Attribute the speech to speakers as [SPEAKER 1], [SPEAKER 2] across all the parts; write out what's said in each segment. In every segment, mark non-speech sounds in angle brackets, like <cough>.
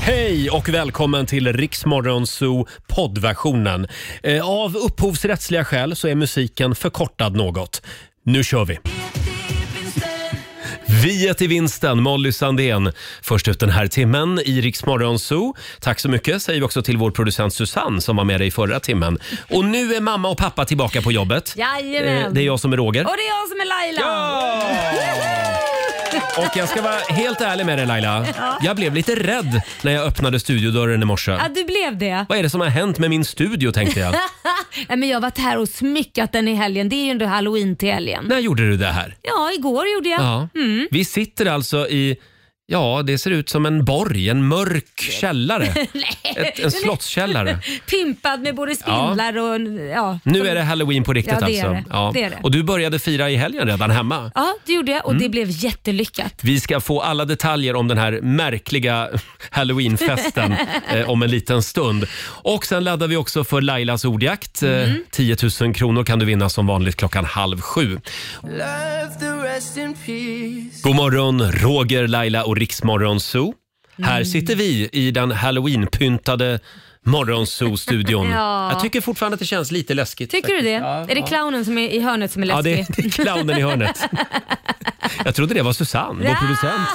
[SPEAKER 1] Hej och välkommen till Riksmorgon Zoo poddversionen. Eh, Av upphovsrättsliga skäl så är musiken förkortad något. Nu kör vi! Viet i vinsten, Molly Sandén. Först ut den här timmen i Riksmorgon Zoo. Tack så mycket säger vi också till vår producent Susanne som var med dig förra timmen. Och nu är mamma och pappa tillbaka på jobbet.
[SPEAKER 2] Jajamän.
[SPEAKER 1] Eh, Det är jag som är Roger.
[SPEAKER 2] Och det är jag som är Laila.
[SPEAKER 1] Och jag ska vara helt ärlig med dig Laila.
[SPEAKER 2] Ja.
[SPEAKER 1] Jag blev lite rädd när jag öppnade studiodörren i morse.
[SPEAKER 2] Ja, du blev det.
[SPEAKER 1] Vad är det som har hänt med min studio tänkte jag.
[SPEAKER 2] <laughs> Nej, men jag har varit här och smyckat den i helgen. Det är ju ändå halloween till helgen.
[SPEAKER 1] När gjorde du det här?
[SPEAKER 2] Ja, igår gjorde jag.
[SPEAKER 1] Ja.
[SPEAKER 2] Mm.
[SPEAKER 1] Vi sitter alltså i, ja det ser ut som en borg, en mörk
[SPEAKER 2] <laughs>
[SPEAKER 1] källare.
[SPEAKER 2] Nej.
[SPEAKER 1] Ett,
[SPEAKER 2] den är
[SPEAKER 1] en slottskällare.
[SPEAKER 2] <laughs> Pimpad med både spindlar och... Ja.
[SPEAKER 1] Nu är det halloween på riktigt
[SPEAKER 2] Ja, det är
[SPEAKER 1] alltså.
[SPEAKER 2] det. Det är det.
[SPEAKER 1] Och du började fira i helgen redan hemma. Mm.
[SPEAKER 2] Ja, det gjorde jag och det blev jättelyckat.
[SPEAKER 1] Vi ska få alla detaljer om den här märkliga <laughs>
[SPEAKER 2] <laughs>
[SPEAKER 1] halloweenfesten eh, om en liten stund. Och sen laddar vi också för Lailas ordjakt. Eh,
[SPEAKER 2] Mm.
[SPEAKER 1] 10 000 kronor kan du vinna som vanligt klockan halv sju. God morgon, Roger, Laila och Riksmorgon Zoo.
[SPEAKER 2] Mm.
[SPEAKER 1] Här sitter vi i den halloweenpyntade Morgonzoo-studion.
[SPEAKER 2] <laughs> Ja.
[SPEAKER 1] Jag tycker fortfarande att det känns lite läskigt.
[SPEAKER 2] Tycker du det?
[SPEAKER 1] faktiskt. Ja,
[SPEAKER 2] är det
[SPEAKER 1] ja.
[SPEAKER 2] clownen som är i hörnet som är
[SPEAKER 1] Ja,
[SPEAKER 2] läskig?
[SPEAKER 1] det, det är clownen
[SPEAKER 2] <laughs>
[SPEAKER 1] i hörnet. Jag trodde det var Susanne, vår producent.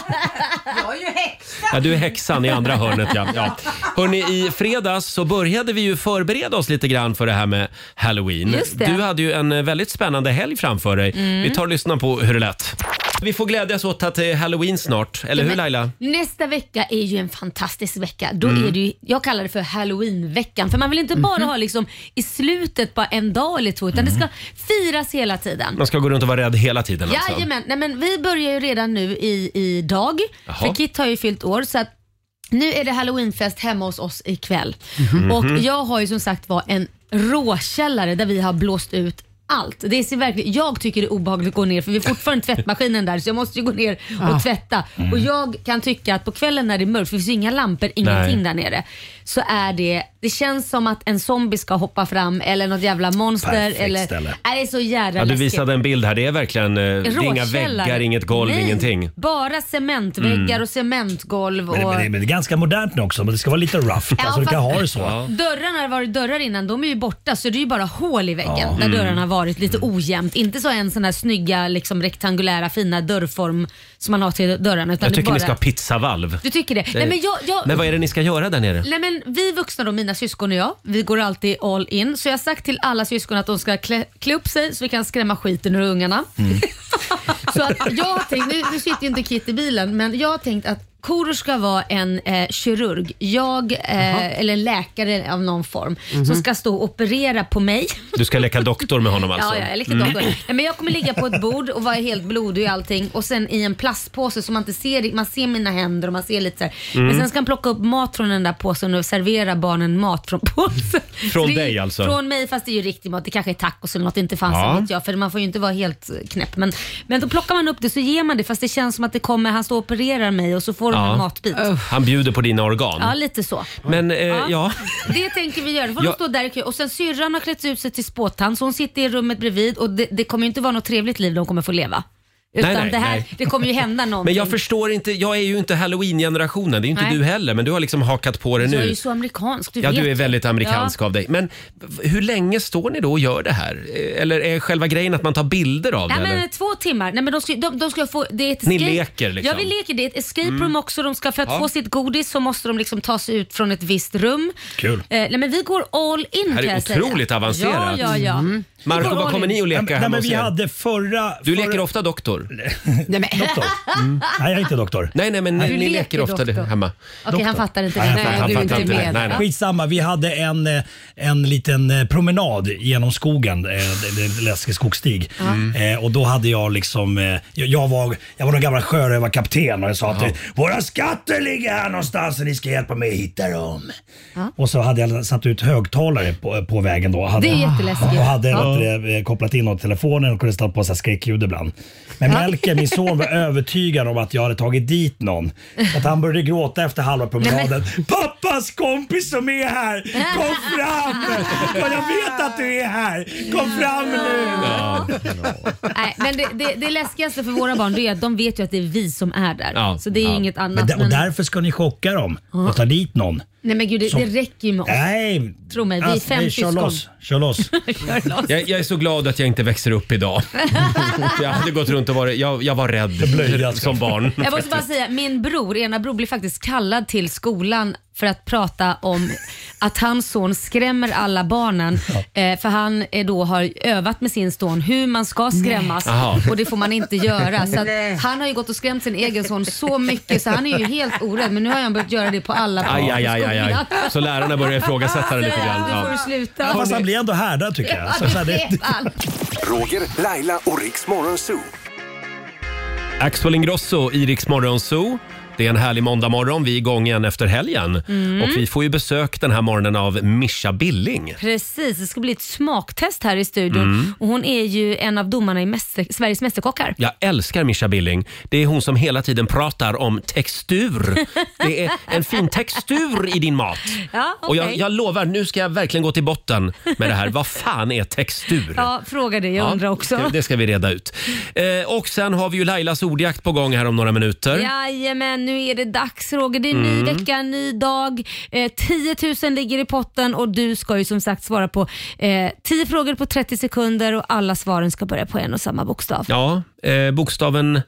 [SPEAKER 3] Jag är ju häxa!
[SPEAKER 1] Ja, du är häxan i andra hörnet ja. ja. Hörrni, i fredags så började vi ju förbereda oss lite grann för det här med Halloween.
[SPEAKER 2] Just det.
[SPEAKER 1] Du hade ju en eh, väldigt spännande helg framför dig.
[SPEAKER 2] Mm.
[SPEAKER 1] Vi tar och lyssnar på hur det lät. Vi får glädjas åt att det är Halloween snart, eller hur
[SPEAKER 2] Men
[SPEAKER 1] Laila?
[SPEAKER 2] Nästa vecka är ju en fantastisk vecka. Då
[SPEAKER 1] Mm.
[SPEAKER 2] är det ju, jag kallar det för halloweenveckan. För man vill inte bara
[SPEAKER 1] Mhm.
[SPEAKER 2] ha liksom i slutet bara en dag eller två utan det ska firas hela tiden.
[SPEAKER 1] Man ska gå runt och vara rädd hela tiden alltså.
[SPEAKER 2] Jajamän, nej men vi börjar ju redan nu i, i dag.
[SPEAKER 1] Jaha.
[SPEAKER 2] För Kit har ju fyllt år så att nu är det halloweenfest hemma hos oss ikväll.
[SPEAKER 4] Mhm.
[SPEAKER 2] Och jag har ju som sagt var en råkällare där vi har blåst ut allt. Det ser verkligen, jag tycker det är obehagligt att gå ner för vi har fortfarande tvättmaskinen där så jag måste ju gå ner och
[SPEAKER 4] Ja.
[SPEAKER 2] tvätta.
[SPEAKER 4] Mm.
[SPEAKER 2] Och jag kan tycka att på kvällen när det är mörkt, för det finns ju inga lampor,
[SPEAKER 4] Nej.
[SPEAKER 2] ingenting där nere. Så är det, det känns som att en zombie ska hoppa fram eller något jävla monster.
[SPEAKER 1] Perfekt
[SPEAKER 2] eller,
[SPEAKER 1] ställe.
[SPEAKER 2] Nej, det är så jävla
[SPEAKER 1] Ja, du
[SPEAKER 2] läskigt.
[SPEAKER 1] visade en bild här, det är verkligen eh, det är inga
[SPEAKER 2] Råkällare.
[SPEAKER 1] väggar, inget golv,
[SPEAKER 2] Nej,
[SPEAKER 1] ingenting.
[SPEAKER 2] Bara cementväggar
[SPEAKER 5] Mm.
[SPEAKER 2] och cementgolv. Och...
[SPEAKER 5] Men, det- men, det- men det är ganska modernt nu också, men det ska vara lite rough.
[SPEAKER 2] Ja,
[SPEAKER 5] alltså, du kan
[SPEAKER 2] fast-
[SPEAKER 5] ha det så.
[SPEAKER 2] Dörrarna har varit dörrar innan, de är ju borta så det är ju bara hål i väggen
[SPEAKER 5] Ja.
[SPEAKER 2] där
[SPEAKER 5] Mm.
[SPEAKER 2] dörrarna har varit lite ojämnt. Inte så en sån här snygga liksom, rektangulära fina dörrform som man har till dörrarna. Utan
[SPEAKER 1] Jag
[SPEAKER 2] det är
[SPEAKER 1] tycker
[SPEAKER 2] bara...
[SPEAKER 1] ni ska ha pizzavalv.
[SPEAKER 2] Du tycker det? Nej, men, jag, jag...
[SPEAKER 1] men vad är det ni ska göra där nere?
[SPEAKER 2] Nej, men vi vuxna då, mina syskon och jag, vi går alltid all in. Så jag har sagt till alla syskon att de ska klä, klä upp sig så vi kan skrämma skiten ur ungarna.
[SPEAKER 1] Mm.
[SPEAKER 2] <laughs> Så att jag har tänkt, nu, nu sitter ju inte Kit i bilen, men jag har tänkt att Korosh ska vara en eh, kirurg, jag, eh, eller en läkare av någon form, som
[SPEAKER 1] Mhm.
[SPEAKER 2] ska stå och operera på mig.
[SPEAKER 1] Du ska leka doktor med honom alltså?
[SPEAKER 2] Ja, ja, jag lika
[SPEAKER 1] Mm.
[SPEAKER 2] doktor. Nej, men jag kommer ligga på ett bord och vara helt blodig och allting och sen i en plastpåse så man inte ser, man ser mina händer och man ser lite så här. Men
[SPEAKER 1] Mm.
[SPEAKER 2] sen ska han plocka upp mat från den där påsen och servera barnen mat från
[SPEAKER 1] <laughs>
[SPEAKER 2] påsen.
[SPEAKER 1] Från
[SPEAKER 2] Så det är-
[SPEAKER 1] dig alltså?
[SPEAKER 2] Från mig, fast det är ju riktig mat. Det kanske är tacos eller något, inte fanns
[SPEAKER 1] Ja.
[SPEAKER 2] vet jag. För man får ju inte vara helt eh, knäpp. Men, men då plockar man upp det så ger man det fast det känns som att det kommer, han står och opererar mig och så får de en matbit.
[SPEAKER 1] Han bjuder på dina organ.
[SPEAKER 2] Ja, lite så.
[SPEAKER 1] Men eh,
[SPEAKER 2] Ja.
[SPEAKER 1] ja.
[SPEAKER 2] Det tänker vi göra. Då får
[SPEAKER 1] Ja.
[SPEAKER 2] de stå där i kö. Och sen syrran har klätt ut sig till spåtan så hon sitter i rummet bredvid och det, det kommer ju inte vara något trevligt liv de kommer få leva. Utan
[SPEAKER 1] Nej, nej,
[SPEAKER 2] det, här,
[SPEAKER 1] nej.
[SPEAKER 2] det kommer ju hända
[SPEAKER 1] <laughs> Men
[SPEAKER 2] någonting.
[SPEAKER 1] jag förstår inte, jag är ju inte halloween-generationen, det är ju inte
[SPEAKER 2] Nej.
[SPEAKER 1] du heller, men du har liksom hakat på det
[SPEAKER 2] Jag är
[SPEAKER 1] nu.
[SPEAKER 2] ju så amerikansk, du
[SPEAKER 1] ja,
[SPEAKER 2] vet
[SPEAKER 1] du är
[SPEAKER 2] ju.
[SPEAKER 1] väldigt amerikansk
[SPEAKER 2] Ja.
[SPEAKER 1] av dig. Men v- hur länge står ni då och gör det här? Eh, Eller är själva grejen att man tar bilder av
[SPEAKER 2] Nej,
[SPEAKER 1] det?
[SPEAKER 2] men
[SPEAKER 1] eller?
[SPEAKER 2] två timmar. Nej, men de ska, de, de ska få, det är ett
[SPEAKER 1] Ni
[SPEAKER 2] escape.
[SPEAKER 1] leker liksom.
[SPEAKER 2] Ja, vi leker. Det är ett escape room
[SPEAKER 1] Mm.
[SPEAKER 2] också. De ska, för att
[SPEAKER 1] Ja.
[SPEAKER 2] få sitt godis så måste de liksom ta sig ut från ett visst rum.
[SPEAKER 1] Kul.
[SPEAKER 2] Eh, nej, men vi går all in
[SPEAKER 1] Det här
[SPEAKER 2] kan
[SPEAKER 1] är
[SPEAKER 2] jag säga.
[SPEAKER 1] otroligt avancerat.
[SPEAKER 2] Ja, ja, ja.
[SPEAKER 1] Mm. Marco, vad kommer ni att leka
[SPEAKER 5] Nej,
[SPEAKER 1] hemma
[SPEAKER 5] men
[SPEAKER 1] hos
[SPEAKER 5] vi
[SPEAKER 1] er?
[SPEAKER 5] hade förra...
[SPEAKER 1] Du leker ofta doktor?
[SPEAKER 2] Nej, men.
[SPEAKER 5] Mm. Nej, jag är inte doktor.
[SPEAKER 1] Mm. Nej, nej men ni,
[SPEAKER 5] Nej. Du
[SPEAKER 1] ni
[SPEAKER 5] leker
[SPEAKER 1] leker ofta det
[SPEAKER 5] doktor.
[SPEAKER 1] hemma.
[SPEAKER 2] Okej, han fattar inte
[SPEAKER 5] Nej,
[SPEAKER 2] det.
[SPEAKER 5] jag fattar- han fattar inte det.
[SPEAKER 2] Ja.
[SPEAKER 5] Skitsamma, vi hade en, eh, en liten eh, promenad genom skogen, eh, det- det är en läskig skogsstig.
[SPEAKER 6] Mm.
[SPEAKER 5] Eh, Och då hade jag liksom, eh, jag- jag var, jag var någon gammal sjörövarkapten och jag sa att eh, våra skatter ligger här någonstans och ni ska hjälpa mig att hitta dem. Och så hade jag satt ut högtalare på, på vägen då. Hade,
[SPEAKER 2] Det är jätteläskigt.
[SPEAKER 5] Och hade
[SPEAKER 2] Ja.
[SPEAKER 5] vet du det, eh, kopplat in något till telefonen och kunde sätta på så här skräckljud ibland. Men Men Melker, min son,
[SPEAKER 2] <laughs>
[SPEAKER 5] var övertygad om att jag hade tagit dit någon. Så att han började gråta efter halva promenaden. Pappas kompis som är här, kom fram! Och jag vet att du är här, kom fram nu!
[SPEAKER 1] Ja.
[SPEAKER 2] Nej, men det, det, det läskigaste för våra barn det är att de vet ju att det är vi som är där.
[SPEAKER 1] Ja.
[SPEAKER 2] Så det är
[SPEAKER 1] Ja.
[SPEAKER 2] inget annat.
[SPEAKER 5] Men där, och
[SPEAKER 2] men-
[SPEAKER 5] därför ska ni chocka dem och ta dit någon.
[SPEAKER 2] nej men gud, det,
[SPEAKER 5] Som-
[SPEAKER 2] det räcker ju med oss.
[SPEAKER 5] Nej! Alltså,
[SPEAKER 2] Tro mig, vi är fem
[SPEAKER 5] nej, Kör
[SPEAKER 2] syskon. <laughs>
[SPEAKER 5] loss, kör loss.
[SPEAKER 2] Kör loss.
[SPEAKER 1] Jag, jag är så glad att jag inte växer upp idag. Jag hade gått runt och varit, jag, jag var rädd
[SPEAKER 5] Förblöjad.
[SPEAKER 1] som barn.
[SPEAKER 2] Jag måste bara säga, min bror, ena bror blir faktiskt kallad till skolan för att prata om att hans son skrämmer alla barnen. Eh, för han eh, då har övat med sin son hur man ska skrämmas
[SPEAKER 1] Jaha.
[SPEAKER 2] och det får man inte göra. Så att
[SPEAKER 3] Nej.
[SPEAKER 2] han har ju gått och skrämt sin egen son så mycket så han är ju helt orädd. Men nu har han börjat göra det på alla barn
[SPEAKER 1] Aj,
[SPEAKER 2] i
[SPEAKER 1] aj, aj, aj, aj.
[SPEAKER 2] skolan.
[SPEAKER 1] Så lärarna börjar ifrågasätta det lite
[SPEAKER 2] Säger
[SPEAKER 1] grann.
[SPEAKER 2] han, Nu får du
[SPEAKER 1] Ja.
[SPEAKER 2] sluta.
[SPEAKER 5] Fast han blir ändå härdad tycker jag. Så, så här, det,
[SPEAKER 4] Roger, Laila och Riks Morgonzoo.
[SPEAKER 1] Axel Ingrosso i Rix Morgon Zoo. Det är en härlig måndagmorgon. Vi är igång igen efter helgen.
[SPEAKER 2] Mm.
[SPEAKER 1] Och vi får ju besök den här morgonen av Mischa Billing.
[SPEAKER 2] Precis, det ska bli ett smaktest här i studion.
[SPEAKER 5] Mm.
[SPEAKER 2] Och hon är ju en av domarna i mäster, Sveriges Mästerkockar.
[SPEAKER 1] Jag älskar Mischa Billing. Det är hon som hela tiden pratar om
[SPEAKER 2] <laughs>
[SPEAKER 1] textur. Det är en fin textur i din mat.
[SPEAKER 2] Ja,
[SPEAKER 1] Och jag,
[SPEAKER 2] okej.
[SPEAKER 1] jag lovar, nu ska jag verkligen gå till botten med det här. Vad fan är textur?
[SPEAKER 2] Ja, fråga det. Jag
[SPEAKER 1] Ja,
[SPEAKER 2] undrar
[SPEAKER 1] Det,
[SPEAKER 2] också.
[SPEAKER 1] det ska vi reda ut. Eh, och sen har vi ju Lailas ordjakt på gång här om några minuter.
[SPEAKER 2] Jajamän, nu är det dags Roger. Det är en
[SPEAKER 1] Mm.
[SPEAKER 2] ny vecka, en ny dag. Eh, 10 000 ligger i potten och du ska ju som sagt svara på eh, 10 frågor på 30 sekunder och alla svaren ska börja på en och samma bokstav. Ja.
[SPEAKER 1] Ja, eh, bokstaven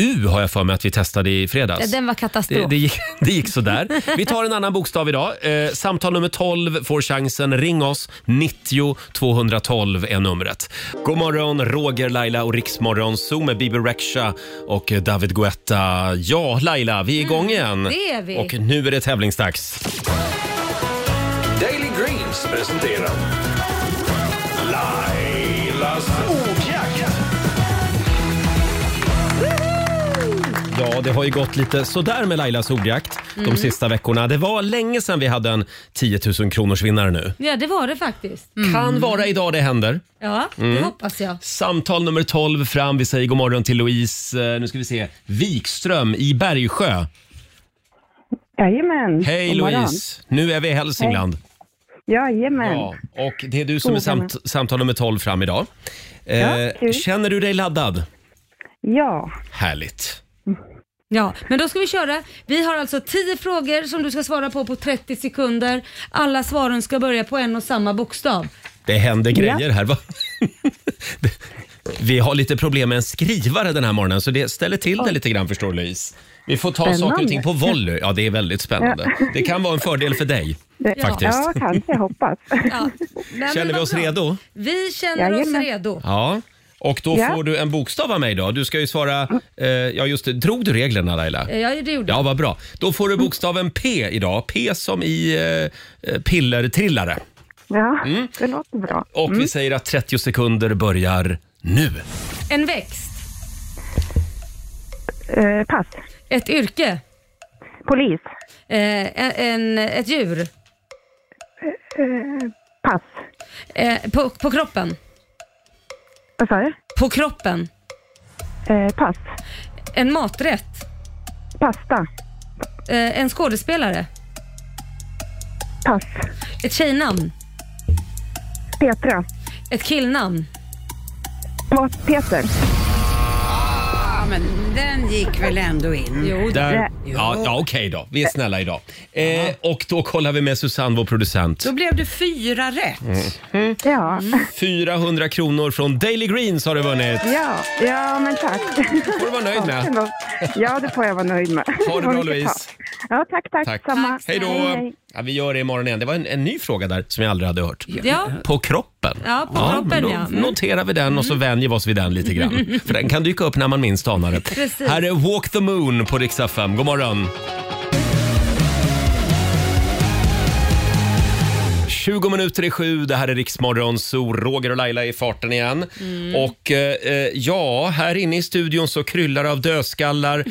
[SPEAKER 1] U har jag för mig att vi testade i fredags.
[SPEAKER 2] Eh, Den var katastrof.
[SPEAKER 1] alltså. Det, det, gick, <laughs> det gick sådär. Vi tar en annan bokstav idag. Eh, samtal nummer 12 får chansen. Ring oss. 90 212 är numret. God morgon, Roger, Laila och Riksmorgon Zoo med Bibi Rexha och David Guetta. Ja, Laila, vi är igång igen.
[SPEAKER 2] Mm, det är vi.
[SPEAKER 1] Och nu är det tävlingsdags.
[SPEAKER 4] Daily Greens presenterar Lailas ordjakt.
[SPEAKER 1] Ja, det har ju gått lite sådär med Lailas ordjakt
[SPEAKER 2] Mm.
[SPEAKER 1] de sista veckorna. Det var länge sedan vi hade en 10 000 kronors vinnare nu.
[SPEAKER 2] Ja, det var det faktiskt. Mm.
[SPEAKER 1] Kan vara Mm. idag det händer.
[SPEAKER 2] Ja, det hoppas jag.
[SPEAKER 1] Samtal nummer 12 fram. Vi säger god morgon till Louise, eh, nu ska vi se, Wikström i Bergsjö.
[SPEAKER 6] Jajamän.
[SPEAKER 1] Hej
[SPEAKER 6] God morgon.
[SPEAKER 1] Louise! Nu är vi i Hälsingland.
[SPEAKER 6] Jajamän.
[SPEAKER 1] Ja, och det är du som är samt, samtal nummer 12 fram idag. Eh,
[SPEAKER 6] Ja, kul.
[SPEAKER 1] känner du dig laddad?
[SPEAKER 6] Ja.
[SPEAKER 1] Härligt.
[SPEAKER 2] Ja, men då ska vi köra. Vi har alltså 10 frågor som du ska svara på på 30 sekunder. Alla svaren ska börja på en och samma bokstav.
[SPEAKER 1] Det händer grejer här. Va? <laughs> vi har lite problem med en skrivare den här morgonen så det ställer till det lite grann förstår du Louise. Vi får ta saker och
[SPEAKER 6] Spännande.
[SPEAKER 1] ting på volley. Ja, det är väldigt spännande.
[SPEAKER 6] Ja.
[SPEAKER 1] Det kan vara en fördel för dig.
[SPEAKER 6] Det,
[SPEAKER 1] Faktiskt.
[SPEAKER 6] Ja, kanske. Jag
[SPEAKER 1] <laughs>
[SPEAKER 6] hoppas.
[SPEAKER 2] Ja. Nej, men
[SPEAKER 1] Känner vi
[SPEAKER 2] vad
[SPEAKER 1] oss
[SPEAKER 2] bra.
[SPEAKER 1] redo?
[SPEAKER 2] Vi känner oss
[SPEAKER 6] Jajamän.
[SPEAKER 2] redo.
[SPEAKER 1] Ja, och då
[SPEAKER 6] Ja.
[SPEAKER 1] får du en bokstav av mig då. Du ska ju svara, eh, ja just det, drog du reglerna Laila?
[SPEAKER 2] Eh, Ja, det gjorde
[SPEAKER 1] Ja, vad bra. Då får du
[SPEAKER 6] Mm.
[SPEAKER 1] bokstaven P idag. P som i eh, pillertrillare. Mm.
[SPEAKER 6] Ja, det låter bra. Mm.
[SPEAKER 1] Och vi säger att 30 sekunder börjar nu.
[SPEAKER 2] En växt.
[SPEAKER 6] Eh, pass.
[SPEAKER 2] Ett yrke.
[SPEAKER 6] Polis. Eh,
[SPEAKER 2] Eh, en, ett djur.
[SPEAKER 6] Pass.
[SPEAKER 2] Eh, på, på kroppen.
[SPEAKER 6] Vad sa du?
[SPEAKER 2] På kroppen.
[SPEAKER 6] Eh, pass.
[SPEAKER 2] En maträtt.
[SPEAKER 6] Pasta.
[SPEAKER 2] Eh, en skådespelare.
[SPEAKER 6] Pass.
[SPEAKER 2] Ett tjejnamn.
[SPEAKER 6] Petra.
[SPEAKER 2] Ett killnamn.
[SPEAKER 6] Pa- Peter.
[SPEAKER 3] Ja, men den gick väl ändå in.
[SPEAKER 2] Jo,
[SPEAKER 1] Där.
[SPEAKER 6] Ja.
[SPEAKER 1] Ja, ja okej då. Vi är snälla idag. Eh, och då kollar vi med Susanne, vår producent.
[SPEAKER 3] Då blev det fyra rätt.
[SPEAKER 6] Mm.
[SPEAKER 3] Mm.
[SPEAKER 6] Ja.
[SPEAKER 1] 400 kronor från Daily Greens har du vunnit.
[SPEAKER 6] ja. Ja, men tack.
[SPEAKER 1] får du vara nöjd
[SPEAKER 6] Ja,
[SPEAKER 1] med.
[SPEAKER 6] ändå. Ja, det får jag vara nöjd med.
[SPEAKER 1] bra,
[SPEAKER 6] Det var mycket
[SPEAKER 1] Louise.
[SPEAKER 6] tal. Ja, tack, tack.
[SPEAKER 1] Tack.
[SPEAKER 6] Samma.
[SPEAKER 1] Hej då! Ja, vi gör det imorgon igen. Det var en, en ny fråga där som jag aldrig hade hört.
[SPEAKER 2] Ja.
[SPEAKER 1] På kroppen.
[SPEAKER 2] Ja, på kroppen,
[SPEAKER 1] men då
[SPEAKER 2] ja. Mm.
[SPEAKER 1] noterar vi den och så vänjer vi oss vid den
[SPEAKER 2] <laughs>
[SPEAKER 1] lite grann. För den kan dyka upp när man minst anar det.
[SPEAKER 2] Precis.
[SPEAKER 1] Här är Walk the Moon på Rix FM. God morgon! 20 minuter i sju, det här är Riksmorgon, så Roger och Laila är i farten igen.
[SPEAKER 2] Mm.
[SPEAKER 1] Och eh, eh, ja, här inne i studion så kryllar det
[SPEAKER 2] <laughs>
[SPEAKER 1] av dödskallar,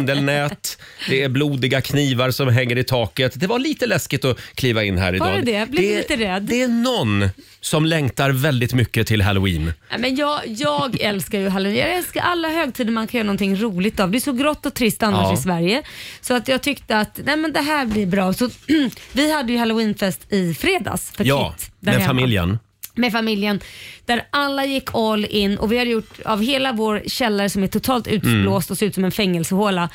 [SPEAKER 1] spindelnät, det är blodiga knivar som hänger i taket. Det var lite läskigt att kliva in här idag.
[SPEAKER 2] Var det det? Jag blev lite rädd.
[SPEAKER 1] Det är någon som längtar väldigt mycket till halloween.
[SPEAKER 2] Nej, men jag, jag älskar ju halloween. Jag älskar alla högtider man kan göra någonting roligt av. Det är så grått och trist annars
[SPEAKER 1] Ja.
[SPEAKER 2] i Sverige. Så att jag tyckte att nej, men det här blir bra. Så, <clears throat> vi hade ju halloweenfest i fredags för
[SPEAKER 1] Ja,
[SPEAKER 2] Kit. där
[SPEAKER 1] med
[SPEAKER 2] hemma.
[SPEAKER 1] familjen.
[SPEAKER 2] Med familjen. Där alla gick all in och vi hade gjort av hela vår källare som är totalt
[SPEAKER 1] Mm.
[SPEAKER 2] utblåst och ser ut som en fängelsehåla.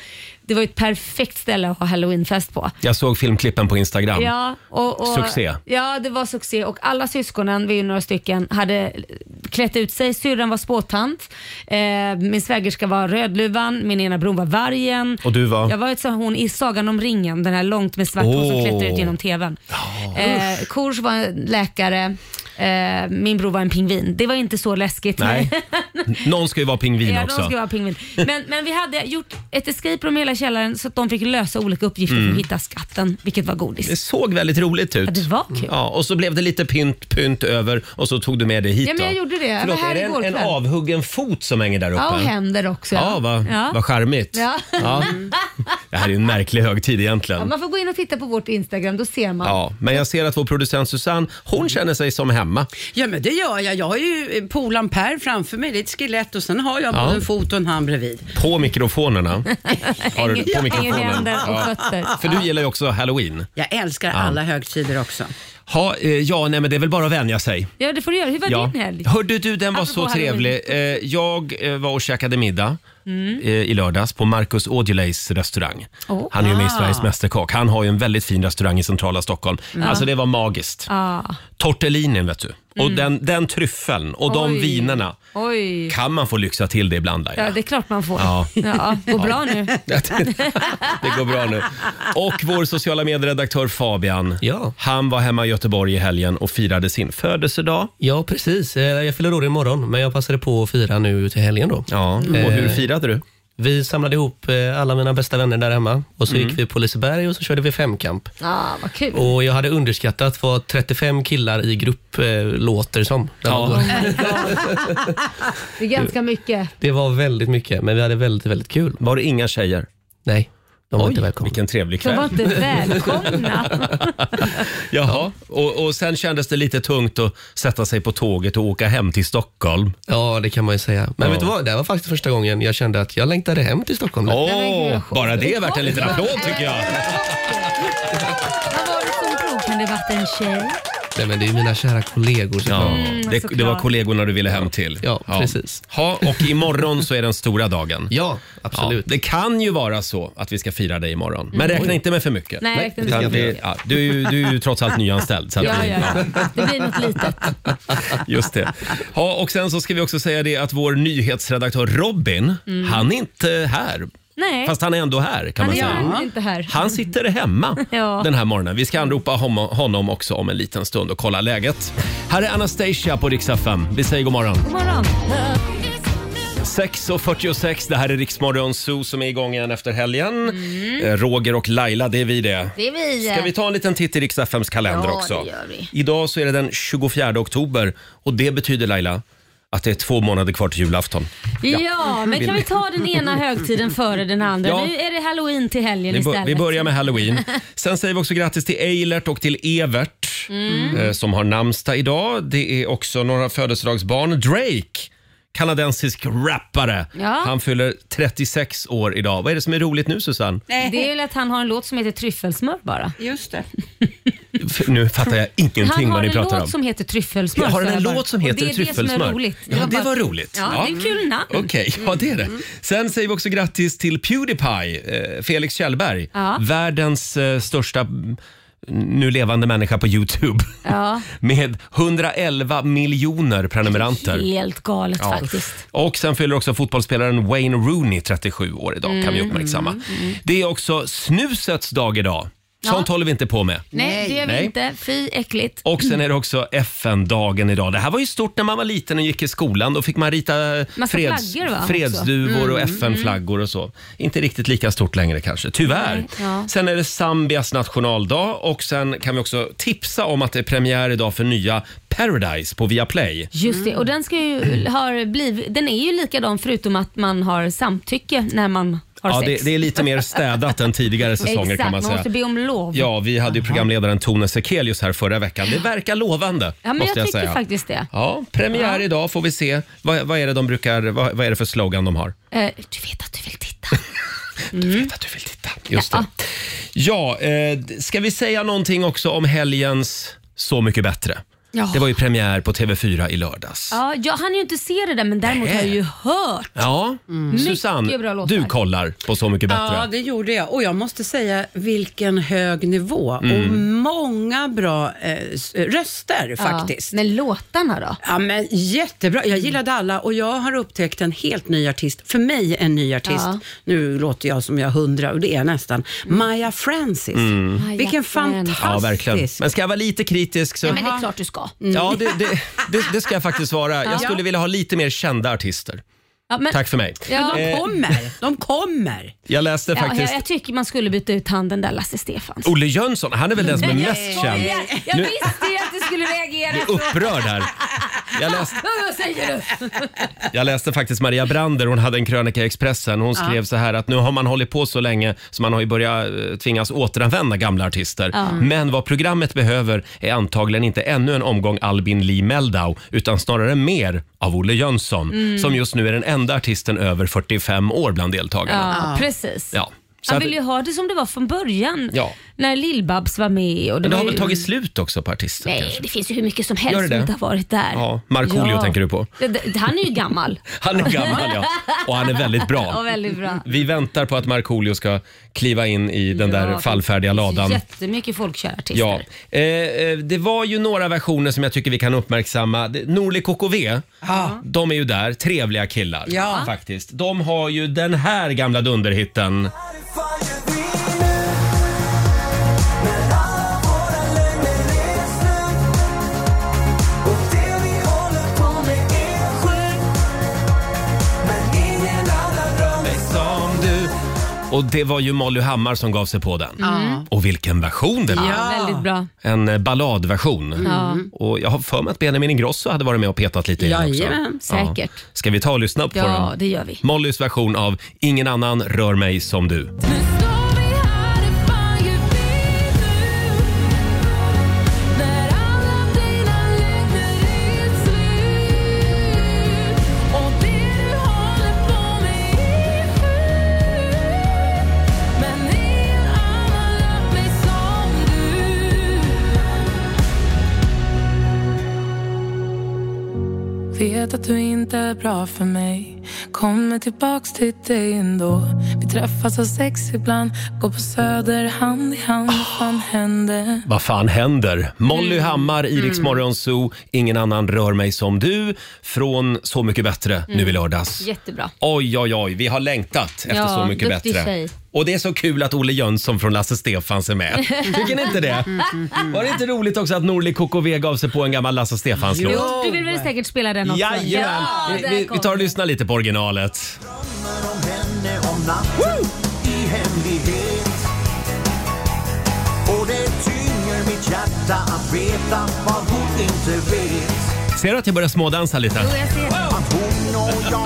[SPEAKER 2] Det var ju ett perfekt ställe att ha halloweenfest på.
[SPEAKER 1] Jag såg filmklippen på Instagram.
[SPEAKER 2] Ja, och, och,
[SPEAKER 1] Succé.
[SPEAKER 2] Ja, det var succé och alla syskonen, vi är ju några stycken, hade klätt ut sig. Syrran var spåtant, eh, min svägerska var Rödluvan, min ena bror var Vargen.
[SPEAKER 1] Och du var?
[SPEAKER 2] Jag var ett så hon i Sagan om ringen, den här långt med svart hår som
[SPEAKER 1] Åh.
[SPEAKER 2] klättrar ut genom TVn. Eh, Kors var en läkare, eh, min bror var en pingvin. Det var inte så läskigt. <laughs>
[SPEAKER 1] Nej. Någon ska ju vara pingvin
[SPEAKER 2] Ja, de
[SPEAKER 1] också.
[SPEAKER 2] ska vara pingvin. Men, men vi hade gjort ett escape room i hela källaren så att de fick lösa olika uppgifter
[SPEAKER 1] Mm.
[SPEAKER 2] för att hitta skatten, vilket var godis.
[SPEAKER 1] Det såg väldigt roligt ut.
[SPEAKER 2] Ja, det var kul.
[SPEAKER 1] Ja, och så blev det lite pynt, pynt över och så tog du med det hit.
[SPEAKER 2] Ja, men jag
[SPEAKER 1] då.
[SPEAKER 2] gjorde det. Jag var
[SPEAKER 1] Förlåt,
[SPEAKER 2] här
[SPEAKER 1] är det
[SPEAKER 2] igår
[SPEAKER 1] en, en
[SPEAKER 2] kväll.
[SPEAKER 1] avhuggen fot som hänger där uppe?
[SPEAKER 2] Ja, och händer också.
[SPEAKER 1] Ja, vad, vad charmigt.
[SPEAKER 2] Ja.
[SPEAKER 1] Det här är ju en märklig högtid
[SPEAKER 2] <laughs> Ja,
[SPEAKER 1] egentligen.
[SPEAKER 2] man får gå in och titta på vårt Instagram, då ser man.
[SPEAKER 1] Ja, men jag ser att vår producent Susanne, hon känner sig som hemma.
[SPEAKER 3] Ja men det gör jag. Jag har ju eh, polan Per framför mig, det är ett skelett och sen har jag
[SPEAKER 1] Ja.
[SPEAKER 3] både en fot och en hand bredvid.
[SPEAKER 2] <laughs>
[SPEAKER 1] På mikrofonerna. Har du, på
[SPEAKER 2] Hänger i
[SPEAKER 1] mikrofonen.
[SPEAKER 2] händer och
[SPEAKER 1] Ja.
[SPEAKER 2] fötter.
[SPEAKER 1] För du gillar ju också halloween.
[SPEAKER 3] Jag älskar alla högtider också.
[SPEAKER 1] Ha, eh, ja, nej men det är väl bara att vänja sig.
[SPEAKER 2] Ja, det får du göra. Hur var din helg? Alltså,
[SPEAKER 1] Hörde du, den var
[SPEAKER 2] Apropå
[SPEAKER 1] så
[SPEAKER 2] Halloween.
[SPEAKER 1] trevlig. Eh, jag eh, var och käkade middag eh, i lördags på Marcus Aujalays restaurang.
[SPEAKER 2] Mm. Åh. Ah.
[SPEAKER 1] Han är ju med i Sveriges Mästerkock. Han har ju en väldigt fin restaurang i centrala Stockholm. Alltså det var magiskt.
[SPEAKER 2] Ah, Mm.
[SPEAKER 1] Tortellinin vet du. Och den, den tryffeln och de
[SPEAKER 2] Oj.
[SPEAKER 1] vinerna.
[SPEAKER 2] oj.
[SPEAKER 1] Kan man få lyxa till det ibland Laila?
[SPEAKER 2] Ja, det är klart man får.
[SPEAKER 1] Ja.
[SPEAKER 2] Ja. går bra nu.
[SPEAKER 1] Det går bra nu. Och vår sociala medieredaktör Fabian.
[SPEAKER 7] Ja.
[SPEAKER 1] Han var hemma i Göteborg i helgen och firade sin födelsedag.
[SPEAKER 7] Ja, precis. Eh, Jag fyller år imorgon, men jag passade på att fira nu till helgen. Då. Eh,
[SPEAKER 1] Ja, och hur firade du?
[SPEAKER 7] Vi samlade ihop eh, alla mina bästa vänner där hemma och
[SPEAKER 1] Mm.
[SPEAKER 7] så gick vi på Liseberg och så körde vi femkamp.
[SPEAKER 2] Ah, vad kul.
[SPEAKER 7] Och jag hade underskattat vad 35 killar i grupp eh, låter som. när man går.
[SPEAKER 2] Oh Det är ganska mycket.
[SPEAKER 7] Det var väldigt mycket, men vi hade väldigt, väldigt kul.
[SPEAKER 1] Var det inga tjejer?
[SPEAKER 7] Nej, de var inte välkomna.
[SPEAKER 1] vilken trevlig
[SPEAKER 2] De
[SPEAKER 1] kväll.
[SPEAKER 2] var inte välkomna.
[SPEAKER 1] Jaha, och, och sen kändes det lite tungt att sätta sig på tåget och åka hem till Stockholm.
[SPEAKER 7] Ja, det kan man ju säga. Men
[SPEAKER 1] Ja.
[SPEAKER 7] vet du vad? Det här var faktiskt första gången jag kände att jag längtade hem till Stockholm.
[SPEAKER 1] Åh,
[SPEAKER 2] men gud, vad skönt.
[SPEAKER 1] bara det är värt en liten applåd tycker jag.
[SPEAKER 2] Vad var det som drog? Kan det varit en tjej?
[SPEAKER 7] Nej, men det är ju mina kära kollegor.
[SPEAKER 1] Ja,
[SPEAKER 7] såklart.
[SPEAKER 1] det,
[SPEAKER 2] såklart.
[SPEAKER 1] det var kollegorna du ville hem till.
[SPEAKER 7] Ja, precis.
[SPEAKER 1] Ha, och imorgon så är den stora dagen.
[SPEAKER 7] ja
[SPEAKER 1] Ja,
[SPEAKER 7] absolut. Mm.
[SPEAKER 1] det kan ju vara så att vi ska fira dig imorgon. Men räkna inte med för mycket.
[SPEAKER 2] Nej, jag räknar inte
[SPEAKER 1] Utan
[SPEAKER 2] med
[SPEAKER 1] det, ja, du, är ju, du är ju trots allt nyanställd. Så att
[SPEAKER 2] Ja,
[SPEAKER 1] vi-
[SPEAKER 2] ja, ja. Det blir något litet.
[SPEAKER 1] Just det. Ja, och sen så ska vi också säga det att vår nyhetsredaktör Robin,
[SPEAKER 2] Mm.
[SPEAKER 1] han är inte här.
[SPEAKER 2] Nej,
[SPEAKER 1] Fast han är ändå här kan man
[SPEAKER 2] han är
[SPEAKER 1] säga.
[SPEAKER 2] ju inte här.
[SPEAKER 1] Han sitter hemma
[SPEAKER 2] <laughs> Ja.
[SPEAKER 1] den här morgonen. Vi ska anropa hom- honom också om en liten stund och kolla läget. Här är Anastasia på Rix FM. Vi säger god morgon.
[SPEAKER 2] God morgon.
[SPEAKER 1] 6.46, det här är Riksmorgon Zoo som är igång igen efter helgen. Eh, Roger och Laila, det är vi det.
[SPEAKER 2] Mm. Det är vi.
[SPEAKER 1] Ska vi ta en liten titt i Rix FMs kalender
[SPEAKER 2] Ja,
[SPEAKER 1] också?
[SPEAKER 2] det gör vi.
[SPEAKER 1] Idag så är det den 24 oktober och det betyder Laila att det är två månader kvar till julafton.
[SPEAKER 2] Ja, men kan vi ta den ena högtiden före den andra?
[SPEAKER 1] Ja.
[SPEAKER 2] Nu är det halloween till helgen
[SPEAKER 1] Vi, bör,
[SPEAKER 2] istället.
[SPEAKER 1] vi börjar
[SPEAKER 2] <laughs>
[SPEAKER 1] med halloween. Sen säger vi också grattis till Eilert och till Evert
[SPEAKER 2] Mm.
[SPEAKER 1] eh, som har namnsdag idag. Det är också några födelsedagsbarn. Drake, kanadensisk rappare.
[SPEAKER 2] Ja.
[SPEAKER 1] Han fyller 36 år idag. Vad är det som är roligt nu Susanne?
[SPEAKER 2] Det är väl att han har en låt som heter Tryffelsmör bara.
[SPEAKER 3] Just det.
[SPEAKER 1] F- nu fattar jag
[SPEAKER 2] Han
[SPEAKER 1] ingenting
[SPEAKER 2] har
[SPEAKER 1] vad ni
[SPEAKER 2] en
[SPEAKER 1] pratar
[SPEAKER 2] låt
[SPEAKER 1] om.
[SPEAKER 2] som heter Tryffelsmör.
[SPEAKER 1] Jag har
[SPEAKER 2] sa
[SPEAKER 1] den en
[SPEAKER 2] jag bara.
[SPEAKER 1] låt som
[SPEAKER 2] Och
[SPEAKER 1] heter
[SPEAKER 2] Det är det som
[SPEAKER 1] Tryffelsmör.
[SPEAKER 2] är roligt.
[SPEAKER 1] Ja, det
[SPEAKER 2] bara-
[SPEAKER 1] var roligt.
[SPEAKER 2] Ja, det är kul namn. Mm.
[SPEAKER 1] Okej, ja det är det. Sen säger vi också grattis till Pewdiepie, eh, Felix Kjellberg.
[SPEAKER 2] Ja.
[SPEAKER 1] Världens eh, största mm, nu levande människa på Youtube. <laughs>
[SPEAKER 2] Ja.
[SPEAKER 1] Med 111 miljoner prenumeranter.
[SPEAKER 2] Helt galet
[SPEAKER 1] Ja.
[SPEAKER 2] faktiskt.
[SPEAKER 1] Och sen fyller också fotbollsspelaren
[SPEAKER 2] Mm.
[SPEAKER 1] Wayne Rooney 37 år idag, kan vi uppmärksamma. Det är också snusets dag idag. Sånt håller vi inte på med.
[SPEAKER 2] Nej, det gör vi
[SPEAKER 1] Nej.
[SPEAKER 2] inte. Fy äckligt.
[SPEAKER 1] Och sen är det också FN-dagen idag. Det här var ju stort när man var liten och gick i skolan. Då fick man rita
[SPEAKER 2] Massa
[SPEAKER 1] freds,
[SPEAKER 2] flaggor, va, också? Mm,
[SPEAKER 1] fredsduvor och FN-flaggor och så. Inte riktigt lika stort längre kanske, tyvärr.
[SPEAKER 2] Nej, ja.
[SPEAKER 1] Sen är det Zambias nationaldag och sen kan vi också tipsa om att det är premiär idag för nya Paradise på Viaplay.
[SPEAKER 2] Just
[SPEAKER 1] Mm.
[SPEAKER 2] det, och den, ska ju, har blivit, den är ju likadan förutom att man har samtycke när man har
[SPEAKER 1] Ja,
[SPEAKER 2] sex.
[SPEAKER 1] det, det är lite mer städat
[SPEAKER 2] <laughs>
[SPEAKER 1] än tidigare säsonger
[SPEAKER 2] Exakt,
[SPEAKER 1] kan man
[SPEAKER 2] man,
[SPEAKER 1] säga.
[SPEAKER 2] måste be om lov.
[SPEAKER 1] Ja, vi hade ju programledaren Tone Sekelius här förra veckan. Det verkar lovande,
[SPEAKER 2] Ja, men
[SPEAKER 1] måste
[SPEAKER 2] jag
[SPEAKER 1] jag,
[SPEAKER 2] tycker
[SPEAKER 1] säga.
[SPEAKER 2] faktiskt det.
[SPEAKER 1] Ja, premiär
[SPEAKER 2] Ja.
[SPEAKER 1] idag får vi se. Vad, vad är det de brukar, vad, vad är det för slogan de har?
[SPEAKER 2] Eh, du vet att du vill
[SPEAKER 1] <laughs>
[SPEAKER 2] titta. Mm.
[SPEAKER 1] Du vet att du vill titta. Just det. Ja, eh, d- ska vi säga någonting också om helgens Så mycket bättre?
[SPEAKER 2] Ja.
[SPEAKER 1] Det var ju premiär på TV4 i lördags.
[SPEAKER 2] Ja, jag hann ju inte se det där men däremot har jag ju hört.
[SPEAKER 1] Ja, Susanne,
[SPEAKER 2] Mm. Mycket bra låtar.
[SPEAKER 1] du kollar på Så mycket bättre.
[SPEAKER 3] Ja, det gjorde jag. Och jag måste säga vilken hög nivå och
[SPEAKER 1] Mm.
[SPEAKER 3] många bra eh, s- röster faktiskt.
[SPEAKER 2] Ja, men låtarna då?
[SPEAKER 3] Ja, men jättebra.
[SPEAKER 2] Mm.
[SPEAKER 3] Jag gillade alla och jag har upptäckt en helt ny artist. För mig en ny artist.
[SPEAKER 2] Ja. Mm.
[SPEAKER 3] Nu låter jag som jag är hundra och det är jag nästan. Maya Francis.
[SPEAKER 2] Maja
[SPEAKER 3] Vilken
[SPEAKER 2] Fren.
[SPEAKER 3] fantastisk...
[SPEAKER 1] Mm. Ja, verkligen. Men ska jag vara lite kritisk så...
[SPEAKER 2] Ja, men det är klart du ska.
[SPEAKER 3] Mm.
[SPEAKER 1] Ja, det, det, det, det ska jag faktiskt vara. Jag skulle vilja ha lite mer kända artister.
[SPEAKER 2] Ja, men,
[SPEAKER 1] Tack för mig.
[SPEAKER 2] Ja,
[SPEAKER 3] De kommer, de kommer.
[SPEAKER 1] Jag läste
[SPEAKER 2] ja, jag,
[SPEAKER 1] faktiskt
[SPEAKER 2] jag tycker man skulle byta ut han den där Lasse Stefans.
[SPEAKER 1] Olle Jönsson. Han är väl den som är
[SPEAKER 2] Jag
[SPEAKER 1] mest
[SPEAKER 2] skojar.
[SPEAKER 1] känd.
[SPEAKER 2] Jag
[SPEAKER 1] Nu-
[SPEAKER 2] visste ju att du skulle reagera.
[SPEAKER 1] Upprörd här. Jag läste,
[SPEAKER 2] Men Vad säger du?
[SPEAKER 1] <laughs> jag läste faktiskt Maria Brander, hon hade en krönika i Expressen. Hon skrev så här att nu har man hållit på så länge så man har ju börjat eh, tvingas återanvända gamla artister. Men vad programmet behöver är antagligen inte ännu en omgång Albin Lee Meldau utan snarare mer av Olle Jönsson
[SPEAKER 2] Mm.
[SPEAKER 1] som just nu är den enda artisten över 45 år bland deltagarna.
[SPEAKER 2] Ja, precis.
[SPEAKER 1] Ja. Så
[SPEAKER 2] Han
[SPEAKER 1] att,
[SPEAKER 2] vill ju ha det som det var från början.
[SPEAKER 1] Ja.
[SPEAKER 2] När Lill-Babs var med. Och det
[SPEAKER 1] men det har
[SPEAKER 2] var
[SPEAKER 1] väl
[SPEAKER 2] ju...
[SPEAKER 1] tagit slut också på artister
[SPEAKER 2] Nej,
[SPEAKER 1] kanske?
[SPEAKER 2] det finns ju hur mycket som
[SPEAKER 1] Gör
[SPEAKER 2] helst
[SPEAKER 1] det
[SPEAKER 2] som
[SPEAKER 1] det?
[SPEAKER 2] inte har varit där.
[SPEAKER 1] Ja, Markoolio tänker du på.
[SPEAKER 2] Det- det- Han är ju gammal.
[SPEAKER 1] <laughs> Han är gammal ja. Och han är väldigt bra.
[SPEAKER 2] <laughs> Ja, väldigt bra.
[SPEAKER 1] Vi väntar på att Markoolio ska kliva in i den där
[SPEAKER 2] Ja,
[SPEAKER 1] fallfärdiga ladan.
[SPEAKER 2] Jättemycket folkkära artister.
[SPEAKER 1] Ja. Eh, eh, det var ju några versioner som jag tycker vi kan uppmärksamma. Det- Norli KKV, de är ju där. Trevliga killar
[SPEAKER 3] Ja.
[SPEAKER 1] faktiskt. De har ju den här gamla dunderhitten. Och det var ju Molly Hammar som gav sig på den. Mm. Och vilken version det var!
[SPEAKER 2] Ja, Väldigt bra.
[SPEAKER 1] En eh, balladversion.
[SPEAKER 2] Ja.
[SPEAKER 1] Och jag har för mig att Benjamin Ingrosso hade varit med och petat lite i den också.
[SPEAKER 3] Jajamän,
[SPEAKER 2] säkert.
[SPEAKER 1] Ja. Ska vi ta och lyssna upp på den?
[SPEAKER 2] Ja, det gör vi.
[SPEAKER 1] Mollys version av Ingen annan rör mig som du.
[SPEAKER 8] Vet att du inte är bra för mig Kommer tillbaks till dig ändå Vi träffas av sex ibland Går på söder hand i hand Vad fan hände?
[SPEAKER 1] Vad fan händer? Molly
[SPEAKER 2] Mm.
[SPEAKER 1] Hammar, Iriks Morgonzoo, Ingen annan rör mig som du. Från Så mycket bättre nu i lördags.
[SPEAKER 2] Jättebra.
[SPEAKER 1] Oj, oj, oj. Vi har längtat efter
[SPEAKER 2] Mm. Ja,
[SPEAKER 1] Så mycket
[SPEAKER 2] duktig
[SPEAKER 1] bättre.
[SPEAKER 2] tjej.
[SPEAKER 1] Och det är så kul att Olle Jönsson från Lasse Stefans
[SPEAKER 2] <laughs>
[SPEAKER 1] är med. Tycker ni inte det?
[SPEAKER 2] Mm.
[SPEAKER 1] Var det inte roligt också att Norli KKV gav sig på en gammal Lasse Stefans
[SPEAKER 2] Jo,
[SPEAKER 1] låt?
[SPEAKER 2] du vill väl säkert spela den också?
[SPEAKER 1] Jajamän!
[SPEAKER 2] Ja,
[SPEAKER 1] Vi-
[SPEAKER 2] där
[SPEAKER 1] vi, vi
[SPEAKER 2] kom
[SPEAKER 1] tar och
[SPEAKER 2] den.
[SPEAKER 1] lyssnar lite på originalet. Ser du att jag börjar smådansa lite?
[SPEAKER 2] Jo, jag ser det.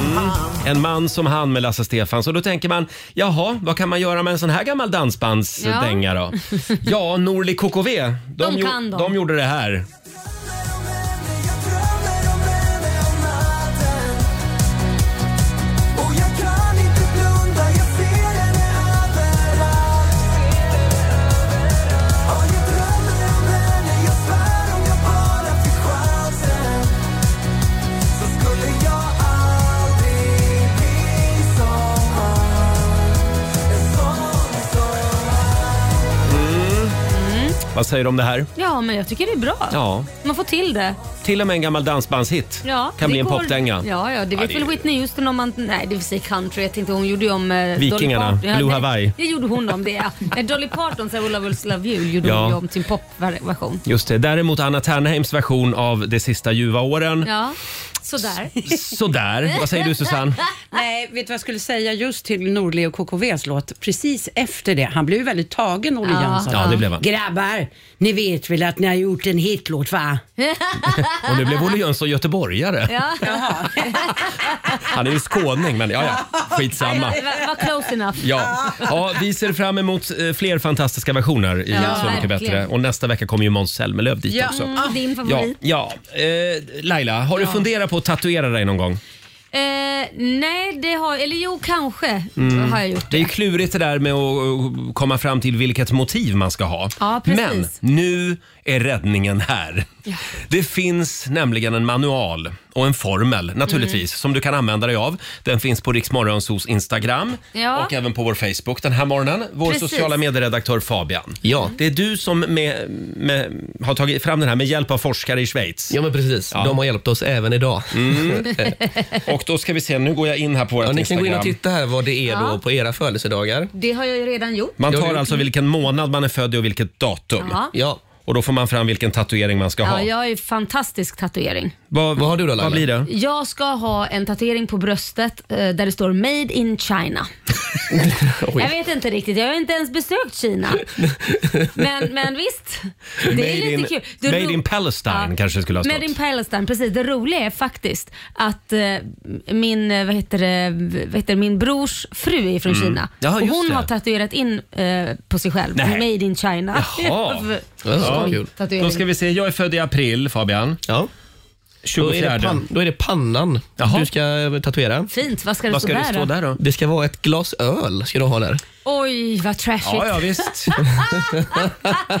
[SPEAKER 4] Mm.
[SPEAKER 1] En man som han med Lasse Stefans och då tänker man, jaha, vad kan man göra med en sån här gammal dansbandsdänga då? Ja, Norli KKV, de,
[SPEAKER 2] De
[SPEAKER 1] gjo-
[SPEAKER 2] kan de.
[SPEAKER 1] de gjorde det här. Vad säger du om det här?
[SPEAKER 2] Mm. Ja, men jag tycker det är bra.
[SPEAKER 1] Ja,
[SPEAKER 2] Man får till det.
[SPEAKER 1] till och med en gammal dansbandshit
[SPEAKER 2] Ja,
[SPEAKER 1] kan
[SPEAKER 2] det
[SPEAKER 1] bli en
[SPEAKER 2] går-
[SPEAKER 1] popdänga.
[SPEAKER 2] Ja, ja, det vet
[SPEAKER 1] det är-
[SPEAKER 2] väl Whitney Houston om man... Nej, det vill säga country. Jag tänkte hon gjorde ju om... eh, Dolly
[SPEAKER 1] Vikingarna,
[SPEAKER 2] Parton. Ja,
[SPEAKER 1] Blue
[SPEAKER 2] det-
[SPEAKER 1] Hawaii.
[SPEAKER 2] <laughs> Det gjorde hon om det,
[SPEAKER 1] <laughs>
[SPEAKER 2] ja. Eh, Dolly Partons I Will I Will Love You gjorde
[SPEAKER 1] Ja.
[SPEAKER 2] hon ju om till en popversion.
[SPEAKER 1] Just det. Däremot Anna Ternheims version av De sista ljuva åren.
[SPEAKER 2] Ja, sådär.
[SPEAKER 1] Sådär. Vad säger
[SPEAKER 2] <laughs>
[SPEAKER 1] du Susanne?
[SPEAKER 3] Nej, vet du vad jag skulle säga just till Norli och KKVs låt? Precis efter det. Han blev ju väldigt tagen, Olle
[SPEAKER 2] Ja.
[SPEAKER 3] Jönsson.
[SPEAKER 1] Ja, det blev han.
[SPEAKER 3] Grabbar, ni vet väl att ni har gjort en hitlåt va?
[SPEAKER 1] Och nu blev Olle Jönsson göteborgare. Han är ju skåning, men ja, ja. skitsamma.
[SPEAKER 2] Det var, var close enough.
[SPEAKER 1] Ja. ja, vi ser fram emot eh, fler fantastiska versioner i
[SPEAKER 2] Ja,
[SPEAKER 1] Så mycket
[SPEAKER 2] verkligen.
[SPEAKER 1] bättre. Och nästa vecka kommer ju Måns Zelmerlöw dit också.
[SPEAKER 2] Mm, din
[SPEAKER 1] Ja,
[SPEAKER 2] favorit.
[SPEAKER 1] ja. Eh, Laila, har du funderat på att tatuera dig någon gång?
[SPEAKER 2] <laughs> Eh, nej, det har... Eller jo, kanske <laughs> har jag gjort.
[SPEAKER 1] Mm. Det är ju klurigt det där med att komma fram till vilket motiv man ska ha.
[SPEAKER 2] Ja,
[SPEAKER 1] Men
[SPEAKER 2] precis.
[SPEAKER 1] nu är räddningen här. Det finns nämligen en manual och en formel
[SPEAKER 2] Mm.
[SPEAKER 1] naturligtvis som du kan använda dig av. Den finns på Riksmorgonsos Instagram
[SPEAKER 2] Ja.
[SPEAKER 1] och även på vår Facebook den här morgonen. Vår
[SPEAKER 2] Precis.
[SPEAKER 1] sociala medieredaktör Fabian. Ja. Det är du som med, med, har tagit fram den här med hjälp av forskare i Schweiz. Mm.
[SPEAKER 7] Ja, men precis. De har hjälpt oss även idag. <laughs>
[SPEAKER 1] Och då ska vi se, nu går jag in här på vårt
[SPEAKER 7] Ja, ni kan
[SPEAKER 1] Instagram.
[SPEAKER 7] gå in och titta här vad det är
[SPEAKER 2] Ja.
[SPEAKER 7] då på era födelsedagar.
[SPEAKER 2] Det har jag ju redan gjort.
[SPEAKER 1] Man
[SPEAKER 7] Ja,
[SPEAKER 1] tar
[SPEAKER 7] det-
[SPEAKER 1] alltså vilken månad man är född i och vilket datum.
[SPEAKER 2] Ja.
[SPEAKER 7] Ja.
[SPEAKER 1] Och då får man fram vilken tatuering man ska
[SPEAKER 2] Ja,
[SPEAKER 1] ha.
[SPEAKER 2] jag har ju fantastisk tatuering.
[SPEAKER 1] Vad,
[SPEAKER 7] Vad har du då,
[SPEAKER 1] Vad
[SPEAKER 7] Laila?
[SPEAKER 1] blir det?
[SPEAKER 2] Jag ska ha en tatuering på bröstet eh, där det står “Made in China”.
[SPEAKER 7] <laughs>
[SPEAKER 2] jag vet inte riktigt, jag har inte ens besökt
[SPEAKER 1] <laughs>
[SPEAKER 2] Kina. Men, men visst, det
[SPEAKER 1] Made
[SPEAKER 2] är lite
[SPEAKER 1] in-
[SPEAKER 2] kul.
[SPEAKER 1] Made
[SPEAKER 2] ro-
[SPEAKER 1] in Palestine kanske det skulle ha
[SPEAKER 2] Made in
[SPEAKER 1] stått.
[SPEAKER 2] Palestine, precis. Det roliga är faktiskt att eh, min, eh, vad heter det, vad heter det, min brors fru är från Kina.
[SPEAKER 1] Mm. Ja,
[SPEAKER 2] och
[SPEAKER 1] just
[SPEAKER 2] hon
[SPEAKER 1] det.
[SPEAKER 2] har tatuerat in eh, på sig själv,
[SPEAKER 1] Nej.
[SPEAKER 2] “Made in China”. <laughs>
[SPEAKER 1] Jaha.
[SPEAKER 7] Ja, så
[SPEAKER 2] Skoj,
[SPEAKER 7] kul.
[SPEAKER 2] tatuering.
[SPEAKER 1] Då ska vi se, jag är född i april Fabian.
[SPEAKER 7] Ja. Då, är
[SPEAKER 1] 24.
[SPEAKER 7] det pan- då är det pannan
[SPEAKER 1] Jaha.
[SPEAKER 7] du ska eh, tatuera.
[SPEAKER 2] Fint, vad ska det
[SPEAKER 1] Vad
[SPEAKER 2] stå
[SPEAKER 1] ska det
[SPEAKER 2] där
[SPEAKER 1] stå
[SPEAKER 2] då?
[SPEAKER 1] där då?
[SPEAKER 7] Det ska vara ett glas öl ska du ha där.
[SPEAKER 2] Oj, vad trashigt.
[SPEAKER 1] Ja,
[SPEAKER 2] <laughs>
[SPEAKER 1] ja visst.
[SPEAKER 2] Jag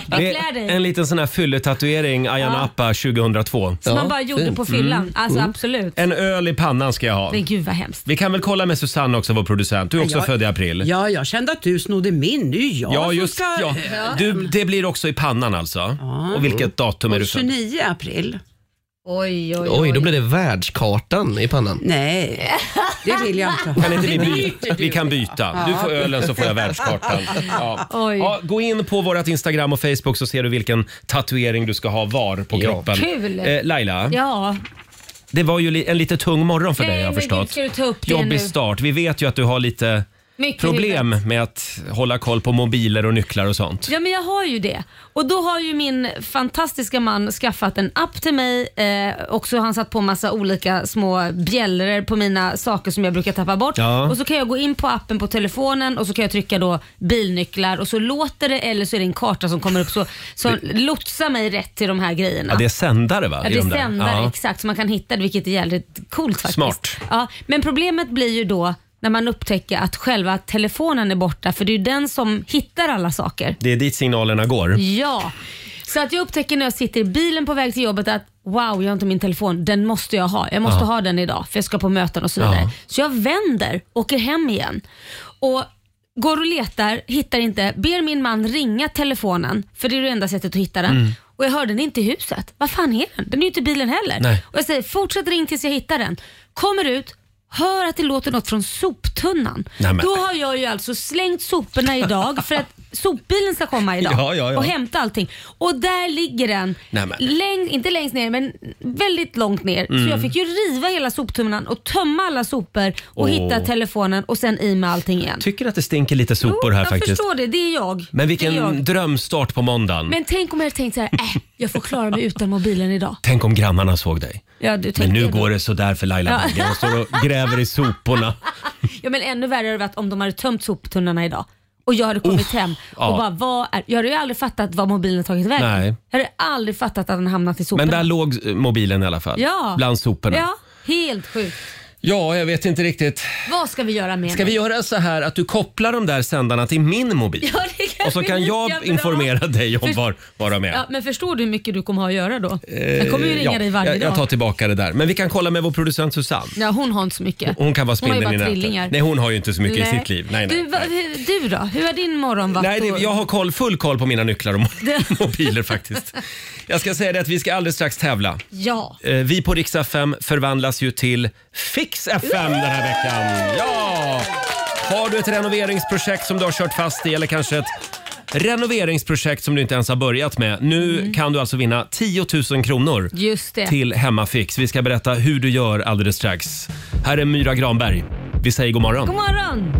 [SPEAKER 1] Det
[SPEAKER 2] klär
[SPEAKER 1] är
[SPEAKER 2] dig.
[SPEAKER 1] en liten sån här fylletatuering, Ayia Napa 2002.
[SPEAKER 2] Som man
[SPEAKER 7] Ja,
[SPEAKER 2] bara gjorde
[SPEAKER 7] fint. Mm.
[SPEAKER 2] på fyllan.
[SPEAKER 1] Mm.
[SPEAKER 2] Alltså <laughs> absolut.
[SPEAKER 1] En öl i pannan ska jag ha.
[SPEAKER 2] Men gud vad hemskt.
[SPEAKER 1] Vi kan väl kolla med Susanne också, vår producent. Du är också
[SPEAKER 3] jag-
[SPEAKER 1] född i april.
[SPEAKER 3] Ja, jag kände att du snodde min. Det är ju jag
[SPEAKER 1] Ja,
[SPEAKER 3] som
[SPEAKER 1] just
[SPEAKER 3] ska...
[SPEAKER 1] ja. Du, Det blir också i pannan alltså. Och vilket datum är du född?
[SPEAKER 3] 29 april.
[SPEAKER 2] Oj, oj,
[SPEAKER 7] Oj, då blir det världskartan i pannan.
[SPEAKER 3] Nej, det vill jag inte
[SPEAKER 1] Kan
[SPEAKER 3] ha.
[SPEAKER 1] inte vi, byta? vi kan byta. Du får ölen så får jag världskartan. Ja.
[SPEAKER 2] Oj.
[SPEAKER 1] Ja, gå in på vårt Instagram och Facebook så ser du vilken tatuering du ska ha var på kroppen.
[SPEAKER 2] Kul.
[SPEAKER 1] Eh, Laila,
[SPEAKER 2] Ja,
[SPEAKER 1] det var ju li- en lite tung morgon för dig har jag
[SPEAKER 2] men gud,
[SPEAKER 1] förstått.
[SPEAKER 2] ska du ta upp det nu?
[SPEAKER 1] Jobbig start. Vi vet ju att du har lite
[SPEAKER 2] Mycket
[SPEAKER 1] problem med att hålla koll på mobiler och nycklar och sånt.
[SPEAKER 2] Ja men jag har ju det. Och då har ju min fantastiska man skaffat en app till mig eh, och så har han satt på massa olika små bjällror på mina saker som jag brukar tappa bort.
[SPEAKER 1] Ja.
[SPEAKER 2] Och så kan jag gå in på appen på telefonen och så kan jag trycka då bilnycklar och så låter det eller så är det en karta som kommer upp så, som lotsar mig rätt till de här grejerna.
[SPEAKER 1] Ja, det är sändare va?
[SPEAKER 2] Ja,
[SPEAKER 1] i
[SPEAKER 2] det är
[SPEAKER 1] de där?
[SPEAKER 2] sändare,
[SPEAKER 1] Ja.
[SPEAKER 2] exakt, så man kan hitta det vilket är jävligt coolt faktiskt.
[SPEAKER 1] Smart.
[SPEAKER 2] Ja, men problemet blir ju då när man upptäcker att själva telefonen är borta för det är ju den som hittar alla saker.
[SPEAKER 1] Det är dit signalerna går.
[SPEAKER 2] Ja, så att jag upptäcker när jag sitter i bilen på väg till jobbet att wow, jag har inte min telefon, den måste jag ha. Jag måste
[SPEAKER 1] Ja.
[SPEAKER 2] ha den idag för jag ska på möten och så vidare.
[SPEAKER 1] Ja.
[SPEAKER 2] Så jag vänder, åker hem igen. Och Går och letar, hittar inte, ber min man ringa telefonen för det är det enda sättet att hitta den.
[SPEAKER 1] Mm.
[SPEAKER 2] Och jag hör den inte i huset. Vad fan är den? Den är ju inte i bilen heller.
[SPEAKER 1] Nej.
[SPEAKER 2] Och jag säger fortsätt ring tills jag hittar den. Kommer ut, hör att det låter något från soptunnan.
[SPEAKER 1] Nej, men-
[SPEAKER 2] Då har jag ju alltså slängt soporna idag för att sopbilen ska komma idag
[SPEAKER 1] Ja, ja, ja.
[SPEAKER 2] och hämta allting. Och där ligger den,
[SPEAKER 1] Nej, men. Mm.
[SPEAKER 2] läng- inte längst ner men väldigt långt ner. Så jag fick ju riva hela soptunnan och tömma alla sopor och
[SPEAKER 1] Åh.
[SPEAKER 2] hitta telefonen och sen i med allting igen.
[SPEAKER 1] Tycker att det stinker lite sopor här
[SPEAKER 2] jag
[SPEAKER 1] faktiskt.
[SPEAKER 2] förstår det, det är jag.
[SPEAKER 1] Men
[SPEAKER 2] det är
[SPEAKER 1] vilken
[SPEAKER 2] jag.
[SPEAKER 1] drömstart på måndagen.
[SPEAKER 2] Men tänk om jag hade tänkt så här, äh, jag får klara mig utan mobilen idag.
[SPEAKER 1] Tänk om grannarna såg dig.
[SPEAKER 2] Ja, du
[SPEAKER 1] Men
[SPEAKER 2] tänkte
[SPEAKER 1] nu
[SPEAKER 2] jag då.
[SPEAKER 1] går det sådär för Laila
[SPEAKER 2] Ja.
[SPEAKER 1] Bagge.
[SPEAKER 2] <laughs>
[SPEAKER 1] Hon står och gräver i soporna.
[SPEAKER 2] Ja, men ännu värre hade det varit om de hade tömt soptunnorna idag. Och jag hade kommit hem och
[SPEAKER 1] ja.
[SPEAKER 2] bara, vad är... Jag hade ju aldrig fattat vad mobilen tagit vägen.
[SPEAKER 1] Nej.
[SPEAKER 2] Jag hade aldrig fattat att den hamnat i soporna.
[SPEAKER 1] Men där låg eh, mobilen i alla fall.
[SPEAKER 2] ja.
[SPEAKER 1] Bland soporna.
[SPEAKER 2] Ja, helt sjukt.
[SPEAKER 1] Ja, jag vet inte riktigt.
[SPEAKER 2] Vad ska vi göra med <laughs>
[SPEAKER 1] Ska vi göra så här att du kopplar de där sändarna till min mobil?
[SPEAKER 2] Ja, det kan
[SPEAKER 1] Och så kan jag
[SPEAKER 2] Lika bra.
[SPEAKER 1] informera dig om
[SPEAKER 2] Först-
[SPEAKER 1] var, var de är.
[SPEAKER 2] Ja, men förstår du hur mycket du kommer ha att göra då? Jag kommer ju ringa
[SPEAKER 1] Eh, Ja,
[SPEAKER 2] dig varje
[SPEAKER 1] jag, jag tar
[SPEAKER 2] dag.
[SPEAKER 1] tillbaka det där. Men vi kan kolla med vår producent Susanne.
[SPEAKER 2] Ja, hon har inte så mycket.
[SPEAKER 1] Hon kan vara
[SPEAKER 2] Hon har ju
[SPEAKER 1] spindeln i
[SPEAKER 2] bara
[SPEAKER 1] nätet.
[SPEAKER 2] trillingar.
[SPEAKER 1] Nej, hon har ju inte så mycket i sitt liv. Nej, nej,
[SPEAKER 2] du, va,
[SPEAKER 1] nej.
[SPEAKER 2] hur- du då? Hur har din morgon varit?
[SPEAKER 1] Nej, det,
[SPEAKER 2] och-
[SPEAKER 1] jag har koll, full koll på mina nycklar och mo- <laughs> mobiler faktiskt. Jag ska säga det att vi ska alldeles strax tävla.
[SPEAKER 2] Ja.
[SPEAKER 1] Eh, Vi på Rix FM förvandlas ju till Fix FM den här veckan. Ja! Har du ett renoveringsprojekt som du har kört fast i eller kanske ett renoveringsprojekt som du inte ens har börjat med. Nu
[SPEAKER 2] Mm.
[SPEAKER 1] kan du alltså vinna 10 000 kronor
[SPEAKER 2] Just det.
[SPEAKER 1] till Hemmafix. Vi ska berätta hur du gör alldeles strax. Här är Myra Granberg. Vi säger god morgon.
[SPEAKER 2] God morgon!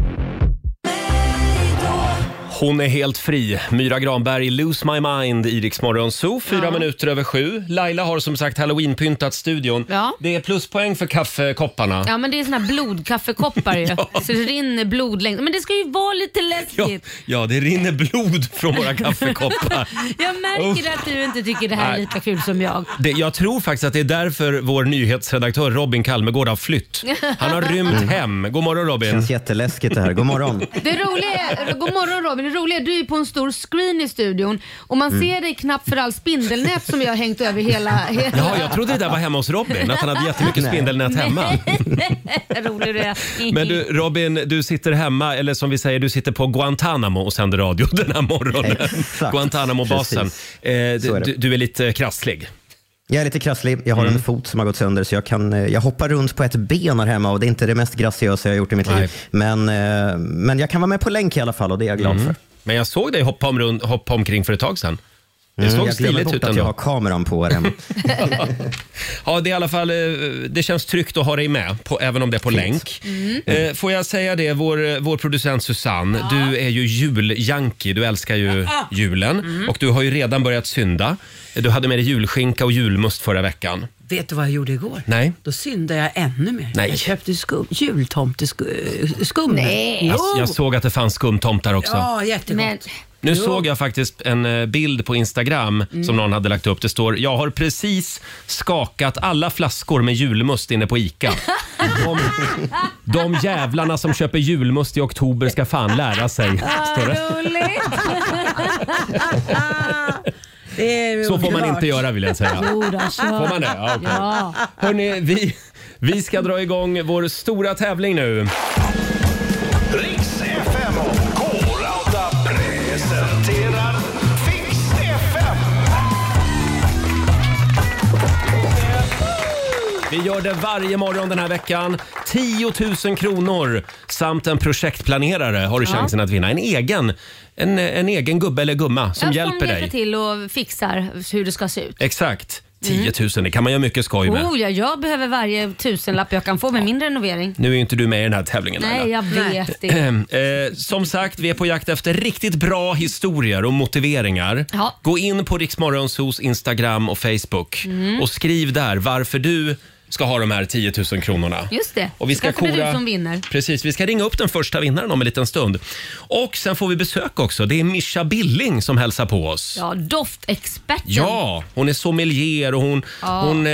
[SPEAKER 1] Hon är helt fri. Myra Granberg, Lose My Mind, i Rix Morgon Zoo. Fyra minuter över sju. Laila har som sagt halloweenpyntat studion.
[SPEAKER 2] Ja.
[SPEAKER 1] Det är pluspoäng för kaffekopparna.
[SPEAKER 2] Ja men det är såna här blodkaffekoppar
[SPEAKER 1] <laughs>
[SPEAKER 2] ju. Så det rinner blod längs. Men det ska ju vara lite
[SPEAKER 1] Ja,
[SPEAKER 2] läskigt.
[SPEAKER 1] ja, det rinner blod från
[SPEAKER 2] <laughs>
[SPEAKER 1] våra kaffekoppar.
[SPEAKER 2] Jag märker att du inte tycker det här är
[SPEAKER 1] Nej.
[SPEAKER 2] lika kul som jag.
[SPEAKER 1] Det, jag tror faktiskt att det är därför vår nyhetsredaktör Robin Kalmegård har flytt.
[SPEAKER 2] <laughs>
[SPEAKER 1] Han har rymt hem. God morgon Robin.
[SPEAKER 9] känns jätteläskigt det här. God morgon.
[SPEAKER 2] Det roliga är, god morgon Robin, det roliga är du är på en stor screen i studion och man
[SPEAKER 1] Mm.
[SPEAKER 2] ser dig knappt för all spindelnät som jag har hängt över hela...
[SPEAKER 1] <laughs>
[SPEAKER 2] hela.
[SPEAKER 1] Ja, jag trodde det där var hemma hos Robin, att han hade jättemycket spindelnät hemma.
[SPEAKER 2] <laughs> Rolig du är.
[SPEAKER 1] Men du Robin, du sitter hemma, eller som vi säger, du sitter på Guantanamo och sänder radio den här morgonen.
[SPEAKER 9] Exakt.
[SPEAKER 1] Guantanamo-basen.
[SPEAKER 9] Precis.
[SPEAKER 1] Eh,
[SPEAKER 9] Så är det.
[SPEAKER 1] du, du- du är lite krasslig.
[SPEAKER 9] Jag är lite krasslig. Jag har
[SPEAKER 1] Mm.
[SPEAKER 9] en fot som har gått sönder så jag, kan, eh, jag hoppar runt på ett ben här hemma och det är inte det mest graciösa jag har gjort i mitt
[SPEAKER 1] Nej.
[SPEAKER 9] liv. Men, eh, men jag kan vara med på länk i alla fall och det är jag glad
[SPEAKER 1] Mm.
[SPEAKER 9] för.
[SPEAKER 1] Men jag såg dig hoppa, om, rund- hoppa omkring för ett tag sedan. Det
[SPEAKER 9] Mm,
[SPEAKER 1] såg
[SPEAKER 9] jag glömmer
[SPEAKER 1] stiligt
[SPEAKER 9] bort
[SPEAKER 1] ut
[SPEAKER 9] att jag har
[SPEAKER 1] ändå.
[SPEAKER 9] kameran på här hemma.
[SPEAKER 1] Ja, det, är i alla fall, eh, det känns tryggt att ha dig med, på, även om det är på länk.
[SPEAKER 3] Mm.
[SPEAKER 1] Eh, får jag säga det, vår, vår producent Susanne, du är ju juljanki. Du älskar ju julen
[SPEAKER 3] Mm.
[SPEAKER 1] och du har ju redan börjat synda. Du hade med dig julskinka och julmust förra veckan.
[SPEAKER 3] Vet du vad jag gjorde igår?
[SPEAKER 1] Nej.
[SPEAKER 3] Då syndade jag ännu mer.
[SPEAKER 1] Nej.
[SPEAKER 3] Jag köpte skum, jultomteskum.
[SPEAKER 2] Nej.
[SPEAKER 3] Jo.
[SPEAKER 1] Jag, jag såg att det fanns skumtomtar också.
[SPEAKER 3] Ja, jättegott.
[SPEAKER 2] Men,
[SPEAKER 1] Nu såg jag faktiskt en eh, bild på Instagram
[SPEAKER 3] Mm.
[SPEAKER 1] som någon hade lagt upp. Det står “Jag har precis skakat alla flaskor med julmust inne
[SPEAKER 3] <laughs>
[SPEAKER 1] på ICA”. De, de jävlarna som köper julmust i oktober ska fan lära sig. Står det.
[SPEAKER 2] roligt!
[SPEAKER 3] Det är
[SPEAKER 1] Så får man
[SPEAKER 3] underbart.
[SPEAKER 1] inte göra vill jag säga.
[SPEAKER 2] Jodå,
[SPEAKER 1] Får
[SPEAKER 2] kör.
[SPEAKER 1] man det? Ja, okej.
[SPEAKER 2] Ja.
[SPEAKER 1] Hörrni, vi, vi ska dra igång vår stora tävling nu.
[SPEAKER 4] Riks FM och K-Rauta presenterar Fix FM.
[SPEAKER 1] Vi gör det varje morgon den här veckan. 10 000 kronor samt en projektplanerare har du chansen att vinna. En egen, en, en egen gubbe eller gumma som
[SPEAKER 2] Jag
[SPEAKER 1] hjälper
[SPEAKER 2] hjälper
[SPEAKER 1] dig.
[SPEAKER 2] till och fixar hur det ska se ut.
[SPEAKER 1] Exakt.
[SPEAKER 2] Mm.
[SPEAKER 1] 10 000, det kan man göra mycket skoj med.
[SPEAKER 2] Oh, ja, jag behöver varje tusenlapp jag kan få med min renovering.
[SPEAKER 1] Nu är ju inte du med i den här tävlingen
[SPEAKER 2] Nej,
[SPEAKER 1] Laila.
[SPEAKER 2] jag vet det.
[SPEAKER 1] <clears throat> Eh, som sagt, vi är på jakt efter riktigt bra historier och motiveringar.
[SPEAKER 2] Ja.
[SPEAKER 1] Gå in på Riksmorgonsos Instagram och Facebook
[SPEAKER 2] Mm.
[SPEAKER 1] och skriv där varför du ska ha de här 10 000 kronorna.
[SPEAKER 2] Just det.
[SPEAKER 1] Och vi ska
[SPEAKER 2] Kanske det är
[SPEAKER 1] kora...
[SPEAKER 2] du som vinner.
[SPEAKER 1] Precis, vi ska ringa upp den första vinnaren om en liten stund. Och sen får vi besök också. Det är Mischa Billing som hälsar på oss.
[SPEAKER 2] Ja, doftexperten.
[SPEAKER 1] Ja, hon är sommelier och hon, hon, eh,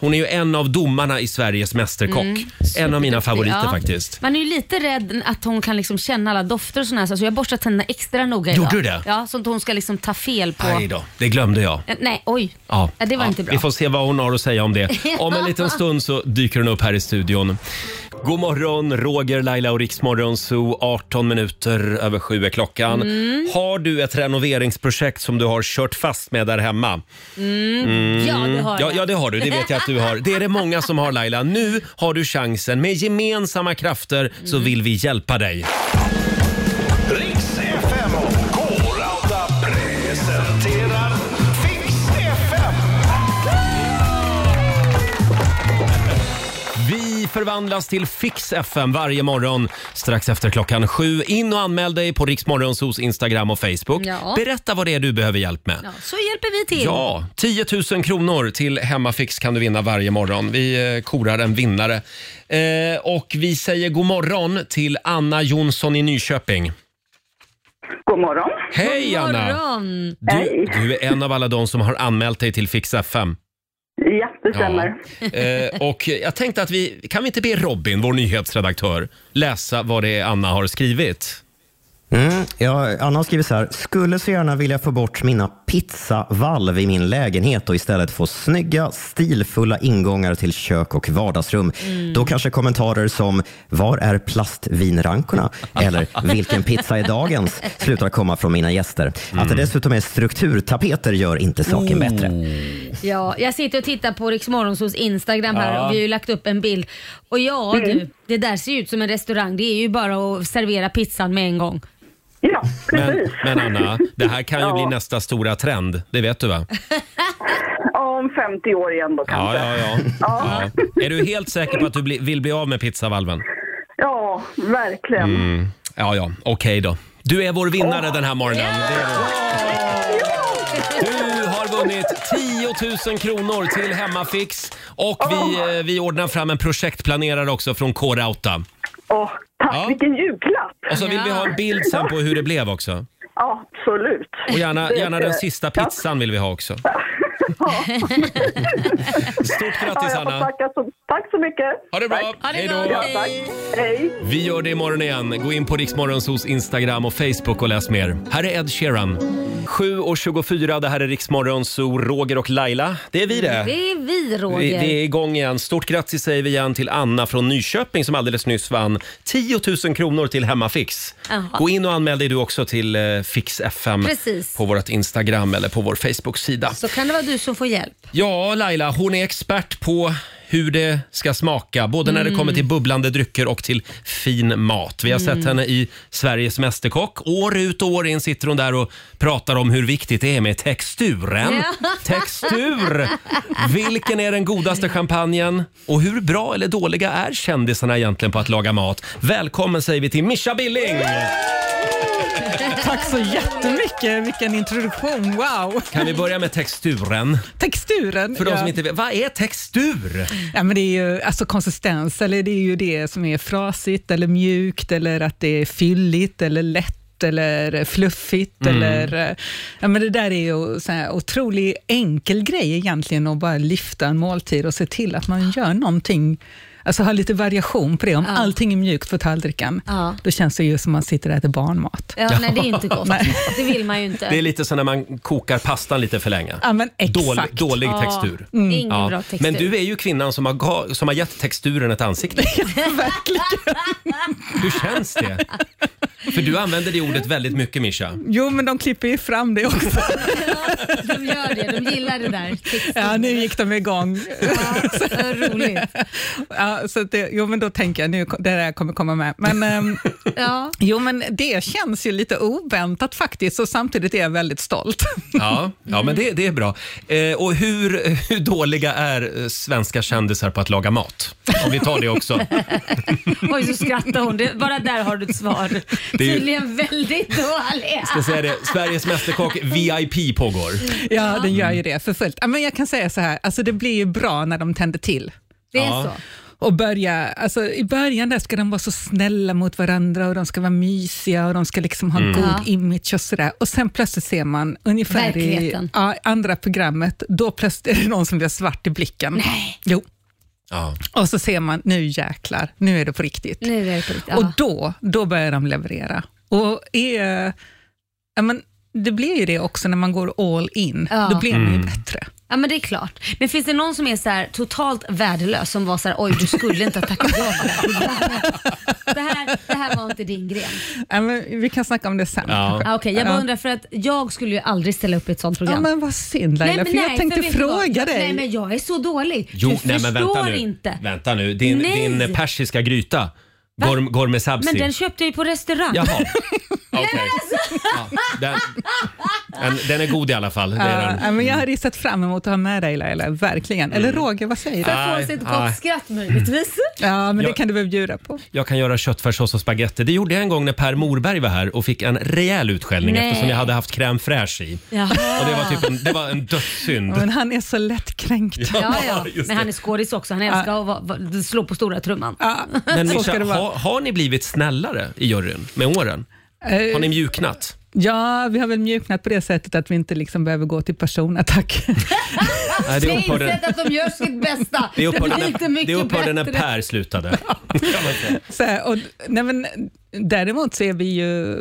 [SPEAKER 1] hon är ju en av domarna i Sveriges Mästerkock. en av mina favoriter
[SPEAKER 2] Mm. Ja.
[SPEAKER 1] faktiskt.
[SPEAKER 2] Man är ju lite rädd att hon kan liksom känna alla dofter och såna här, så alltså jag borstar tänderna extra noga idag.
[SPEAKER 1] Gjorde du det?
[SPEAKER 2] Ja, så att hon ska liksom ta fel på...
[SPEAKER 1] Aj då, det glömde jag.
[SPEAKER 2] Eh, Nej, oj.
[SPEAKER 1] Ja,
[SPEAKER 2] Eh, Det var
[SPEAKER 1] ja,
[SPEAKER 2] inte bra.
[SPEAKER 1] Vi får se vad hon har att säga om det.
[SPEAKER 2] <laughs>
[SPEAKER 1] Om en liten stund så dyker hon upp här i studion. God morgon, Roger, Laila och Riksmorgon Zoo. 18 minuter över sju är klockan.
[SPEAKER 2] Mm.
[SPEAKER 1] Har du ett renoveringsprojekt som du har kört fast med där hemma?
[SPEAKER 2] Mm. Ja, det har
[SPEAKER 1] Mm. Ja,
[SPEAKER 2] jag.
[SPEAKER 1] ja, det har du. Det vet <laughs> jag att du har. Det är det många som har Laila. Nu har du chansen. Med gemensamma krafter så
[SPEAKER 2] Mm.
[SPEAKER 1] vill vi hjälpa dig.
[SPEAKER 4] Riks FM och K-Rauta presenterar Fix FM.
[SPEAKER 1] Vi förvandlas till Fix FM varje morgon strax efter klockan sju. In och anmäl dig på Riksmorgonsos Instagram och Facebook.
[SPEAKER 2] Ja.
[SPEAKER 1] Berätta vad det är du behöver hjälp med.
[SPEAKER 2] Ja, så hjälper vi till.
[SPEAKER 1] Ja, 10 000 kronor till Hemmafix kan du vinna varje morgon. Vi eh, korar en vinnare. Eh, och vi säger god morgon till Anna Jonsson i Nyköping.
[SPEAKER 6] God morgon.
[SPEAKER 1] Hej
[SPEAKER 2] God
[SPEAKER 1] Anna!
[SPEAKER 2] morgon.
[SPEAKER 1] Du, du är en av alla de som har anmält dig till Fix FM.
[SPEAKER 6] Ja, det
[SPEAKER 1] Ja.
[SPEAKER 6] stämmer.
[SPEAKER 1] Eh, och jag tänkte att vi, kan vi inte be Robin, vår nyhetsredaktör, läsa vad det är Anna har skrivit?
[SPEAKER 9] Mm, ja, Anna har skrivit så här. Skulle så gärna vilja få bort mina pizzavalv i min lägenhet och istället få snygga, stilfulla ingångar till kök och vardagsrum. Då
[SPEAKER 1] Mm.
[SPEAKER 9] kanske kommentarer som “Var är
[SPEAKER 1] <laughs>
[SPEAKER 9] plastvinrankorna?” eller “Vilken pizza är dagens?” slutar komma från mina gäster. Att det
[SPEAKER 1] Mm.
[SPEAKER 9] dessutom är strukturtapeter gör inte saken bättre.
[SPEAKER 2] Ja, jag sitter och tittar på Rix Morgonzoos Instagram här
[SPEAKER 1] Ja. Mm.
[SPEAKER 2] och vi har ju lagt upp en bild. Och ja du, det där ser ju ut som en restaurang. Det är ju bara att servera pizzan med en gång.
[SPEAKER 6] Ja,
[SPEAKER 1] Men,
[SPEAKER 6] precis.
[SPEAKER 1] men Anna, det här kan ju
[SPEAKER 6] Ja.
[SPEAKER 1] bli nästa stora trend. Det vet du va?
[SPEAKER 6] <laughs> Ja, om 50 år igen då
[SPEAKER 1] Ja,
[SPEAKER 6] kanske.
[SPEAKER 1] ja, ja. ja. Är du helt säker på att du bli, vill bli av med pizzavalven?
[SPEAKER 6] Ja,
[SPEAKER 1] Mm.
[SPEAKER 6] verkligen.
[SPEAKER 1] Ja, ja, okej då. Du är vår vinnare den här morgonen. Det är du. Du har vunnit 10 000 kronor till Hemmafix och vi, eh, vi ordnar fram en projektplanerare också från K-Rauta.
[SPEAKER 6] Åh, tack,
[SPEAKER 1] Ja.
[SPEAKER 6] vilken julklapp!
[SPEAKER 1] Och så Alltså, vill vi ha en bild sen på hur det blev också.
[SPEAKER 6] Ja, absolut.
[SPEAKER 1] Och gärna, gärna den sista pizzan vill vi ha också. <laughs> Stort
[SPEAKER 6] Ja,
[SPEAKER 1] grattis
[SPEAKER 6] jag får
[SPEAKER 1] Anna!
[SPEAKER 6] tacka så, tack så mycket.
[SPEAKER 1] Ha det bra!
[SPEAKER 6] Tack.
[SPEAKER 2] Ha det
[SPEAKER 1] Hej
[SPEAKER 2] bra,
[SPEAKER 1] då!
[SPEAKER 6] Ja, tack. Hej.
[SPEAKER 1] Vi gör det imorgon igen. Gå in på Riksmorgonsos Instagram och Facebook och läs mer. Här är Ed Sheeran. 7.24, det här är Riksmorgonso, Roger och Laila. Det är vi det.
[SPEAKER 2] Det är vi Roger.
[SPEAKER 1] Vi, vi är igång igen. Stort grattis säger vi igen till Anna från Nyköping som alldeles nyss vann 10 000 kronor till Hemmafix.
[SPEAKER 2] Jaha.
[SPEAKER 1] Gå in och anmäl dig du också till eh, Fix FM
[SPEAKER 2] Precis.
[SPEAKER 1] på vårt Instagram eller på vår Facebook-sida.
[SPEAKER 2] Så kan det vara du som får hjälp.
[SPEAKER 1] Ja, Laila, hon är expert på hur det ska smaka, både när det kommer till bubblande drycker och till fin mat. Vi har sett henne i Sveriges Mästerkock. År ut och år in sitter hon där och pratar om hur viktigt det är med texturen.
[SPEAKER 2] Ja.
[SPEAKER 1] Textur! Vilken är den godaste champagnen? Och hur bra eller dåliga är kändisarna egentligen på att laga mat? Välkommen säger vi till Mischa Billing!
[SPEAKER 10] Tack så jättemycket. Vilken introduktion. Wow.
[SPEAKER 1] Kan vi börja med texturen?
[SPEAKER 10] Texturen.
[SPEAKER 1] För de
[SPEAKER 10] ja.
[SPEAKER 1] som inte vet, vad är textur?
[SPEAKER 10] ja, men det är ju alltså konsistens, eller det är ju det som är frasigt eller mjukt eller att det är fylligt eller lätt eller fluffigt.
[SPEAKER 1] Mm.
[SPEAKER 10] Eller, eh, ja, men det där är ju så här otroligt enkel grej egentligen, att bara lyfta en måltid och se till att man gör någonting, alltså ha lite variation på det. Om
[SPEAKER 2] Ja.
[SPEAKER 10] allting är mjukt på tallriken,
[SPEAKER 2] Ja.
[SPEAKER 10] då känns det ju som man sitter och äter barnmat.
[SPEAKER 2] Ja, Nej, det är inte
[SPEAKER 1] <laughs>
[SPEAKER 2] gott.
[SPEAKER 10] Nej.
[SPEAKER 2] Det vill man ju inte.
[SPEAKER 1] Det är lite som när man kokar pastan lite för länge.
[SPEAKER 10] Ja, men exakt.
[SPEAKER 1] Dålig, dålig
[SPEAKER 2] Ja,
[SPEAKER 1] textur.
[SPEAKER 2] det är ingen
[SPEAKER 1] Ja.
[SPEAKER 2] bra textur.
[SPEAKER 1] Men du är ju kvinnan som har, ga- som har gett texturen ett ansikte. Hur känns det? För du använder det ordet väldigt mycket Mischa.
[SPEAKER 10] Jo, men de klipper ju fram det också.
[SPEAKER 2] Ja, de gör det. De gillar det där.
[SPEAKER 10] Ja, nu gick de igång.
[SPEAKER 2] Ja, så roligt.
[SPEAKER 10] <laughs> Ja, så att det, jo, men då tänker jag nu det där kommer komma med. Men, ehm,
[SPEAKER 2] Ja.
[SPEAKER 10] jo, men det känns ju lite oväntat faktiskt och samtidigt är jag väldigt stolt.
[SPEAKER 1] Ja, ja men det, det är bra. Eh, och hur, hur dåliga är eh, svenska kändisar på att laga mat? Om vi tar det också.
[SPEAKER 2] <laughs> Oj, så skrattar hon. Det, bara där har du ett svar.
[SPEAKER 1] ju-
[SPEAKER 2] Tydligen väldigt dålig.
[SPEAKER 1] Jag säger det, Sveriges Mästerkock VIP pågår.
[SPEAKER 10] Ja, den gör ju det för fullt. Ja, men jag kan säga så här, alltså det blir ju bra när de tänder till.
[SPEAKER 2] Det är
[SPEAKER 1] Ja.
[SPEAKER 2] så.
[SPEAKER 10] Och börja, alltså I början där ska de vara så snälla mot varandra och de ska vara mysiga och de ska liksom
[SPEAKER 1] Mm.
[SPEAKER 10] ha en god
[SPEAKER 2] Ja.
[SPEAKER 10] image och sådär. Och sen plötsligt ser man ungefär i
[SPEAKER 2] Verkligheten.
[SPEAKER 10] ja, andra programmet, då plötsligt är det någon som blir svart i blicken. Jo.
[SPEAKER 1] Ja.
[SPEAKER 10] Och så ser man, nu jäklar, nu är det på riktigt.
[SPEAKER 2] Nu är det på riktigt.
[SPEAKER 10] Och
[SPEAKER 2] Ja.
[SPEAKER 10] då, då börjar de leverera. Och är, ja, men, det blir ju det också när man går all in.
[SPEAKER 2] Ja.
[SPEAKER 10] Då blir man
[SPEAKER 1] Mm.
[SPEAKER 10] ju bättre.
[SPEAKER 2] ja, men det är klart. Men finns det någon som är så här totalt värdelös som var så här, oj du skulle inte ha tackat ja till det här programmet. det här. Det här var inte din gren.
[SPEAKER 10] Ja, men, vi kan snacka om det sen.
[SPEAKER 1] Ja.
[SPEAKER 10] kanske.
[SPEAKER 2] Ah, Okej, jag bara
[SPEAKER 10] Ja.
[SPEAKER 2] undrar för att jag skulle ju aldrig ställa upp i ett sånt
[SPEAKER 10] Ja,
[SPEAKER 2] program.
[SPEAKER 10] men vad synd Laila, för jag tänkte
[SPEAKER 2] vet du vad?
[SPEAKER 10] fråga dig.
[SPEAKER 2] Nej men jag är så dålig. du förstår
[SPEAKER 1] nu.
[SPEAKER 2] inte.
[SPEAKER 1] Vänta nu, din,
[SPEAKER 2] Nej.
[SPEAKER 1] din persiska gryta. Gorm, gorme sabzi.
[SPEAKER 2] Men den köpte jag ju på restaurang. <laughs> alltså.
[SPEAKER 1] Jaha. Okej. Ja, den, den, den är god i alla fall. Det är
[SPEAKER 10] Ja,
[SPEAKER 1] den.
[SPEAKER 10] ja, men jag hade ju sett fram emot att ha med dig Laila, verkligen. Eller Roger, vad säger du?
[SPEAKER 1] Ja.
[SPEAKER 2] Där får
[SPEAKER 1] Mm. Nej,
[SPEAKER 2] oss ett
[SPEAKER 1] nej.
[SPEAKER 2] gott skratt möjligtvis.
[SPEAKER 10] Ja, men det
[SPEAKER 1] Jag-
[SPEAKER 10] kan du väl bjuda på.
[SPEAKER 1] Jag kan göra köttfärssås och spagetti. Det gjorde jag en gång när Per Morberg var här och fick en rejäl utskällning
[SPEAKER 2] Nej.
[SPEAKER 1] eftersom jag hade haft crème fraîche i.
[SPEAKER 2] Jaha.
[SPEAKER 1] Och det var, typ en, det var en dödssynd.
[SPEAKER 10] Men han är så lättkränkt.
[SPEAKER 2] Ja, ja.
[SPEAKER 1] <laughs> just
[SPEAKER 2] Men han är skådis också. Han älskar att vara- vara- slå på stora trumman.
[SPEAKER 10] Ja,
[SPEAKER 1] Men
[SPEAKER 10] så ska
[SPEAKER 1] Mischa,
[SPEAKER 10] det vara.
[SPEAKER 1] ha, har ni blivit snällare i juryn med åren?
[SPEAKER 2] Eh,
[SPEAKER 1] Har ni mjuknat?
[SPEAKER 10] Ja, vi har väl mjuknat på det sättet att vi inte liksom behöver gå till personattack.
[SPEAKER 1] Nej, det
[SPEAKER 2] Jag har
[SPEAKER 1] upphörde,
[SPEAKER 2] insett att de gör sitt bästa. <laughs>
[SPEAKER 1] det upphörde,
[SPEAKER 2] blir inte
[SPEAKER 1] när, det
[SPEAKER 2] mycket
[SPEAKER 1] upphörde när
[SPEAKER 2] bättre.
[SPEAKER 1] Per slutade.
[SPEAKER 10] <laughs> Så här, och, nej men, däremot så är vi ju,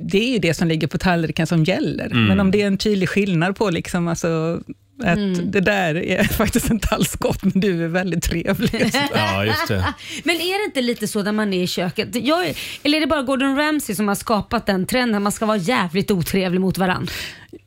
[SPEAKER 10] det är ju det som ligger på tallriken som gäller.
[SPEAKER 1] Mm.
[SPEAKER 10] Men om det är en tydlig skillnad på liksom, alltså, att
[SPEAKER 2] Mm.
[SPEAKER 10] det där är <laughs> faktiskt inte alls gott, men du är
[SPEAKER 2] <laughs>
[SPEAKER 10] väldigt trevlig.
[SPEAKER 1] Ja, just det.
[SPEAKER 2] Men är det inte lite så när man är i köket? Jag, är- eller är det bara Gordon Ramsay som har skapat den trenden? Man ska vara jävligt otrevlig mot varandra.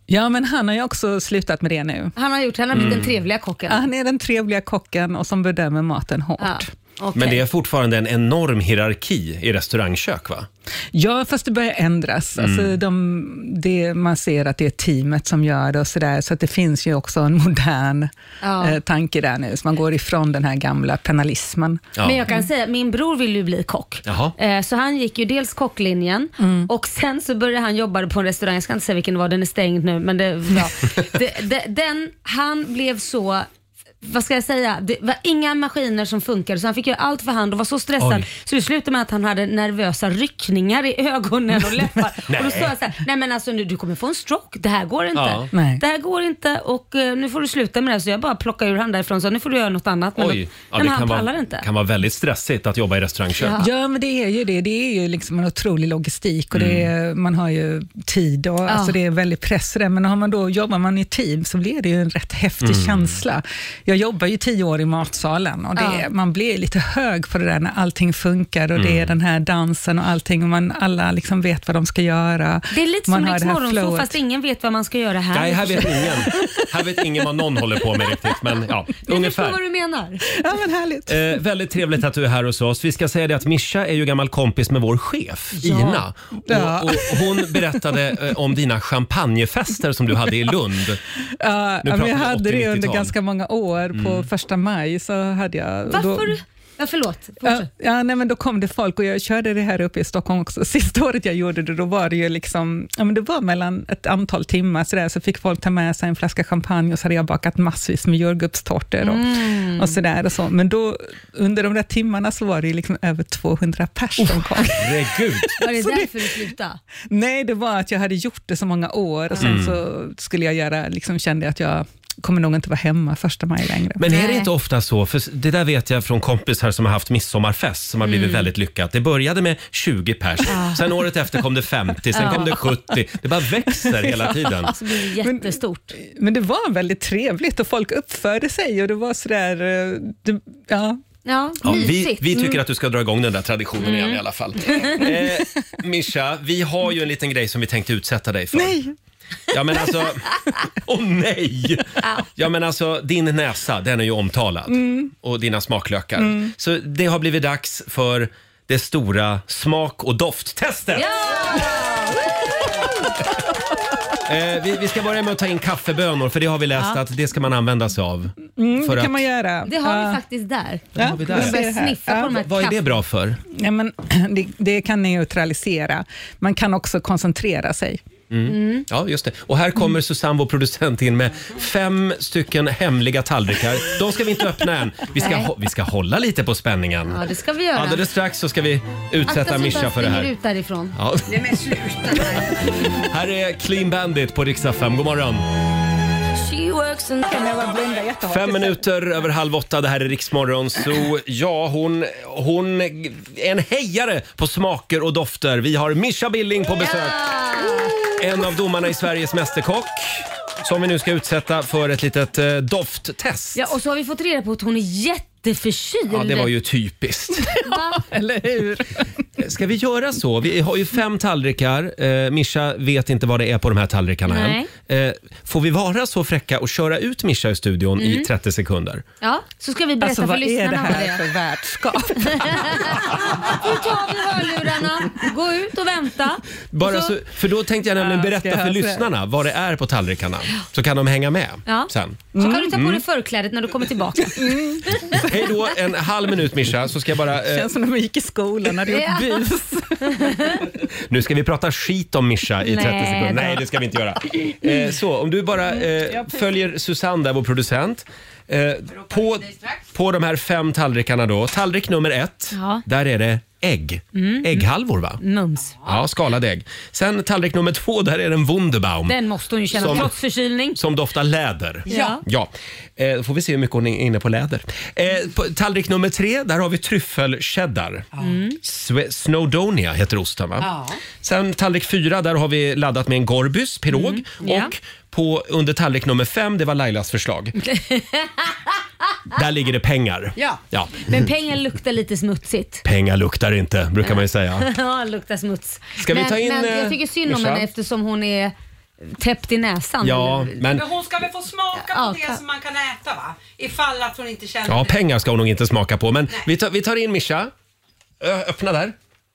[SPEAKER 10] Ja, men han har ju också slutat med det nu.
[SPEAKER 2] Han har gjort, han har blivit
[SPEAKER 1] Mm.
[SPEAKER 2] den trevliga kocken.
[SPEAKER 10] Han är den trevliga kocken och som bedömer maten hårt.
[SPEAKER 2] Ja, <laughs> okej.
[SPEAKER 1] Men det är fortfarande en enorm hierarki i restaurangkök va?
[SPEAKER 10] Ja, fast det börjar ändras.
[SPEAKER 1] Mm.
[SPEAKER 10] Alltså, de, det, man ser att det är teamet som gör det och sådär, så att det finns ju också en modern
[SPEAKER 2] Ja.
[SPEAKER 10] eh, tanke där nu, så man går ifrån den här gamla penalismen.
[SPEAKER 1] Ja. Mm.
[SPEAKER 2] Men jag kan säga, min bror vill ju bli kock.
[SPEAKER 1] Jaha.
[SPEAKER 2] Eh, Så han gick ju dels kocklinjen
[SPEAKER 1] Mm.
[SPEAKER 2] och sen så började han jobba på en restaurang, jag ska inte säga vilken det var, den är stängd nu. Men det, ja. <laughs> det, det, den, han blev så, vad ska jag säga, det var inga maskiner som funkade så han fick göra allt för hand och var så stressad
[SPEAKER 1] Oj.
[SPEAKER 2] så det slutade med att han hade nervösa ryckningar i ögonen och
[SPEAKER 1] <laughs>
[SPEAKER 2] läppar. och då sa jag så här, nej men alltså nu, du kommer få en stroke, det här går inte.
[SPEAKER 1] Ja.
[SPEAKER 10] Nej.
[SPEAKER 2] Det här går inte och eh, nu får du sluta med det här. Så jag bara plockade ur han därifrån och sa nu får du göra något annat. Men, då,
[SPEAKER 1] Oj, ja,
[SPEAKER 2] nej,
[SPEAKER 1] det
[SPEAKER 2] men
[SPEAKER 1] kan
[SPEAKER 2] han pallar
[SPEAKER 1] vara,
[SPEAKER 2] inte.
[SPEAKER 1] kan vara väldigt stressigt att jobba i restaurangkök.
[SPEAKER 2] Ja.
[SPEAKER 10] Ja, men det är ju det. Det är ju liksom en otrolig logistik och det
[SPEAKER 2] Mm.
[SPEAKER 10] är, man har ju tid och alltså det är väldigt press i det. Men har man då, jobbar man i team så blir det ju en rätt häftig
[SPEAKER 2] Mm.
[SPEAKER 10] känsla. Jag jobbar ju tio år i matsalen och det,
[SPEAKER 2] Ja.
[SPEAKER 10] man blir lite hög på det där när allting funkar och det är
[SPEAKER 2] Mm.
[SPEAKER 10] den här dansen och allting och man, alla liksom vet vad de ska göra.
[SPEAKER 2] Det är lite
[SPEAKER 10] man
[SPEAKER 2] som
[SPEAKER 10] har
[SPEAKER 2] Rix
[SPEAKER 10] det här
[SPEAKER 2] Morgonzoo
[SPEAKER 10] flowet.
[SPEAKER 2] fast ingen vet vad man ska göra här.
[SPEAKER 1] Nej, här
[SPEAKER 2] <laughs>
[SPEAKER 1] vet ingen. Här vet ingen vad någon håller på med riktigt. Men ja,
[SPEAKER 2] Jag förstår
[SPEAKER 1] ungefär.
[SPEAKER 2] vad du menar.
[SPEAKER 10] Ja, men härligt.
[SPEAKER 1] Eh, väldigt trevligt att du är här hos oss. Vi ska säga det att Mischa är ju gammal kompis med vår chef, Ina.
[SPEAKER 10] Ja.
[SPEAKER 1] Och, och hon berättade eh, om dina champagnefester som du hade i Lund.
[SPEAKER 10] Ja,
[SPEAKER 1] Nu
[SPEAKER 10] ja, men jag
[SPEAKER 1] pratar vi
[SPEAKER 10] hade det under
[SPEAKER 1] 80-90-tal.
[SPEAKER 10] ganska många år. På första maj så hade jag... och då-
[SPEAKER 2] Mm. Varför? Ja, förlåt.
[SPEAKER 10] Ja,
[SPEAKER 2] Fortsätt.
[SPEAKER 10] ja, nej, men då kom det folk och jag körde det här uppe i Stockholm också. <laughs> Sista året jag gjorde det, då var det ju liksom, ja, men det var mellan ett antal timmar så, där, så fick folk ta med sig en flaska champagne och så hade jag bakat massvis med jordgubbstårtor och,
[SPEAKER 2] Mm.
[SPEAKER 10] och sådär. Och så. Men då, under de där timmarna så var det ju liksom över 200 pers som
[SPEAKER 2] Oh,
[SPEAKER 10] kom.
[SPEAKER 1] Herregud.
[SPEAKER 2] Var det därför du slutade?
[SPEAKER 10] <laughs> Nej, det var att jag hade gjort det så många år och sen
[SPEAKER 2] Mm.
[SPEAKER 10] så skulle jag göra, liksom kände jag att jag kommer nog inte vara hemma första maj längre.
[SPEAKER 1] Men är det
[SPEAKER 2] Nej.
[SPEAKER 1] inte ofta så, för det där vet jag från kompisar som har haft midsommarfest som har blivit
[SPEAKER 2] Mm.
[SPEAKER 1] väldigt lyckat. Det började med 20 pers, sen året efter kom det 50, sen kom det 70. Det
[SPEAKER 2] <laughs>
[SPEAKER 1] bara växer hela tiden.
[SPEAKER 2] Alltså, det blir jättestort.
[SPEAKER 10] Men det var väldigt trevligt och folk uppförde sig och det var sådär, eh, det, ja.
[SPEAKER 2] Ja,
[SPEAKER 1] Ja, vi,
[SPEAKER 2] mysigt.
[SPEAKER 1] vi tycker att du ska dra igång den där traditionen igen i alla fall. Eh, Mischa, vi har ju en liten grej som vi tänkte utsätta dig för. Nej! Ja men alltså, åh nej! Ja men alltså, din näsa den är ju omtalad.
[SPEAKER 7] Mm.
[SPEAKER 2] Mm.
[SPEAKER 1] Och dina smaklökar. Så det har blivit dags för det stora smak och dofttestet. Eh, vi, vi ska börja med att ta in kaffebönor för det har vi läst att det ska man använda sig av.
[SPEAKER 10] Mm,
[SPEAKER 1] För
[SPEAKER 10] det
[SPEAKER 1] att-
[SPEAKER 10] kan man göra.
[SPEAKER 2] Det har
[SPEAKER 10] Ja.
[SPEAKER 2] vi faktiskt där.
[SPEAKER 10] Ja,
[SPEAKER 1] vi där.
[SPEAKER 10] jag
[SPEAKER 2] Jag
[SPEAKER 10] ser
[SPEAKER 2] börjar
[SPEAKER 10] det här.
[SPEAKER 2] sniffa
[SPEAKER 10] Ja.
[SPEAKER 2] på de här
[SPEAKER 1] Eh, Vad är det
[SPEAKER 2] kaff-
[SPEAKER 1] bra för?
[SPEAKER 10] Ja, men, <clears throat> det, det kan neutralisera. Man kan också koncentrera sig.
[SPEAKER 1] Mm.
[SPEAKER 2] Mm.
[SPEAKER 1] Ja, just det. Och här kommer Susanne, vår producent, in med fem stycken hemliga tallrikar. De ska vi inte öppna än. Vi ska,
[SPEAKER 2] Nej.
[SPEAKER 1] hå- vi ska hålla lite på spänningen.
[SPEAKER 2] Ja, det ska vi göra.
[SPEAKER 1] Alldeles strax så ska vi utsätta Mischa för det
[SPEAKER 2] Akta så
[SPEAKER 1] här.
[SPEAKER 2] ut därifrån.
[SPEAKER 1] Ja.
[SPEAKER 3] Nej men sluta.
[SPEAKER 1] Här är Clean Bandit på riksdag 5. God morgon! Fem minuter över halv åtta, det här är Riksmorgon. Så ja, hon, hon är en hejare på smaker och dofter. Vi har Mischa Billing på besök.
[SPEAKER 2] Ah.
[SPEAKER 1] En av domarna i Sveriges Mästerkock. Som vi nu ska utsätta för ett litet eh, dofttest.
[SPEAKER 2] Ja, och så har vi fått reda på att hon är jätteförkyld.
[SPEAKER 1] Ja, det var ju typiskt.
[SPEAKER 2] <laughs>
[SPEAKER 1] Eh,
[SPEAKER 2] Va?
[SPEAKER 10] <laughs> Eller
[SPEAKER 1] <laughs>
[SPEAKER 10] hur?
[SPEAKER 1] Ska vi göra så? Vi har ju fem tallrikar. Eh, Mischa vet inte vad det är på de här tallrikarna
[SPEAKER 2] Nej.
[SPEAKER 1] än. Eh, får vi vara så fräcka och köra ut Mischa ur studion
[SPEAKER 10] Mm.
[SPEAKER 1] i 30 sekunder?
[SPEAKER 2] Ja, så ska vi berätta
[SPEAKER 10] Alltså,
[SPEAKER 2] för
[SPEAKER 10] vad är det
[SPEAKER 2] lyssnarna vad det
[SPEAKER 10] här
[SPEAKER 2] är. <laughs>
[SPEAKER 10] för värdskap?
[SPEAKER 2] Nu tar vi hörlurarna, gå ut och vänta.
[SPEAKER 1] Bara
[SPEAKER 2] Och
[SPEAKER 1] så, för då tänkte jag nämligen
[SPEAKER 10] Ja,
[SPEAKER 1] berätta
[SPEAKER 10] ska jag
[SPEAKER 1] för
[SPEAKER 10] säga.
[SPEAKER 1] lyssnarna vad det är på tallrikarna. Så kan de hänga med
[SPEAKER 2] Ja.
[SPEAKER 1] sen.
[SPEAKER 2] Så kan du ta på
[SPEAKER 1] Mm.
[SPEAKER 2] dig förklädet när du kommer tillbaka.
[SPEAKER 1] <laughs> Hej då, en halv minut Mischa, så ska jag bara...
[SPEAKER 10] Det
[SPEAKER 1] Eh,
[SPEAKER 10] känns som när man gick i skolan när det
[SPEAKER 2] Ja. <laughs>
[SPEAKER 10] gjort bus.
[SPEAKER 1] nu ska vi prata skit om Mischa i 30
[SPEAKER 2] Nej
[SPEAKER 1] sekunder.
[SPEAKER 2] då.
[SPEAKER 1] Nej, det ska vi inte göra. Eh, så, om du bara eh, följer Susanne där, vår producent. Eh, på, på de här fem tallrikarna då. Tallrik nummer ett,
[SPEAKER 2] Ja.
[SPEAKER 1] där är det ägg.
[SPEAKER 2] Mm.
[SPEAKER 1] Ägghalvor va?
[SPEAKER 2] Mums.
[SPEAKER 1] Ja, skalad ägg. Sen tallrik nummer två, där är det en Wunderbaum.
[SPEAKER 2] Den måste hon ju känna
[SPEAKER 1] Som-
[SPEAKER 2] trots förkylning.
[SPEAKER 1] Som doftar läder.
[SPEAKER 2] Ja.
[SPEAKER 1] ja. Eh, då får vi se hur mycket hon är inne på läder. Eh, på tallrik nummer tre, där har vi tryffelcheddar.
[SPEAKER 4] Mm.
[SPEAKER 1] Sve- Snowdonia heter osten va?
[SPEAKER 4] Ja.
[SPEAKER 1] Sen tallrik fyra, där har vi laddat med en gorbys, pirog.
[SPEAKER 2] ja.
[SPEAKER 1] Och på, under tallrik nummer fem, det var Lailas förslag. <laughs> Där ligger det pengar.
[SPEAKER 2] <laughs> ja.
[SPEAKER 1] Ja.
[SPEAKER 2] Men pengar luktar lite smutsigt.
[SPEAKER 1] Pengar luktar inte, brukar man ju säga.
[SPEAKER 2] <laughs> ja, luktar smuts.
[SPEAKER 1] Ska vi
[SPEAKER 2] men,
[SPEAKER 1] ta in,
[SPEAKER 2] men
[SPEAKER 1] eh,
[SPEAKER 2] jag tycker synd om
[SPEAKER 1] Mischa?
[SPEAKER 2] henne eftersom hon är täppt i näsan.
[SPEAKER 1] Ja,
[SPEAKER 2] eller-
[SPEAKER 1] men
[SPEAKER 3] hon ska väl få smaka
[SPEAKER 2] Ja,
[SPEAKER 3] på det
[SPEAKER 2] ta-
[SPEAKER 3] som man kan äta va? Ifall att hon inte känner
[SPEAKER 1] Ja,
[SPEAKER 3] det.
[SPEAKER 1] pengar ska hon nog inte smaka på. Men vi tar, vi tar in Mischa. Ö, Öppna där.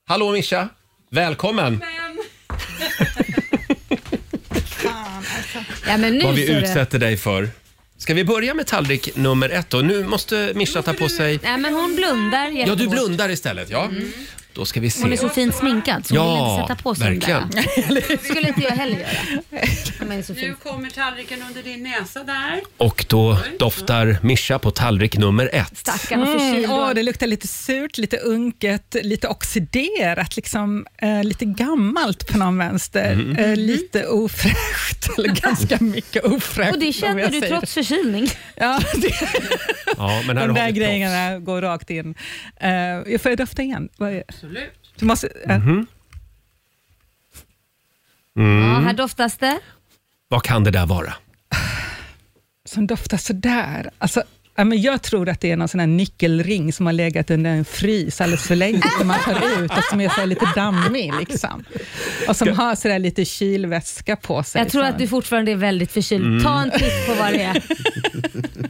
[SPEAKER 1] Hallå Mischa. Välkommen.
[SPEAKER 3] <laughs>
[SPEAKER 2] Ja, men nu
[SPEAKER 1] Vad vi
[SPEAKER 2] ser du.
[SPEAKER 1] utsätter dig för. Ska vi börja med tallrik nummer ett då? Nu måste Mischa ta på sig...
[SPEAKER 2] Nej, men hon blundar
[SPEAKER 1] Ja, du
[SPEAKER 2] jättehårt.
[SPEAKER 1] blundar istället. Ja. Då ska vi se.
[SPEAKER 2] Hon är så fint sminkad så hon
[SPEAKER 1] Ja,
[SPEAKER 2] vill inte sätta på sig
[SPEAKER 1] verkligen.
[SPEAKER 2] den där. Det skulle inte jag heller göra. Men så
[SPEAKER 3] Nu kommer tallriken under din näsa där.
[SPEAKER 1] Och då doftar Mischa på tallrik nummer ett.
[SPEAKER 10] Stackarn
[SPEAKER 3] och förkyld.
[SPEAKER 10] Mm. Åh, det luktar lite surt, lite unket, lite oxiderat, liksom, eh, lite gammalt på någon vänster.
[SPEAKER 1] Mm.
[SPEAKER 10] Eh, lite ofräscht, <laughs> eller ganska mycket ofräscht.
[SPEAKER 2] Och det
[SPEAKER 10] om
[SPEAKER 2] känner
[SPEAKER 10] jag
[SPEAKER 2] du
[SPEAKER 10] säger
[SPEAKER 2] trots förkylning.
[SPEAKER 10] Ja, det,
[SPEAKER 1] Ja,
[SPEAKER 10] <laughs>
[SPEAKER 1] men
[SPEAKER 10] de
[SPEAKER 1] här har
[SPEAKER 10] där
[SPEAKER 1] vi proffs.
[SPEAKER 10] grejerna går rakt in. Eh, jag får jag dofta igen? Vad är-
[SPEAKER 3] Absolut.
[SPEAKER 10] Du måste, eh,
[SPEAKER 1] Mhm.
[SPEAKER 2] Ja, här
[SPEAKER 1] Mm.
[SPEAKER 2] doftas det.
[SPEAKER 1] Vad kan det där vara?
[SPEAKER 10] Som doftar sådär. Alltså, ja, men jag tror att det är någon sån här nyckelring som har legat under en frys alldeles för länge, som man tar ut och som är så här lite dammig. Liksom. Och som har sådär lite kylvätska på sig. liksom.
[SPEAKER 2] Jag tror att du fortfarande är väldigt förkyld.
[SPEAKER 1] Mm.
[SPEAKER 2] Ta en titt på vad det
[SPEAKER 1] <laughs>
[SPEAKER 2] är.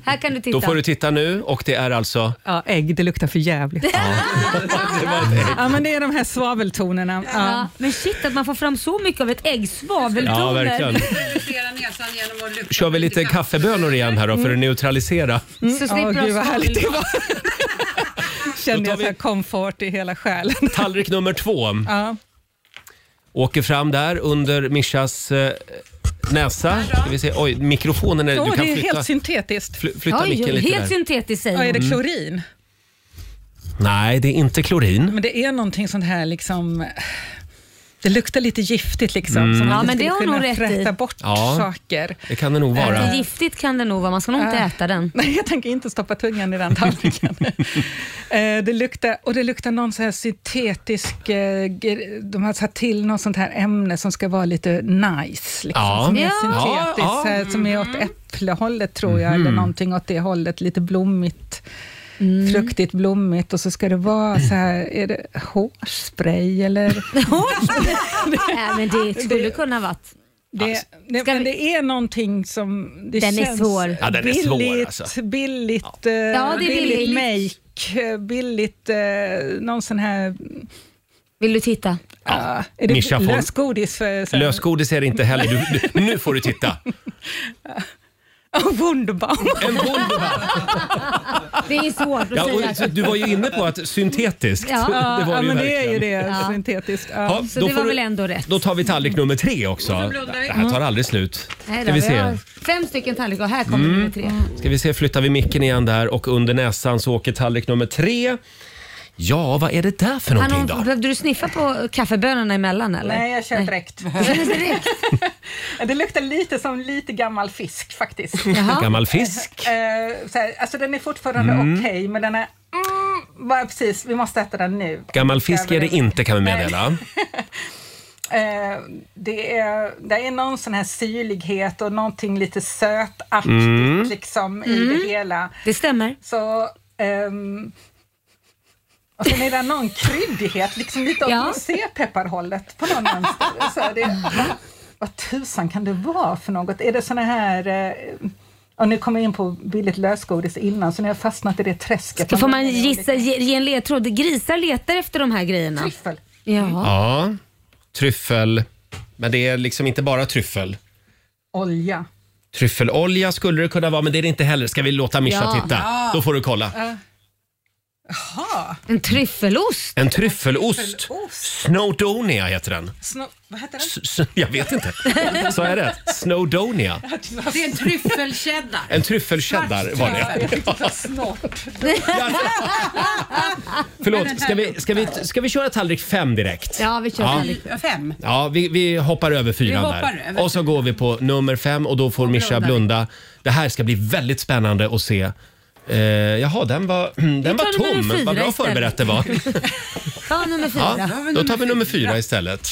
[SPEAKER 2] Här kan du titta.
[SPEAKER 1] Då får du titta nu och det är alltså...
[SPEAKER 10] Ja, ägg, det luktar för jävligt. Ja, men det är de här svaveltonerna.
[SPEAKER 2] Ja, men shit att man får fram så mycket av ett ägg. Svaveltoner.
[SPEAKER 1] Ja, verkligen. Kör vi lite kaffebönor igen här då för att neutralisera?
[SPEAKER 10] Mm.
[SPEAKER 2] Så
[SPEAKER 10] Så
[SPEAKER 2] slipper de
[SPEAKER 10] gud vad härligt det
[SPEAKER 2] svavel.
[SPEAKER 10] var. <laughs> Kände jag så här komfort i hela själen.
[SPEAKER 1] Tallrik nummer två
[SPEAKER 10] Ja.
[SPEAKER 1] åker fram där under Mishas eh, näsa. Ska vi se. Oj, mikrofonen är...
[SPEAKER 10] Åh,
[SPEAKER 1] du kan
[SPEAKER 10] det är
[SPEAKER 1] flytta,
[SPEAKER 10] helt syntetiskt.
[SPEAKER 1] fly, flytta micken lite där.
[SPEAKER 10] syntetiskt Mm.
[SPEAKER 2] säger
[SPEAKER 10] Är det
[SPEAKER 1] hon.
[SPEAKER 10] klorin?
[SPEAKER 1] Nej, det är inte klorin.
[SPEAKER 10] Men det är någonting sånt här liksom... Det luktar lite giftigt liksom.
[SPEAKER 1] Mm.
[SPEAKER 10] Som
[SPEAKER 1] Ja,
[SPEAKER 10] att
[SPEAKER 2] men det
[SPEAKER 10] skulle
[SPEAKER 2] har hon
[SPEAKER 10] kunna
[SPEAKER 2] nog rätt i.
[SPEAKER 10] frätta bort
[SPEAKER 1] Ja.
[SPEAKER 10] saker.
[SPEAKER 1] Det kan det nog vara.
[SPEAKER 2] Lite giftigt kan det nog vara. Man ska nog inte
[SPEAKER 10] Äh.
[SPEAKER 2] äta den.
[SPEAKER 10] Nej, jag tänker inte stoppa tungan i
[SPEAKER 2] <laughs>
[SPEAKER 10] den tallriken. Eh, det luktar, och det luktar någon så här syntetisk... eh, gre- De har satt till något sånt här ämne som ska vara lite nice. Liksom,
[SPEAKER 4] Ja.
[SPEAKER 10] Som är
[SPEAKER 4] Ja.
[SPEAKER 10] syntetiskt,
[SPEAKER 4] Ja,
[SPEAKER 10] så här,
[SPEAKER 4] ja.
[SPEAKER 10] som är åt
[SPEAKER 2] Mm.
[SPEAKER 10] äpplehållet tror jag, eller
[SPEAKER 4] Mhm.
[SPEAKER 10] någonting åt det hållet. Lite blommigt,
[SPEAKER 2] Mm.
[SPEAKER 10] fruktigt blommigt. Och så ska det vara så här, är det hårspray eller...
[SPEAKER 2] <laughs> Nej, men det skulle kunna varit.
[SPEAKER 10] Det, det, men det är någonting som... Det
[SPEAKER 2] Den är
[SPEAKER 10] känns
[SPEAKER 2] svår. Ja,
[SPEAKER 1] den är svår,
[SPEAKER 10] billigt,
[SPEAKER 1] alltså.
[SPEAKER 10] Billigt, ja. ja,
[SPEAKER 2] det är billigt.
[SPEAKER 10] make, eh, billigt eh, någon sån här...
[SPEAKER 2] Vill du titta?
[SPEAKER 10] Ja. Är det
[SPEAKER 1] Mischa får-
[SPEAKER 10] lösgodis? För, så här- <laughs>
[SPEAKER 1] Lösgodis är det inte heller. Du, du, nu får du titta.
[SPEAKER 10] Oh, Wunderbaum.
[SPEAKER 1] En Wunderbaum.
[SPEAKER 2] Det är svårt att
[SPEAKER 1] Ja,
[SPEAKER 2] säga.
[SPEAKER 1] och, så du var ju inne på att syntetiskt.
[SPEAKER 2] Ja.
[SPEAKER 1] <laughs> det var
[SPEAKER 10] ja,
[SPEAKER 1] det ju
[SPEAKER 10] men det är ju
[SPEAKER 1] verkligen.
[SPEAKER 10] det, syntetiskt. Ja.
[SPEAKER 1] Ja,
[SPEAKER 2] Så
[SPEAKER 1] då
[SPEAKER 2] det var
[SPEAKER 1] får du-
[SPEAKER 2] väl ändå rätt.
[SPEAKER 1] Då tar vi tallrik nummer tre också.
[SPEAKER 2] blundar vi.
[SPEAKER 1] Det här tar aldrig slut.
[SPEAKER 2] Nej
[SPEAKER 1] Ska
[SPEAKER 2] då,
[SPEAKER 1] vi
[SPEAKER 2] vi
[SPEAKER 1] se.
[SPEAKER 2] har fem stycken tallrikar och här kommer
[SPEAKER 1] Mm.
[SPEAKER 2] nummer tre.
[SPEAKER 1] Ska vi se, flyttar vi micken igen där och under näsan så åker tallrik nummer tre. Ja, vad är det där för någonting
[SPEAKER 2] Hallå,
[SPEAKER 1] då?
[SPEAKER 2] Behövde du sniffa på kaffebönorna emellan eller?
[SPEAKER 10] Nej, jag känner direkt. <laughs>
[SPEAKER 2] direkt.
[SPEAKER 10] <laughs> det luktar lite som lite gammal fisk faktiskt.
[SPEAKER 1] Jaha. Gammal fisk?
[SPEAKER 10] Eh, så här, alltså den är fortfarande
[SPEAKER 1] Mm.
[SPEAKER 10] okej, men den är... Mm, bara precis, vi måste äta den nu.
[SPEAKER 1] Gammal fisk är det inte kan vi meddela.
[SPEAKER 10] Eh, det, är, det är någon sån här syrlighet och någonting lite sötaktigt
[SPEAKER 1] Mm.
[SPEAKER 10] liksom, i
[SPEAKER 2] Mm.
[SPEAKER 10] det hela.
[SPEAKER 2] Det stämmer.
[SPEAKER 10] Så, ehm, och sen är det någon kryddighet, liksom lite åt
[SPEAKER 2] Ja.
[SPEAKER 10] rosépepparhållet på någon vänster. Så det, vad, vad tusan kan det vara för något? Är det såna här... Eh, och nu kommer jag in på billigt lösgodis innan, så nu har jag fastnat i det träsket.
[SPEAKER 2] Då får man gissa, ge, ge en ledtråd. Grisar letar efter de här grejerna.
[SPEAKER 10] Tryffel.
[SPEAKER 2] Ja.
[SPEAKER 1] Ja, tryffel. Men det är liksom inte bara tryffel.
[SPEAKER 10] Olja.
[SPEAKER 1] Tryffelolja skulle det kunna vara, men det är det inte heller. Ska vi låta Mischa
[SPEAKER 10] Ja.
[SPEAKER 1] titta?
[SPEAKER 10] Ja.
[SPEAKER 1] Då får du kolla.
[SPEAKER 10] Ja.
[SPEAKER 2] Jaha. En tryffelost.
[SPEAKER 1] En tryffelost. <laughs> Snowdonia heter den.
[SPEAKER 2] Snor-
[SPEAKER 3] Vad heter
[SPEAKER 1] S- s- Jag vet inte. Sa jag rätt? Snowdonia.
[SPEAKER 3] Det är en tryffelcheddar.
[SPEAKER 1] En tryffelcheddar var det. <laughs> Förlåt, ska vi, ska, vi, ska vi köra tallrik fem direkt?
[SPEAKER 2] Ja, vi kör
[SPEAKER 1] Ja.
[SPEAKER 2] tallrik.
[SPEAKER 3] Fem.
[SPEAKER 1] Ja, vi, vi hoppar över fyran
[SPEAKER 2] Vi hoppar
[SPEAKER 1] där.
[SPEAKER 2] över.
[SPEAKER 1] Och så går vi på nummer fem och då får
[SPEAKER 2] blundar
[SPEAKER 1] Mischa
[SPEAKER 2] vi.
[SPEAKER 1] blunda. Det här ska bli väldigt spännande att se. Eh, jaha, den var, <clears throat> den var
[SPEAKER 2] tar nummer
[SPEAKER 1] tom.
[SPEAKER 2] fyra
[SPEAKER 1] Vad bra
[SPEAKER 2] istället.
[SPEAKER 1] förberett
[SPEAKER 2] <laughs>
[SPEAKER 1] det var.
[SPEAKER 2] Ja, nummer fyra.
[SPEAKER 1] Ja, då tar vi nummer fyra istället.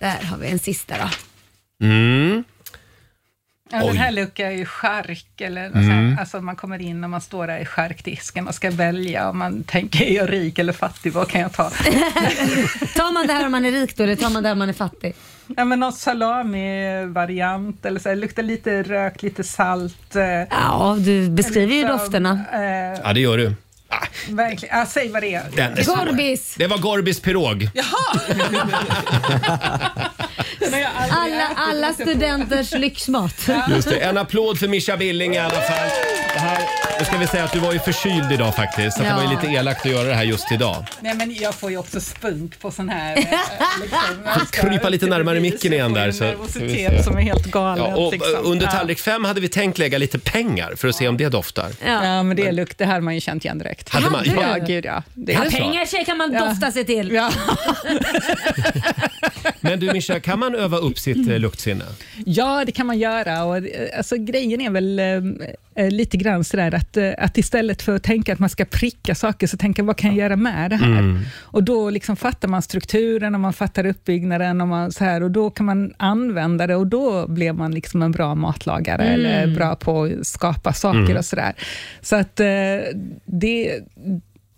[SPEAKER 2] Där har vi en sista då.
[SPEAKER 1] Mm.
[SPEAKER 10] Ja, den
[SPEAKER 1] Oj.
[SPEAKER 10] här luckan är ju chark, eller något
[SPEAKER 1] Mm.
[SPEAKER 10] sånt. alltså man kommer in och man står där i charkdisken och ska välja om man tänker, är jag rik eller fattig, vad kan jag
[SPEAKER 1] <laughs>
[SPEAKER 10] ta?
[SPEAKER 2] <laughs> tar man det här om man är rik då, eller tar man det här om man är fattig?
[SPEAKER 10] Ja, men någon salami-variant, eller så här, luktar lite rök, lite salt. eh,
[SPEAKER 2] Ja, du beskriver ju
[SPEAKER 10] liksom,
[SPEAKER 2] dofterna.
[SPEAKER 10] Eh,
[SPEAKER 1] Ja, det gör du.
[SPEAKER 10] verkligen, ja, säg vad det är.
[SPEAKER 1] Ah. Den är svår. Det var Gorbis pirog.
[SPEAKER 2] Alla, alla studenters lyxmat.
[SPEAKER 1] Just det. En applåd för Mischa Billing i alla fall. Det här, nu ska vi säga att du var ju förkyld idag faktiskt. Så att det var ju
[SPEAKER 10] Ja.
[SPEAKER 1] lite elakt att göra det här just idag.
[SPEAKER 10] Nej, men jag får ju också spunk på sån här...
[SPEAKER 2] <laughs>
[SPEAKER 10] eh, Liksom,
[SPEAKER 1] Får krypa lite närmare micken igen där. Så, får vi se.
[SPEAKER 10] nervositet som är helt galen.
[SPEAKER 1] Ja, och eh,
[SPEAKER 10] liksom.
[SPEAKER 1] Under
[SPEAKER 10] Ja.
[SPEAKER 1] tallrik fem hade vi tänkt lägga lite pengar för att se om det doftar.
[SPEAKER 10] Ja. men det är lukt, det här har man ju känt igen direkt.
[SPEAKER 1] Hade man-
[SPEAKER 10] ja,
[SPEAKER 1] ja.
[SPEAKER 10] gud ja. Det
[SPEAKER 1] Är det så?
[SPEAKER 2] Pengar tjej kan man dofta sig till.
[SPEAKER 1] Men du Mischa, kan man öva upp sitt eh, luktsinne?
[SPEAKER 10] Ja, det kan man göra. Och, eh, alltså, grejen är väl eh, eh, lite grann sådär att, eh, att istället för att tänka att man ska pricka saker, så tänka vad kan jag göra med det här?
[SPEAKER 11] Mm.
[SPEAKER 10] Och Då liksom fattar man strukturen och man fattar uppbyggnaden och, man, så här, och då kan man använda det och då blir man liksom en bra matlagare
[SPEAKER 11] Mm.
[SPEAKER 10] eller bra på att skapa saker
[SPEAKER 11] Mm.
[SPEAKER 10] och sådär. Så att eh, det...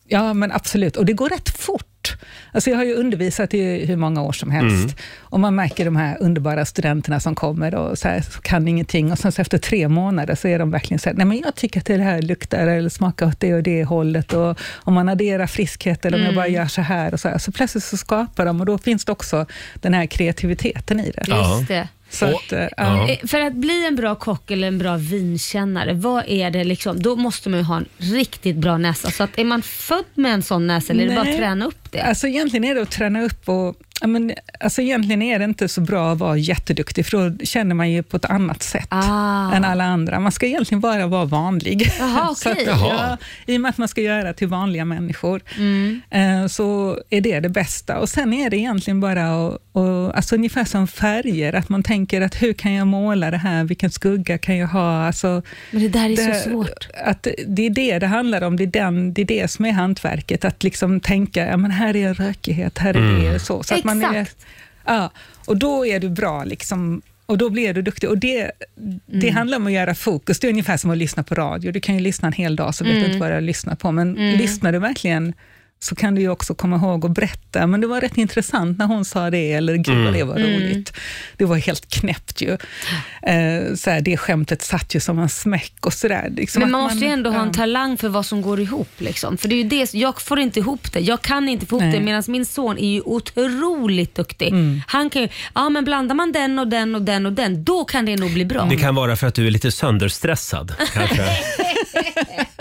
[SPEAKER 10] Ja, men absolut. Och det går rätt fort. Alltså jag har ju undervisat i hur många år som helst.
[SPEAKER 11] Mm.
[SPEAKER 10] Och man märker de här underbara studenterna som kommer och så här, så kan ingenting och sen så efter tre månader så är de verkligen så här, nej men jag tycker att det här luktar eller smakar åt det och det hållet och om man adderar friskhet eller om
[SPEAKER 11] Mm.
[SPEAKER 10] jag bara gör så här och så här. Så plötsligt så skapar de och då finns det också den här kreativiteten i det.
[SPEAKER 2] Just det.
[SPEAKER 10] Så att, eh, ja.
[SPEAKER 2] Eh, För att bli en bra kock eller en bra vinkännare, vad är det liksom? Då måste man ju ha en riktigt bra näsa. Så att är man född med en sån näsa eller är det bara
[SPEAKER 10] Nej.
[SPEAKER 2] att träna upp det?
[SPEAKER 10] Alltså egentligen är det att träna upp och ja, men, alltså egentligen är det inte så bra att vara jätteduktig, för då känner man ju på ett annat sätt
[SPEAKER 2] Ah.
[SPEAKER 10] än alla andra. Man ska egentligen bara vara vanlig.
[SPEAKER 11] Jaha,
[SPEAKER 10] <laughs> Så att,
[SPEAKER 11] okej.
[SPEAKER 10] ja, I och med att man ska göra till vanliga människor,
[SPEAKER 2] Mm.
[SPEAKER 10] eh, så är det det bästa. Och Sen är det egentligen bara att, att, alltså ungefär som färger, att man tänker att hur kan jag måla det här, vilken skugga kan jag ha? Alltså,
[SPEAKER 2] Men det där är så svårt.
[SPEAKER 10] Att det är det det handlar om, det är, den, det, är det som är hantverket, att liksom tänka, ja, men här är en rökighet, här är
[SPEAKER 11] Mm.
[SPEAKER 10] det så. så att man är,
[SPEAKER 11] Exakt.
[SPEAKER 10] ja, och då är du bra liksom, och då blir du duktig. Och det, det
[SPEAKER 11] Mm.
[SPEAKER 10] handlar om att göra fokus, det är ungefär som att lyssna på radio. Du kan ju lyssna en hel dag, så vet
[SPEAKER 11] Mm.
[SPEAKER 10] du inte vad du har lyssnat på, men
[SPEAKER 11] Mm.
[SPEAKER 10] lyssnar du verkligen så kan du ju också komma ihåg och berätta, men det var rätt intressant när hon sa det, eller gud vad det var
[SPEAKER 11] Mm.
[SPEAKER 10] roligt. Det var helt knäppt ju. Eh, så här, det skämtet satt ju som en smäck och sådär. Liksom
[SPEAKER 2] Men
[SPEAKER 10] att
[SPEAKER 2] man måste ju ändå ha en
[SPEAKER 10] ja.
[SPEAKER 2] talang för vad som går ihop. Liksom. För det är ju det, jag får inte ihop det. Jag kan inte få ihop
[SPEAKER 10] Nej.
[SPEAKER 2] det medan min son är ju otroligt duktig. Han kan ju, ja men blandar man den och den och den och den, då kan det nog bli bra.
[SPEAKER 1] Det kan vara för att du är lite sönderstressad <laughs> kanske.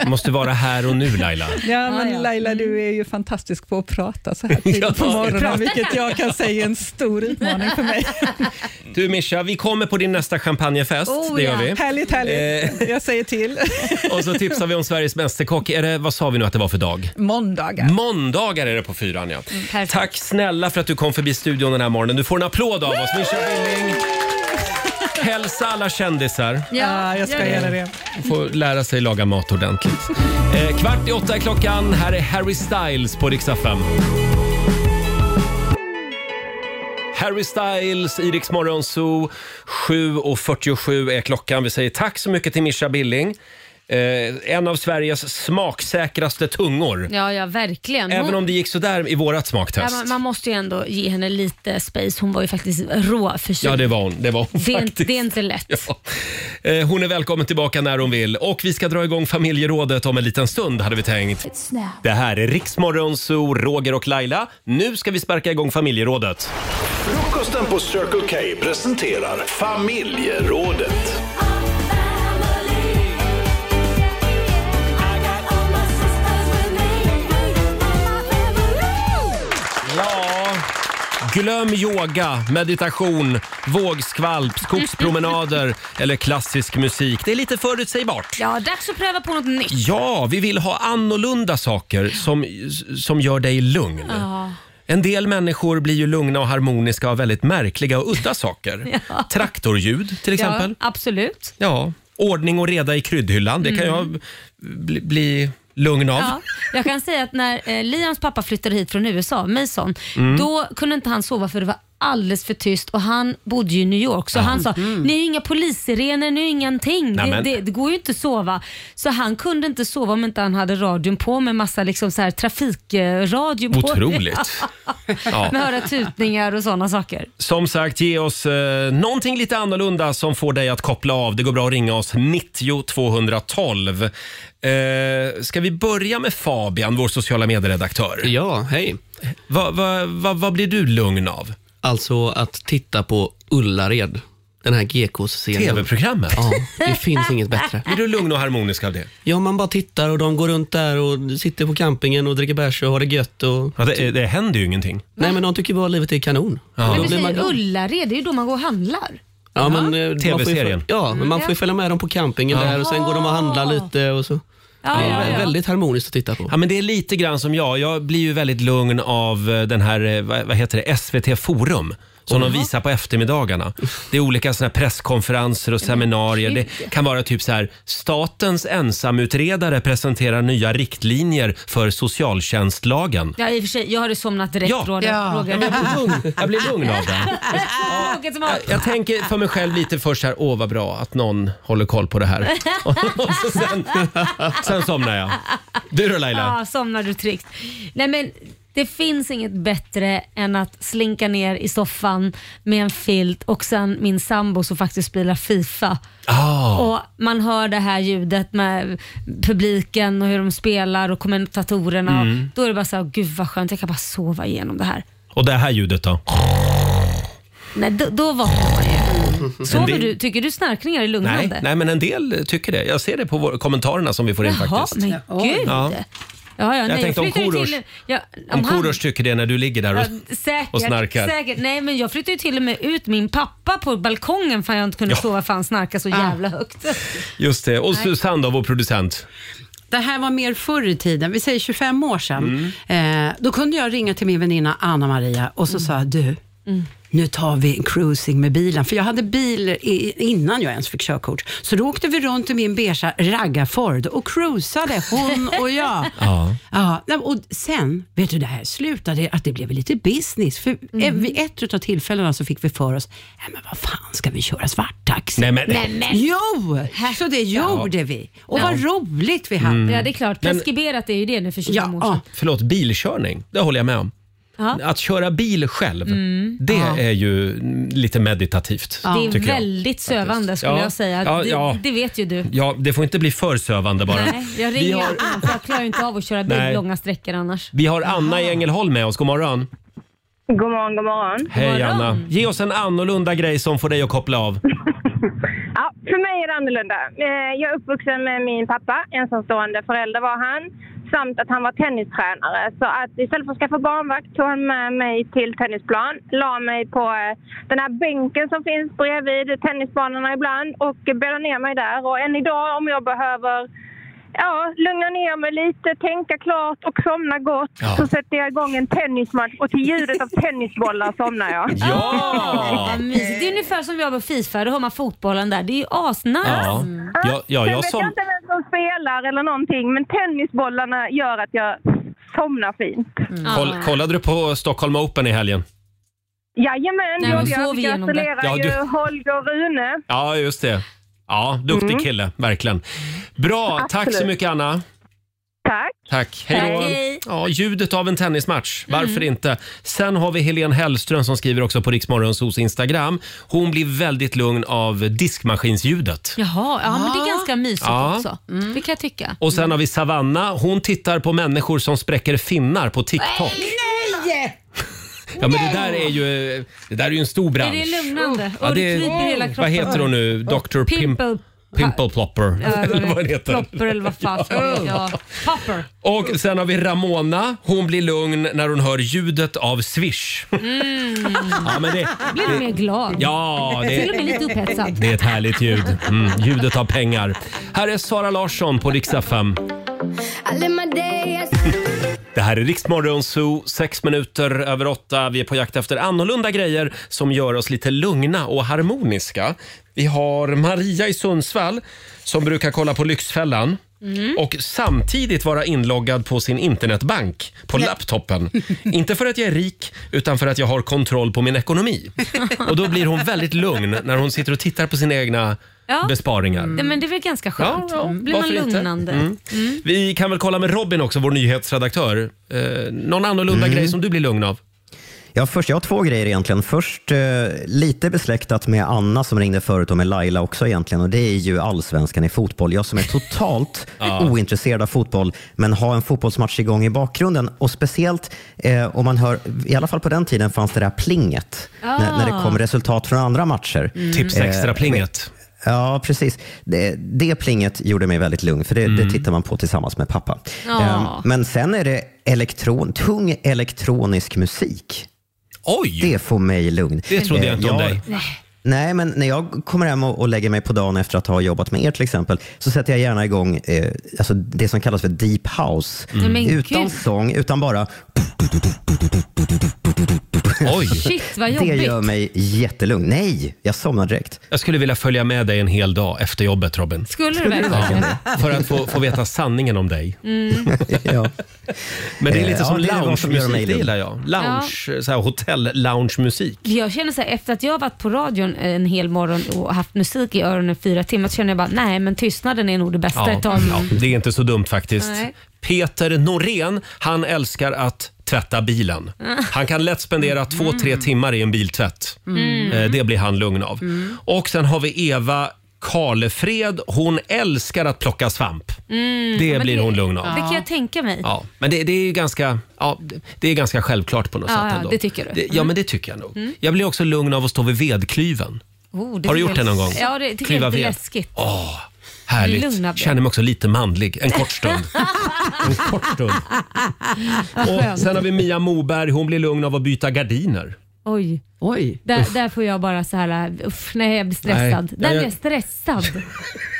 [SPEAKER 1] Måste vara här och nu Laila.
[SPEAKER 2] <laughs>
[SPEAKER 10] Ja, men Laila, du
[SPEAKER 2] Mm.
[SPEAKER 10] är ju fantastisk på att prata
[SPEAKER 1] <laughs>
[SPEAKER 10] så här tidigt på
[SPEAKER 1] Ja.
[SPEAKER 10] morgonen, vilket jag kan säga är en stor utmaning för
[SPEAKER 1] <laughs>
[SPEAKER 10] mig.
[SPEAKER 1] Du Mischa, vi kommer på din nästa champagnefest.
[SPEAKER 2] Oh,
[SPEAKER 1] det gör
[SPEAKER 10] Oh,
[SPEAKER 1] vi. Eh.
[SPEAKER 10] Härligt, härligt. Jag säger till.
[SPEAKER 1] Och så tipsar vi om Sveriges Mästerkock. Är det, vad sa vi nu att det var för dag?
[SPEAKER 10] Måndagar.
[SPEAKER 1] Måndagar är det på fyran ja.
[SPEAKER 10] Mm,
[SPEAKER 1] Tack snälla för att du kom förbi studion den här morgonen. Du får en applåd av oss. Mischa Billing. Hälsa alla kändisar.
[SPEAKER 10] Ja, jag
[SPEAKER 1] gör
[SPEAKER 10] ska
[SPEAKER 1] det.
[SPEAKER 10] göra det.
[SPEAKER 1] Får lära sig laga
[SPEAKER 10] <laughs>
[SPEAKER 1] mat ordentligt. Eh, kvart i åtta är klockan. Här är Harry Styles på Rix FM. Harry Styles i Rix Morgon Zoo. 7.47 är klockan. Vi säger tack så mycket till Mischa Billing. Eh, en av Sveriges smaksäkraste tungor.
[SPEAKER 2] Ja, ja verkligen.
[SPEAKER 1] Även
[SPEAKER 2] Hon-
[SPEAKER 1] om det gick sådär i vårat
[SPEAKER 2] Ja,
[SPEAKER 1] smaktest.
[SPEAKER 2] man, man måste ju ändå ge henne lite space. Hon var ju faktiskt råförkyld.
[SPEAKER 1] Ja, det var hon. Det var hon
[SPEAKER 2] det, är,
[SPEAKER 1] faktiskt.
[SPEAKER 2] inte- det är inte lätt.
[SPEAKER 1] Ja. Eh, Hon är välkommen tillbaka när hon vill. Och vi ska dra igång familjerådet om en liten stund hade vi tänkt. Det här är Riksmorgon Zoo, Roger och Laila. Nu ska vi sparka igång familjerådet.
[SPEAKER 4] Frukosten på Circle K presenterar familjerådet.
[SPEAKER 1] Glöm yoga, meditation,
[SPEAKER 2] <laughs>
[SPEAKER 1] vågskvalp, skogspromenader eller klassisk musik. Det är lite förutsägbart.
[SPEAKER 2] Ja, dags att pröva på något nytt.
[SPEAKER 1] Ja, vi vill ha annorlunda saker som, som gör dig lugn.
[SPEAKER 2] Ja.
[SPEAKER 1] En del människor blir ju lugna och harmoniska av väldigt märkliga och udda saker.
[SPEAKER 2] <laughs> Ja.
[SPEAKER 1] Traktorljud till exempel.
[SPEAKER 2] Ja, absolut.
[SPEAKER 1] Ja, ordning och reda i kryddhyllan. Det kan
[SPEAKER 2] Mm.
[SPEAKER 1] jag bli, bli lugn av.
[SPEAKER 2] Ja, jag kan säga att när eh, Liams pappa flyttade hit från USA, Mason,
[SPEAKER 1] Mm.
[SPEAKER 2] då kunde inte han sova för det var alldeles för tyst och han bodde ju i New York. Så
[SPEAKER 1] Ja.
[SPEAKER 2] han sa,
[SPEAKER 1] Mhm.
[SPEAKER 2] ni är ju inga polissirener, ni är ju ingenting. Det,
[SPEAKER 1] Nämen.
[SPEAKER 2] det, det går ju inte att sova. Så han kunde inte sova om inte han hade radion på med massa liksom så här, trafikradio på. <laughs>
[SPEAKER 1] Otroligt. Ja.
[SPEAKER 2] med höra tutningar och sådana saker.
[SPEAKER 1] Som sagt, ge oss eh, någonting lite annorlunda som får dig att koppla av. Det går bra att ringa oss 90 212. Eh, ska vi börja med Fabian, vår sociala medieredaktör?
[SPEAKER 7] Ja, hej.
[SPEAKER 1] Vad va, va, vad blir du lugn av?
[SPEAKER 7] Alltså att titta på Ullared, den här GKs-serien.
[SPEAKER 1] TV-programmet?
[SPEAKER 7] Ja, det finns inget bättre.
[SPEAKER 1] Är du lugn och harmonisk av det?
[SPEAKER 7] Ja, man bara tittar och de går runt där och sitter på campingen och dricker bärs och har det gött. Och...
[SPEAKER 1] Ja, det, det händer ju ingenting.
[SPEAKER 7] Nej, men de tycker bara att livet är kanon.
[SPEAKER 2] Men
[SPEAKER 7] Då
[SPEAKER 2] du
[SPEAKER 7] blir man
[SPEAKER 2] säger
[SPEAKER 7] glad.
[SPEAKER 2] Ullared, det är ju då man går och handlar.
[SPEAKER 7] Ja, men, eh, man får ju följa-
[SPEAKER 1] TV-serien.
[SPEAKER 7] Ja, men man får ju följa med dem på campingen där och sen går de och handlar lite och så. det är
[SPEAKER 2] ja, ja.
[SPEAKER 7] väldigt harmoniskt att titta på.
[SPEAKER 1] Ja, men det är lite grann som jag. Jag blir ju väldigt lugn av eh, den här, eh, vad vad heter det, SVT Forum. Som de visar på eftermiddagarna. Det är olika såna här presskonferenser och seminarier. Det kan vara typ så här, statens ensamutredare presenterar nya riktlinjer för socialtjänstlagen.
[SPEAKER 2] Ja, i och för sig, jag hade somnat direkt
[SPEAKER 1] Ja.
[SPEAKER 2] Roger.
[SPEAKER 1] Ja.
[SPEAKER 2] Roger.
[SPEAKER 1] Jag
[SPEAKER 2] <laughs>
[SPEAKER 1] blir lugn. Jag blir lugn av den.
[SPEAKER 2] Roger som har-
[SPEAKER 1] Jag tänker för mig själv lite först så här, åh vad bra att någon håller koll på det här. <laughs> Och så sen, sen somnar jag. Du då Laila?
[SPEAKER 2] Ja, somnar du tryggt. Nej men det finns inget bättre än att slinka ner i soffan med en filt och sen min sambo som faktiskt spelar FIFA.
[SPEAKER 1] Ah.
[SPEAKER 2] Och Man hör det här ljudet med publiken och hur de spelar och kommentatorerna.
[SPEAKER 1] Mm.
[SPEAKER 2] Då är det bara så här, gud vad skönt, jag kan bara sova igenom det här.
[SPEAKER 1] Och det här ljudet då?
[SPEAKER 2] Nej, då, då vaknar man ju. Sover
[SPEAKER 1] Men det-
[SPEAKER 2] du, tycker du snarkningar är lugnande?
[SPEAKER 1] Nej, nej, men en del tycker det. Jag ser det på vår, kommentarerna som vi får in
[SPEAKER 2] Jaha,
[SPEAKER 1] faktiskt.
[SPEAKER 2] men gud.
[SPEAKER 1] Ja.
[SPEAKER 2] Ja, ja,
[SPEAKER 1] Jag
[SPEAKER 2] nej,
[SPEAKER 1] tänkte om
[SPEAKER 2] flyttar ju
[SPEAKER 1] Korosh-
[SPEAKER 2] till- ja,
[SPEAKER 1] Om
[SPEAKER 2] han-
[SPEAKER 1] Korosh tycker det när du ligger där och,
[SPEAKER 2] Ja, säkert,
[SPEAKER 1] och snarkar.
[SPEAKER 2] Säkert. Nej men jag flyttade ju till och med ut min pappa på balkongen för jag inte kunde
[SPEAKER 1] Ja. Ah.
[SPEAKER 2] sova för han snarkade så jävla högt.
[SPEAKER 1] Just det. Och
[SPEAKER 3] Nej.
[SPEAKER 1] Susanne då, vår producent.
[SPEAKER 3] Det här var mer förr i tiden, vi säger 25 år sedan.
[SPEAKER 1] Mm.
[SPEAKER 3] Eh, då kunde jag ringa till min väninna Anna-Maria och
[SPEAKER 2] Mm.
[SPEAKER 3] så sa jag, du, nu tar vi en cruising med bilen. För jag hade bil i, innan jag ens fick körkort. Så då åkte vi runt i min beiga raggarford och cruisade, hon och jag.
[SPEAKER 1] Ja.
[SPEAKER 3] Ja, nej, och sen, vet du, det här slutade att det blev lite business. För eh, vid ett av tillfällena så fick vi för oss, nej men vad fan ska vi köra svarttaxi?
[SPEAKER 1] Nej, men- Nej, men-
[SPEAKER 3] Jo, så det gjorde vi. Och vad roligt vi hade.
[SPEAKER 2] Mm. Ja det är klart,
[SPEAKER 1] Men-
[SPEAKER 2] preskriberat är ju det nu för 25 år sedan.
[SPEAKER 1] Förlåt, bilkörning. Det håller jag med om.
[SPEAKER 2] Ja.
[SPEAKER 1] Att köra bil själv,
[SPEAKER 2] Mm.
[SPEAKER 1] det
[SPEAKER 2] Ja.
[SPEAKER 1] är ju lite meditativt.
[SPEAKER 2] Det är
[SPEAKER 1] tycker jag.
[SPEAKER 2] väldigt sövande skulle
[SPEAKER 1] Ja.
[SPEAKER 2] jag säga.
[SPEAKER 1] Ja,
[SPEAKER 2] det,
[SPEAKER 1] ja.
[SPEAKER 2] det vet ju du.
[SPEAKER 1] Ja, det får inte bli för sövande bara.
[SPEAKER 2] Nej, jag
[SPEAKER 1] Vi
[SPEAKER 2] ringer
[SPEAKER 1] har,
[SPEAKER 2] har... för jag klarar ju inte av att köra bil
[SPEAKER 1] Nej.
[SPEAKER 2] långa sträckor annars.
[SPEAKER 1] vi har Anna i Ängelholm med oss. God morgon.
[SPEAKER 11] God morgon, god morgon.
[SPEAKER 1] Hej Anna. Ge oss en annorlunda grej som får dig att koppla av.
[SPEAKER 11] Ja, för mig är det annorlunda. Eh, Jag är uppvuxen med min pappa, ensamstående förälder var han, samt att han var tennistränare. Så att istället för att skaffa barnvakt tog han med mig till tennisplan, la mig på eh, den här bänken som finns bredvid tennisbanorna ibland och bäddade ner mig där. Och än idag om jag behöver Ja, lugna ner mig lite, tänka klart och somna gott.
[SPEAKER 1] Ja.
[SPEAKER 11] Så sätter jag igång en tennismatch och till ljudet av tennisbollar somnar jag. <laughs>
[SPEAKER 1] Ja! <laughs>
[SPEAKER 2] Vad mysigt. Det är ungefär som jag var Fifa, då har man fotbollen där. Det är ju asnice.
[SPEAKER 1] Ja. Ja, ja,
[SPEAKER 11] Sen
[SPEAKER 1] jag
[SPEAKER 11] vet
[SPEAKER 1] som...
[SPEAKER 11] jag inte vem som spelar eller någonting, men tennisbollarna gör att jag somnar fint.
[SPEAKER 2] Mm.
[SPEAKER 1] Koll, kollade du på Stockholm Open i helgen?
[SPEAKER 11] Jajamän,
[SPEAKER 2] Nej,
[SPEAKER 11] gjorde
[SPEAKER 2] men
[SPEAKER 11] jag.
[SPEAKER 2] sov
[SPEAKER 11] Vi
[SPEAKER 2] igenom det.
[SPEAKER 11] gratulerar
[SPEAKER 1] Ja,
[SPEAKER 11] ju
[SPEAKER 1] du-
[SPEAKER 11] Holger Rune.
[SPEAKER 1] Ja, just det. Ja, duktig
[SPEAKER 11] Mm.
[SPEAKER 1] kille, verkligen. Bra, tack så
[SPEAKER 11] Absolut.
[SPEAKER 1] mycket Anna.
[SPEAKER 11] Tack.
[SPEAKER 1] Tack. Hej då.
[SPEAKER 11] Tack, hej. Mm.
[SPEAKER 1] Ja, ljudet av en tennismatch, varför inte? Sen har vi Helene Hellström som skriver också på Riksmorgonsos Instagram. Hon blir väldigt lugn av diskmaskinsljudet.
[SPEAKER 2] Jaha, ja, men det är ganska mysigt
[SPEAKER 1] Ja.
[SPEAKER 2] också. Mm. Det kan jag tycka.
[SPEAKER 1] Och sen har vi Savanna. Hon tittar på människor som spräcker finnar på TikTok.
[SPEAKER 2] Nej!
[SPEAKER 1] Ja, men det där är ju, eh, det där är ju en stor bransch.
[SPEAKER 2] Är det lugnande?
[SPEAKER 1] Ja,
[SPEAKER 2] och
[SPEAKER 1] det
[SPEAKER 2] det
[SPEAKER 1] är-
[SPEAKER 2] kryper i hela kroppen.
[SPEAKER 1] Vad heter hon nu? Dr. Pimp...
[SPEAKER 2] Pimple
[SPEAKER 1] Pimple Plopper, eller vad det heter.
[SPEAKER 2] Plopper eller vad fan ska
[SPEAKER 1] Oh.
[SPEAKER 2] det ja. Popper.
[SPEAKER 1] Och sen har vi Ramona. Hon blir lugn när hon hör ljudet av swish.
[SPEAKER 2] Mm.
[SPEAKER 1] Ja, men det-
[SPEAKER 2] Blir du mer glad?
[SPEAKER 1] Ja, det- Mm.
[SPEAKER 2] Till och med lite upphetsad.
[SPEAKER 1] Det är ett härligt ljud. Mm, ljudet av pengar. Här är Sara Larsson på Rix FM. Det här är Riksmorgon Zoo, sex minuter över åtta. Vi är på jakt efter annorlunda grejer som gör oss lite lugna och harmoniska. Vi har Maria i Sundsvall som brukar kolla på Lyxfällan
[SPEAKER 12] Mm.
[SPEAKER 1] och samtidigt vara inloggad på sin internetbank på laptopen. Inte för att jag är rik, utan för att jag har kontroll på min ekonomi. Och då blir hon väldigt lugn när hon sitter och tittar på sina egna
[SPEAKER 2] Ja.
[SPEAKER 1] besparingar.
[SPEAKER 2] Nej, men det är väl ganska skönt?
[SPEAKER 1] Ja, ja,
[SPEAKER 2] Blir man
[SPEAKER 1] varför inte?
[SPEAKER 2] lugnande?
[SPEAKER 1] Mm.
[SPEAKER 2] Mm.
[SPEAKER 1] Vi kan väl kolla med Robin också, vår nyhetsredaktör. Eh, någon annorlunda
[SPEAKER 9] Mm.
[SPEAKER 1] grej som du blir lugn av?
[SPEAKER 9] Ja, först, jag har två grejer egentligen. Först eh, lite besläktat med Anna som ringde förut och med Laila också egentligen och det är ju allsvenskan i fotboll. Jag som är totalt ointresserad av fotboll men har en fotbollsmatch igång i bakgrunden och speciellt eh, om man hör, i alla fall på den tiden fanns det där plinget när, när det kom resultat från andra matcher. Eh,
[SPEAKER 1] Mm. Tips extra-plinget.
[SPEAKER 9] Ja, precis. Det, det plinget gjorde mig väldigt lugn, för det, det tittar man på tillsammans med pappa.
[SPEAKER 12] Ja.
[SPEAKER 9] Ehm, men sen är det elektron, tung elektronisk musik.
[SPEAKER 1] Oj!
[SPEAKER 9] Det får mig lugn.
[SPEAKER 1] Det trodde jag
[SPEAKER 9] Ehm,
[SPEAKER 1] inte
[SPEAKER 3] Eh,
[SPEAKER 1] om dig.
[SPEAKER 9] Nej, men när jag kommer hem och, och lägger mig på dagen efter att ha jobbat med er till exempel, så sätter jag gärna igång eh, alltså det som kallas för deep house.
[SPEAKER 2] Mm. Men
[SPEAKER 9] Utan
[SPEAKER 2] gud.
[SPEAKER 9] sång, utan bara... <laughs>
[SPEAKER 1] Oj.
[SPEAKER 2] Shit, vad
[SPEAKER 9] Det
[SPEAKER 2] jobbigt.
[SPEAKER 9] gör mig jättelugn. Nej, jag somnar direkt.
[SPEAKER 1] Jag skulle vilja följa med dig en hel dag efter jobbet, Robin.
[SPEAKER 2] Skulle du verkligen?
[SPEAKER 1] För att få, få veta sanningen om dig.
[SPEAKER 2] Mm.
[SPEAKER 9] <laughs> ja.
[SPEAKER 1] Men det är lite
[SPEAKER 9] Eh,
[SPEAKER 1] som
[SPEAKER 9] ja, det är vad som gör mig
[SPEAKER 1] loungemusik, det
[SPEAKER 9] lugn.
[SPEAKER 1] gillar jag. Lounge, så här, hotell-loungemusik.
[SPEAKER 2] Jag känner så här, efter att jag har varit på radion en hel morgon och haft musik i öronen i fyra timmar så känner jag bara, nej men tystnaden är nog det bästa ett tag.
[SPEAKER 1] ja, det är inte så dumt faktiskt.
[SPEAKER 2] Nej.
[SPEAKER 1] Peter Norén, han älskar att tvätta bilen. Han kan lätt spendera två, tre
[SPEAKER 2] Mm.
[SPEAKER 1] timmar i en biltvätt.
[SPEAKER 12] Mm.
[SPEAKER 1] Eh, Det blir han lugn av. Och sen har vi Eva Karlefred. Hon älskar att plocka svamp.
[SPEAKER 2] Mm,
[SPEAKER 1] Det
[SPEAKER 2] men
[SPEAKER 1] blir hon lugn av.
[SPEAKER 2] Det kan jag tänka mig.
[SPEAKER 1] Ja, men det, det är ju ganska, ja, det är ganska självklart på något
[SPEAKER 2] Ja,
[SPEAKER 1] sätt
[SPEAKER 2] ja,
[SPEAKER 1] ändå.
[SPEAKER 2] det tycker du.
[SPEAKER 1] Det, ja,
[SPEAKER 2] Mm.
[SPEAKER 1] men det tycker jag nog.
[SPEAKER 2] Mm.
[SPEAKER 1] Jag blir också lugn av att stå vid vedklyven.
[SPEAKER 2] Oh,
[SPEAKER 1] Har du
[SPEAKER 2] tycker
[SPEAKER 1] gjort
[SPEAKER 2] jag-
[SPEAKER 1] det någon gång?
[SPEAKER 2] Ja, det tycker
[SPEAKER 1] Klyva
[SPEAKER 2] jag är
[SPEAKER 1] ved.
[SPEAKER 2] lite läskigt.
[SPEAKER 1] Åh, härligt.
[SPEAKER 2] Lugn av det.
[SPEAKER 1] Känner mig också lite manlig en
[SPEAKER 2] <laughs>
[SPEAKER 1] kort stund. en kort stund. Och
[SPEAKER 2] Skönt.
[SPEAKER 1] sen har vi Mia Moberg. Hon blir lugn av att byta gardiner.
[SPEAKER 2] Oj.
[SPEAKER 3] Oj.
[SPEAKER 2] Där,
[SPEAKER 1] Uff.
[SPEAKER 2] där får jag bara så här, uff, nej jag blir stressad.
[SPEAKER 1] Nej,
[SPEAKER 2] där
[SPEAKER 1] jag-
[SPEAKER 2] blir jag stressad.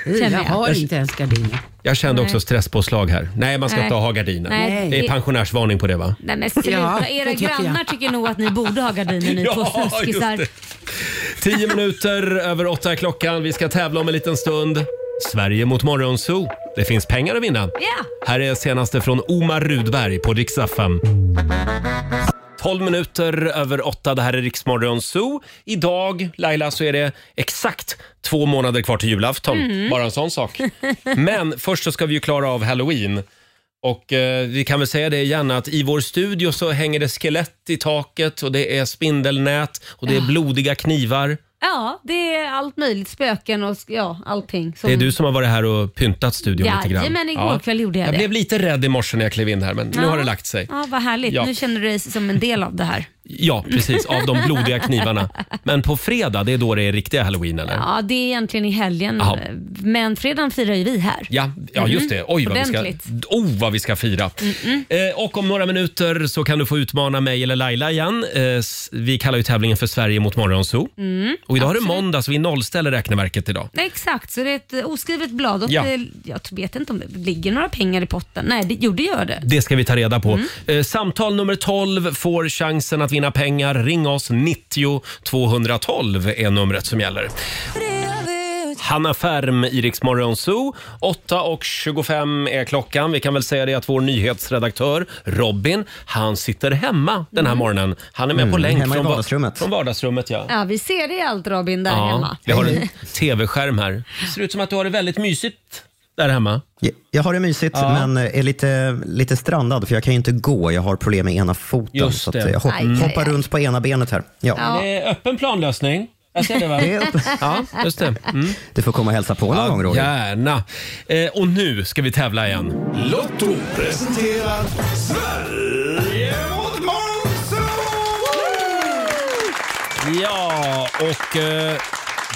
[SPEAKER 3] Jag
[SPEAKER 2] Känner
[SPEAKER 3] har inte ens gardiner.
[SPEAKER 1] Jag kände
[SPEAKER 2] Nej.
[SPEAKER 1] också stresspåslag här. Nej, man ska
[SPEAKER 2] Nej.
[SPEAKER 1] inte ha gardiner.
[SPEAKER 2] Nej.
[SPEAKER 1] Det är pensionärsvarning på det va?
[SPEAKER 2] Nej men sluta,
[SPEAKER 12] Ja,
[SPEAKER 2] era
[SPEAKER 12] det tycker
[SPEAKER 2] grannar
[SPEAKER 12] jag.
[SPEAKER 2] tycker nog att ni borde ha
[SPEAKER 1] <laughs>
[SPEAKER 2] gardiner ni två
[SPEAKER 1] Ja,
[SPEAKER 2] snuskisar.
[SPEAKER 1] just Tio minuter över åtta är klockan. Vi ska tävla om en liten stund. Sverige mot Morgonzoo. Det finns pengar att vinna. Här är senaste från Omar Rudberg på Rix FM. 12 minuter över åtta. Det här är Riksmorgon Zoo. Idag, Laila, så är det exakt två månader kvar till julafton.
[SPEAKER 12] Mm.
[SPEAKER 1] Bara en sån sak. Men först så ska vi ju klara av halloween. Och eh, vi kan väl säga det igen att i vår studio så hänger det skelett i taket och det är spindelnät och det är
[SPEAKER 2] Ja.
[SPEAKER 1] blodiga knivar.
[SPEAKER 2] Ja, det är allt möjligt. Spöken och ja, allting.
[SPEAKER 1] Det är du som har varit här och pyntat studion lite grann.
[SPEAKER 2] Jajamän, igår kväll gjorde jag det.
[SPEAKER 1] blev lite rädd i morse när jag klev in här men nu
[SPEAKER 2] Ja.
[SPEAKER 1] har det lagt sig.
[SPEAKER 2] Ja, vad härligt.
[SPEAKER 1] Ja.
[SPEAKER 2] Nu känner du dig som en del av det här.
[SPEAKER 1] Ja, precis. Av de blodiga knivarna. Men på fredag, det är då det är riktiga halloween eller?
[SPEAKER 2] Ja, det är egentligen i helgen.
[SPEAKER 1] Jaha.
[SPEAKER 2] Men fredagen firar ju vi här.
[SPEAKER 1] Ja, ja just det.
[SPEAKER 2] Mhm.
[SPEAKER 1] Oj, vad vi ska,
[SPEAKER 2] Ordentligt.
[SPEAKER 1] oh, vad vi ska fira. Eh, och om några minuter så kan du få utmana mig eller Laila igen. Eh, s- vi kallar ju tävlingen för Sverige mot Morgonzoo.
[SPEAKER 2] Mm,
[SPEAKER 1] Och idag är det
[SPEAKER 2] absolut.
[SPEAKER 1] måndag så vi nollställer räkneverket idag.
[SPEAKER 2] Nej, exakt, så det är ett eh, oskrivet blad och
[SPEAKER 1] Ja.
[SPEAKER 2] eh, jag vet inte om det ligger några pengar i potten. Nej, det, jo det gör det.
[SPEAKER 1] Det ska vi ta reda på.
[SPEAKER 2] Mm.
[SPEAKER 1] Eh, samtal nummer 12 får chansen att vinna pengar. Ring oss 90 212 är numret som gäller. Hanna Färm i Rix Morgon Zoo. 8.25 är klockan. Vi kan väl säga det att vår nyhetsredaktör Robin, han sitter hemma den här morgonen. Han är med på
[SPEAKER 9] Mm,
[SPEAKER 1] länk
[SPEAKER 9] hemma i
[SPEAKER 1] från, va-
[SPEAKER 9] vardagsrummet.
[SPEAKER 1] från vardagsrummet. Ja.
[SPEAKER 2] Mm. Ja, vi ser det i allt Robin där hemma.
[SPEAKER 1] vi
[SPEAKER 2] <laughs>
[SPEAKER 1] har en tv-skärm här. Ser ut som att du har det väldigt mysigt där hemma.
[SPEAKER 9] Jag- Jag har det mysigt,
[SPEAKER 1] Ja.
[SPEAKER 9] men eh, är lite, lite strandad, för jag kan ju inte gå. Jag har problem med ena foten,
[SPEAKER 1] Just
[SPEAKER 9] så att
[SPEAKER 1] det.
[SPEAKER 9] eh, jag hop-
[SPEAKER 1] Aj, aj,
[SPEAKER 9] hoppar runt på ena benet här. Ja.
[SPEAKER 1] Det är öppen planlösning. Jag ser det va?
[SPEAKER 12] Det är öppen-
[SPEAKER 1] ja, just det. Mm.
[SPEAKER 9] Du får komma och hälsa på någon
[SPEAKER 1] Ja,
[SPEAKER 9] gång, Roger.
[SPEAKER 1] Gärna. Eh, och nu ska vi tävla igen.
[SPEAKER 4] Lotto presenterar Sverige mot Monzo!
[SPEAKER 1] Ja, och eh,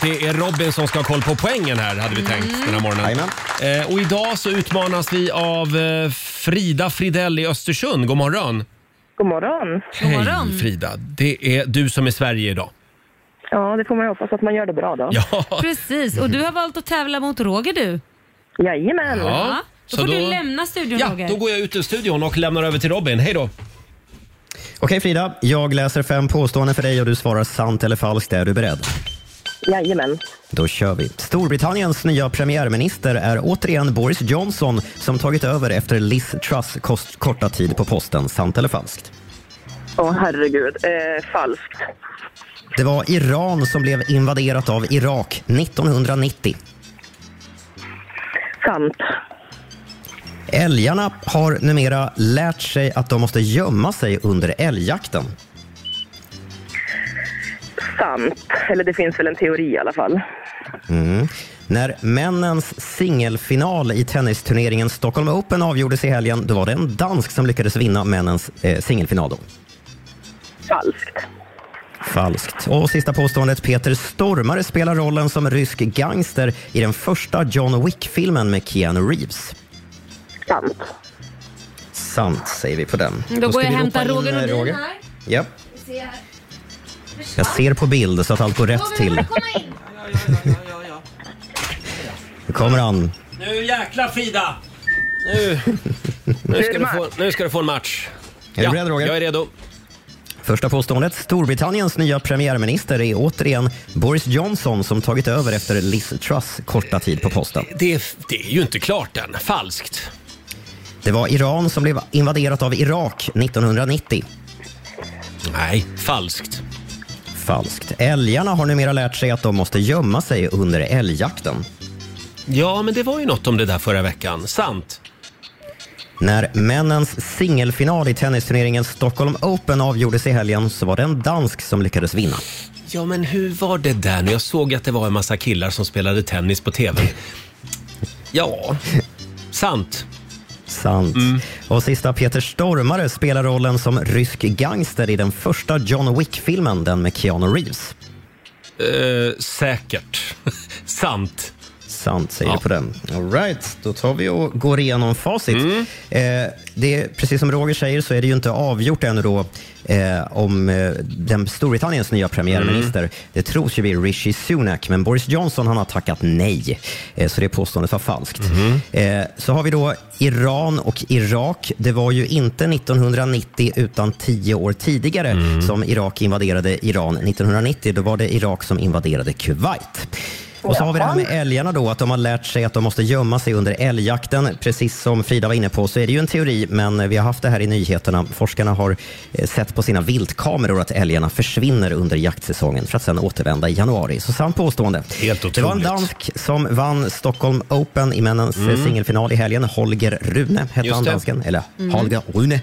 [SPEAKER 1] det är Robin som ska ha koll på poängen här, hade vi tänkt den här morgonen. Eh, och idag så utmanas vi av eh, Frida Fridell i Östersund. God morgon!
[SPEAKER 12] God morgon.
[SPEAKER 1] Hej Frida! Det är du som är Sverige idag.
[SPEAKER 12] Ja, det får man ju hoppas att man gör det bra då.
[SPEAKER 1] Ja.
[SPEAKER 2] Precis, och du har valt att tävla mot Roger du.
[SPEAKER 12] Jajamän.
[SPEAKER 1] Ja,
[SPEAKER 2] Då
[SPEAKER 1] så
[SPEAKER 2] får du
[SPEAKER 1] då-
[SPEAKER 2] lämna studion
[SPEAKER 1] Ja,
[SPEAKER 2] Roger.
[SPEAKER 1] då går jag ut ur studion och lämnar över till Robin. Hej då!
[SPEAKER 9] Okej Frida, jag läser fem påståenden för dig och du svarar sant eller falskt. Är du beredd?
[SPEAKER 12] Jajamän.
[SPEAKER 9] Då kör vi. Storbritanniens nya premiärminister är återigen Boris Johnson som tagit över efter Liz Truss kost- korta tid på posten. Sant eller falskt?
[SPEAKER 12] Åh herregud. Eh, falskt.
[SPEAKER 9] Det var Iran som blev invaderat av Irak 1990.
[SPEAKER 12] Sant.
[SPEAKER 9] Älgarna har numera lärt sig att de måste gömma sig under älgjakten.
[SPEAKER 12] Sant. Eller det finns väl en teori i alla fall.
[SPEAKER 9] Mm. När männens singelfinal i tennisturneringen Stockholm Open avgjordes i helgen, då var det en dansk som lyckades vinna männens eh, singelfinal. Då.
[SPEAKER 12] Falskt.
[SPEAKER 9] Falskt. Och sista påståendet. Peter Stormare spelar rollen som rysk gangster i den första John Wick-filmen med Keanu Reeves.
[SPEAKER 12] Sant.
[SPEAKER 9] Sant säger vi på den.
[SPEAKER 2] Då går
[SPEAKER 9] ska
[SPEAKER 2] jag
[SPEAKER 9] vi
[SPEAKER 2] och hämtar
[SPEAKER 9] ropa in,
[SPEAKER 2] Roger
[SPEAKER 9] eh,
[SPEAKER 2] Nordin
[SPEAKER 9] Roger.
[SPEAKER 2] här.
[SPEAKER 9] Ja. Jag ser på bild så att allt går rätt till. Nu <laughs> kommer han.
[SPEAKER 1] Nu jäklar Frida!
[SPEAKER 9] <laughs>
[SPEAKER 1] Nu, nu, ska, du få, nu ska du få en match.
[SPEAKER 9] Är du beredd, Roger?
[SPEAKER 1] Jag är redo.
[SPEAKER 9] Första påståendet. Storbritanniens nya premiärminister är återigen Boris Johnson som tagit över efter Liz Truss korta tid på posten.
[SPEAKER 1] Det, är- det är ju inte klart än. Falskt.
[SPEAKER 9] Det var Iran som blev invaderat av Irak 1990.
[SPEAKER 1] Nej, falskt.
[SPEAKER 9] Falskt. Älgarna har numera lärt sig att de måste gömma sig under älgjakten.
[SPEAKER 1] Ja, men det var ju något om det där förra veckan. Sant.
[SPEAKER 9] När männens singelfinal i tennisturneringen Stockholm Open avgjordes i helgen så var det en dansk som lyckades vinna.
[SPEAKER 1] Ja, men hur var det där nu? Jag såg att det var en massa killar som spelade tennis på TV. Ja, sant. Mm.
[SPEAKER 9] Sant. Och sista, Peter Stormare spelar rollen som rysk gangster i den första John Wick-filmen, den med Keanu Reeves.
[SPEAKER 1] Eh, säkert. <laughs> sant.
[SPEAKER 9] Sant säger du på den. All right, då tar vi och går igenom facit.
[SPEAKER 1] Mm.
[SPEAKER 9] Eh, det, är- precis som Roger säger så är det ju inte avgjort ännu då eh, om eh, den Storbritanniens nya premiärminister.
[SPEAKER 1] Mm.
[SPEAKER 9] Det tros ju bli Rishi Sunak, men Boris Johnson han har tackat nej. Eh, så det påståendet var falskt.
[SPEAKER 1] Mhm.
[SPEAKER 9] Eh, så har vi då Iran och Irak. Det var ju inte 1990 utan tio år tidigare som Irak invaderade Iran. 1990 då var det Irak som invaderade Kuwait. Och så har vi det här med älgarna då, att de har lärt sig att de måste gömma sig under älgjakten. Precis som Frida var inne på så är det ju en teori, men vi har haft det här i nyheterna. Forskarna har eh, sett på sina viltkameror att älgarna försvinner under jaktsäsongen för att sedan återvända i januari. Så sant påstående. Helt Det var en dansk som vann Stockholm Open i männens
[SPEAKER 13] Mm.
[SPEAKER 9] eh, singelfinal i helgen. Holger Rune hette
[SPEAKER 13] Just
[SPEAKER 9] han,
[SPEAKER 13] det.
[SPEAKER 9] dansken. Eller
[SPEAKER 13] Mm.
[SPEAKER 9] Holger Rune.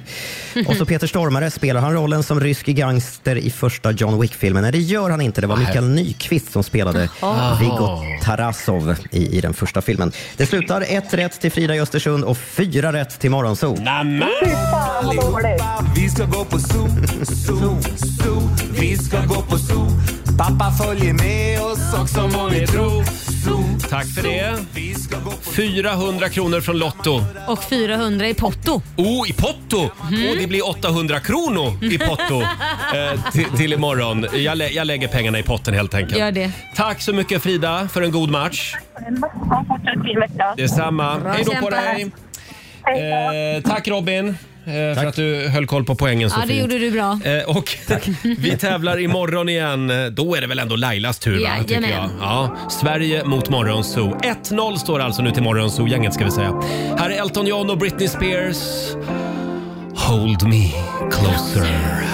[SPEAKER 9] Och så Peter Stormare, spelar han rollen som rysk gangster i första John Wick-filmen? Nej, det gör han inte. Det var Mikael Nyqvist som spelade
[SPEAKER 13] Jaha.
[SPEAKER 9] Viggo Tarasov i, i den första filmen. Det slutar ett rätt till Frida i Östersund och fyra rätt till Morgonzoo.
[SPEAKER 4] Vi ska gå på zoo, zoo, zoo. Vi ska gå på zoo. Pappa följer med oss också må ni tro. Zoo,
[SPEAKER 1] Tack för det. 400 kronor från Lotto.
[SPEAKER 2] Och 400 i potto.
[SPEAKER 1] Oh, i potto!
[SPEAKER 2] Mm.
[SPEAKER 1] Och det blir 800 kronor
[SPEAKER 2] <laughs>
[SPEAKER 1] i potto eh, till, till imorgon. Jag, lä jag lägger pengarna i potten helt enkelt.
[SPEAKER 2] Gör det.
[SPEAKER 1] Tack så mycket Frida för en god match. Detsamma.
[SPEAKER 2] Bra
[SPEAKER 1] Hej då
[SPEAKER 2] kämpat.
[SPEAKER 1] på dig. Eh, tack Robin eh, för att du höll koll på poängen så
[SPEAKER 2] Ja, det
[SPEAKER 1] fint.
[SPEAKER 2] gjorde du bra.
[SPEAKER 1] Eh, och vi tävlar imorgon igen. Eh, Då är det väl ändå Lailas tur va? Tycker jag.
[SPEAKER 2] Jajamän.
[SPEAKER 1] Ja, Sverige mot Morgonzoo. 1-0 står alltså nu till Morgonzoo-gänget ska vi säga. Här är Elton John och Britney Spears. Hold me closer.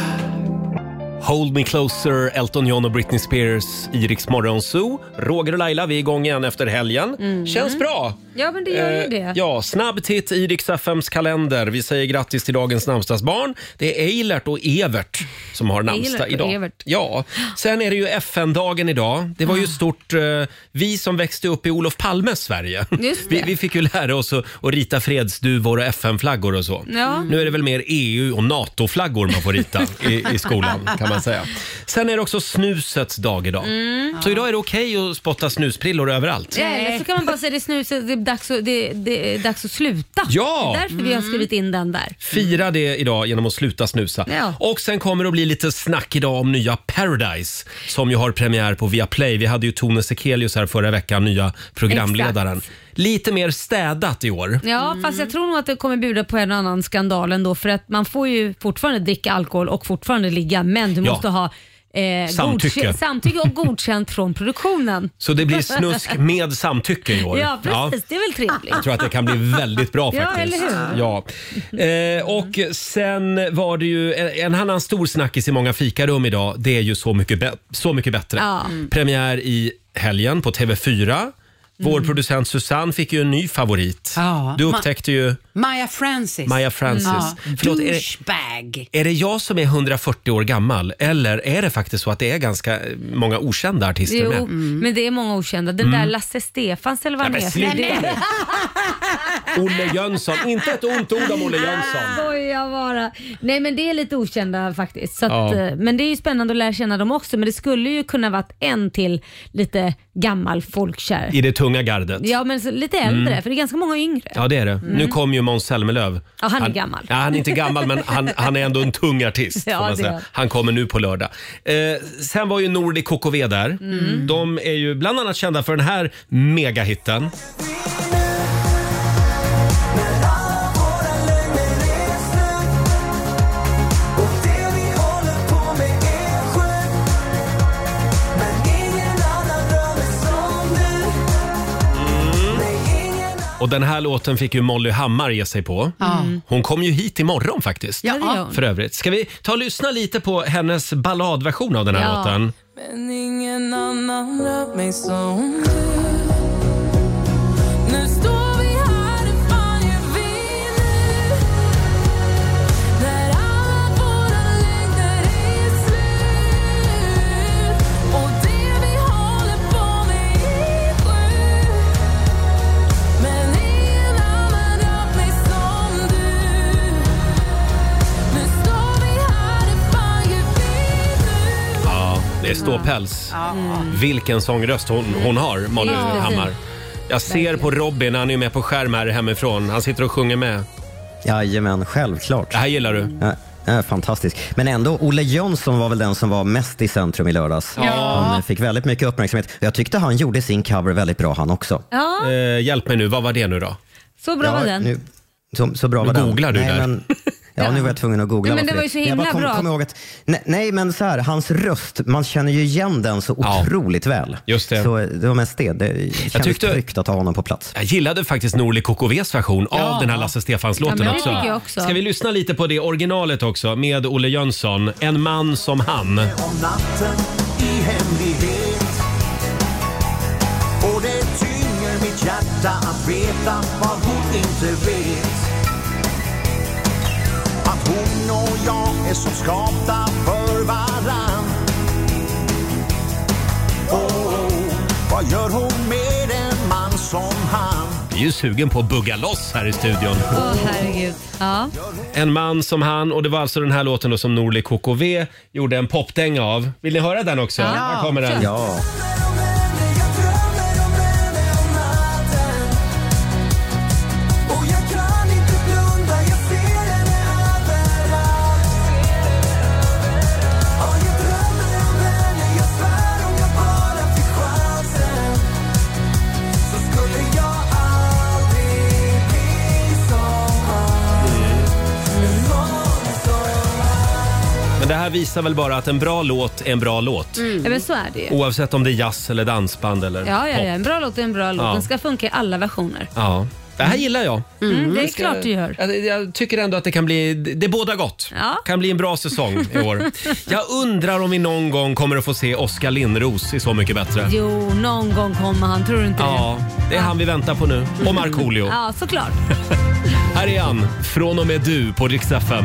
[SPEAKER 1] Hold me closer, Elton John och Britney Spears, Iriks Morgonzoo. Roger och Laila, vi är igång igen efter helgen. Känns bra.
[SPEAKER 2] Mm. Ja, men det gör ju
[SPEAKER 1] Eh,
[SPEAKER 2] det.
[SPEAKER 1] Ja, snabb titt i Rix FMs kalender. Vi säger grattis till dagens namnsdagsbarn. Det är Eilert och Evert som har
[SPEAKER 2] Eilert
[SPEAKER 1] namnsdag
[SPEAKER 2] och
[SPEAKER 1] idag.
[SPEAKER 2] Evert. Ah.
[SPEAKER 1] Ja, sen är det ju FN-dagen idag. Det var ju stort. eh, Vi som växte upp i Olof Palmes Sverige,
[SPEAKER 2] Just det.
[SPEAKER 1] vi, vi fick ju lära oss att, att rita fredsduvor och FN-flaggor och så.
[SPEAKER 2] Ja.
[SPEAKER 1] Nu är det väl mer EU och NATO-flaggor man
[SPEAKER 2] <laughs>
[SPEAKER 1] får rita i, i skolan kan man säga. Sen är det också snusets dag idag.
[SPEAKER 2] Mm.
[SPEAKER 1] Så idag är det okej att spotta snusprillor överallt.
[SPEAKER 2] Ja, Eller så kan man bara säga det är snuset, det är dags att, det, det är dags att sluta.
[SPEAKER 1] Ja! Mm.
[SPEAKER 2] Det är därför vi har skrivit in den där.
[SPEAKER 1] Fira det idag genom att sluta snusa.
[SPEAKER 2] Ja.
[SPEAKER 1] Och sen kommer det att bli lite snack idag om nya Paradise som ju har premiär på Viaplay. Vi hade ju Tone Sekelius här förra veckan, nya programledaren. Lite mer städat i år.
[SPEAKER 2] Ja, fast
[SPEAKER 1] Mm.
[SPEAKER 2] jag tror nog att det kommer bjuda på en och annan skandal ändå för att man får ju fortfarande dricka alkohol och fortfarande ligga men du
[SPEAKER 1] Ja.
[SPEAKER 2] måste ha eh,
[SPEAKER 1] Samtycke.
[SPEAKER 2] godkä- samtycke och godkänt från produktionen.
[SPEAKER 1] Så det blir snusk
[SPEAKER 2] <laughs>
[SPEAKER 1] med samtycke i år.
[SPEAKER 2] Ja, precis. Det är väl trevligt.
[SPEAKER 1] Jag tror att det kan bli väldigt bra
[SPEAKER 2] <laughs> Ja,
[SPEAKER 1] faktiskt.
[SPEAKER 2] eller hur?
[SPEAKER 1] Ja. Eh, och sen var det ju en, en annan stor snackis i många fikarum idag. Det är ju Så mycket, bä- så mycket bättre.
[SPEAKER 2] Ja. Mm.
[SPEAKER 1] Premiär i helgen på TV4. Vår producent Susanne fick ju en ny favorit.
[SPEAKER 3] Ja.
[SPEAKER 1] Du upptäckte ju...
[SPEAKER 3] Maya Francis.
[SPEAKER 1] Maya Francis. Förlåt, är det-
[SPEAKER 3] Douchebag.
[SPEAKER 1] Är det jag som är 140 år gammal eller är det faktiskt så att det är ganska eh, många okända artister
[SPEAKER 2] Jo,
[SPEAKER 1] med?
[SPEAKER 2] men det är många okända. Den
[SPEAKER 1] Mm.
[SPEAKER 2] där Lasse Stefans eller vad han
[SPEAKER 1] Nej, men
[SPEAKER 2] heter.
[SPEAKER 1] sluta.
[SPEAKER 2] det
[SPEAKER 1] <laughs>
[SPEAKER 2] är-
[SPEAKER 1] Olle Jönsson. Inte ett ont ord om Olle Jönsson.
[SPEAKER 2] Skojar bara. Nej men det är lite okända faktiskt. Så att,
[SPEAKER 1] Ja.
[SPEAKER 2] eh, Men det är ju spännande att lära känna dem också. Men det skulle ju kunna varit en till lite gammal folkkär.
[SPEAKER 1] I det tunga gardet.
[SPEAKER 2] Ja men så, lite äldre,
[SPEAKER 1] Mm.
[SPEAKER 2] för det är ganska många yngre.
[SPEAKER 1] Ja, det är det.
[SPEAKER 2] Mm.
[SPEAKER 1] Nu kom ju Måns Zelmerlöw.
[SPEAKER 2] Ja, han är gammal.
[SPEAKER 1] Ja, han är inte gammal, men han, han är ändå en tung
[SPEAKER 2] <laughs>
[SPEAKER 1] artist.
[SPEAKER 2] Ja,
[SPEAKER 1] får man
[SPEAKER 2] det
[SPEAKER 1] säga.
[SPEAKER 2] är.
[SPEAKER 1] Han kommer nu på lördag. Eh, sen var ju Nordic KKV där.
[SPEAKER 2] Mm.
[SPEAKER 1] De är ju bland annat kända för den här megahitten. Och den här låten fick ju Molly Hammar ge sig på.
[SPEAKER 3] Mm.
[SPEAKER 1] Hon kom ju hit imorgon faktiskt.
[SPEAKER 8] Ja, det gör hon.
[SPEAKER 1] För övrigt. Ska vi ta och lyssna lite på hennes balladversion av den här
[SPEAKER 8] Ja.
[SPEAKER 1] låten?
[SPEAKER 8] Men ingen annan rör mig som du Nu står vi här, hur fan gör vi nu? När alla våra längder är slut Och det vi håller på med är sjukt Men ingen annan rör mig som du Nu står vi här, hur fan gör vi nu?
[SPEAKER 1] Ja, det är ståpäls.
[SPEAKER 5] Mm.
[SPEAKER 9] Mm.
[SPEAKER 1] Vilken sångröst hon, hon har, Molly
[SPEAKER 8] Ja.
[SPEAKER 1] Hammar. Jag ser på Robin, han är med på skärm här hemifrån. Han sitter och sjunger med.
[SPEAKER 9] Jajamän, självklart. Det här
[SPEAKER 1] gillar du.
[SPEAKER 9] Ja, det är fantastisk. Men ändå, Olle Jönsson var väl den som var mest i centrum i lördags.
[SPEAKER 2] Ja.
[SPEAKER 9] Han fick väldigt mycket uppmärksamhet. Jag tyckte han gjorde sin cover väldigt bra han också.
[SPEAKER 2] Ja,
[SPEAKER 1] Eh, hjälp mig nu, vad var det nu då?
[SPEAKER 2] så bra var den.
[SPEAKER 9] Nu, så, så bra
[SPEAKER 1] Nu
[SPEAKER 9] var den.
[SPEAKER 1] googlar du
[SPEAKER 9] nej,
[SPEAKER 1] där.
[SPEAKER 9] Men, ja, nu var jag tvungen att googla.
[SPEAKER 2] Nej,
[SPEAKER 9] varför
[SPEAKER 2] men det var ju så
[SPEAKER 9] jag bara
[SPEAKER 2] himla
[SPEAKER 9] kom,
[SPEAKER 2] bra.
[SPEAKER 9] Kom ihåg att, nej, nej, men så här, hans röst, man känner ju igen den så otroligt väl.
[SPEAKER 1] Just det.
[SPEAKER 9] Så det var mest det. Det kändes
[SPEAKER 1] tyckte-
[SPEAKER 9] tryggt att ha honom på plats.
[SPEAKER 1] Jag gillade faktiskt Norli KKVs version
[SPEAKER 9] Ja.
[SPEAKER 1] av den här Lasse
[SPEAKER 9] Ja,
[SPEAKER 1] Stefans-låten
[SPEAKER 9] men det
[SPEAKER 1] också.
[SPEAKER 9] tycker jag också.
[SPEAKER 1] Ska vi lyssna lite på det originalet också med Olle Jönsson, En man som han.
[SPEAKER 4] om natten i hemlighet Och det tynger mitt hjärta att veta vad hon inte vet Att hon och jag är som skapta för varann oh, Vad gör hon med en man som han?
[SPEAKER 1] Vi är ju sugen på att bugga loss här i studion.
[SPEAKER 2] Åh herregud. Ja.
[SPEAKER 1] En man som han och det var alltså den här låten då som Norli KKV gjorde en popdänga av. Vill ni höra den också?
[SPEAKER 2] Ja.
[SPEAKER 1] Här kommer den.
[SPEAKER 9] Ja.
[SPEAKER 4] Och jag kan inte blunda, jag ser henne överallt Och jag drömmer om henne, jag svär om jag bara fick chansen Så skulle jag aldrig bli som han Någon som
[SPEAKER 1] Men det här visar väl bara att en bra låt är en bra låt.
[SPEAKER 2] ja, men så är det ju.
[SPEAKER 1] Oavsett om det är jazz eller dansband eller
[SPEAKER 2] Ja, ja,
[SPEAKER 1] pop.
[SPEAKER 2] ja. En bra låt är en bra låt.
[SPEAKER 1] Ja.
[SPEAKER 2] Den ska funka i alla versioner.
[SPEAKER 1] Ja. Det här gillar jag.
[SPEAKER 2] Mm, det är klart du gör.
[SPEAKER 1] Jag, jag tycker ändå att det kan bli, det båda gott.
[SPEAKER 2] Ja.
[SPEAKER 1] kan bli en bra säsong i år. Jag undrar om vi någon gång kommer att få se Oskar Lindros i Så mycket bättre.
[SPEAKER 2] <laughs> Jo, någon gång kommer han. Tror du inte
[SPEAKER 1] Ja, det är han vi väntar på nu. Och
[SPEAKER 2] det?
[SPEAKER 1] Markoolio.
[SPEAKER 2] Ja, såklart.
[SPEAKER 1] Här är han, Från och med du på Rix FM.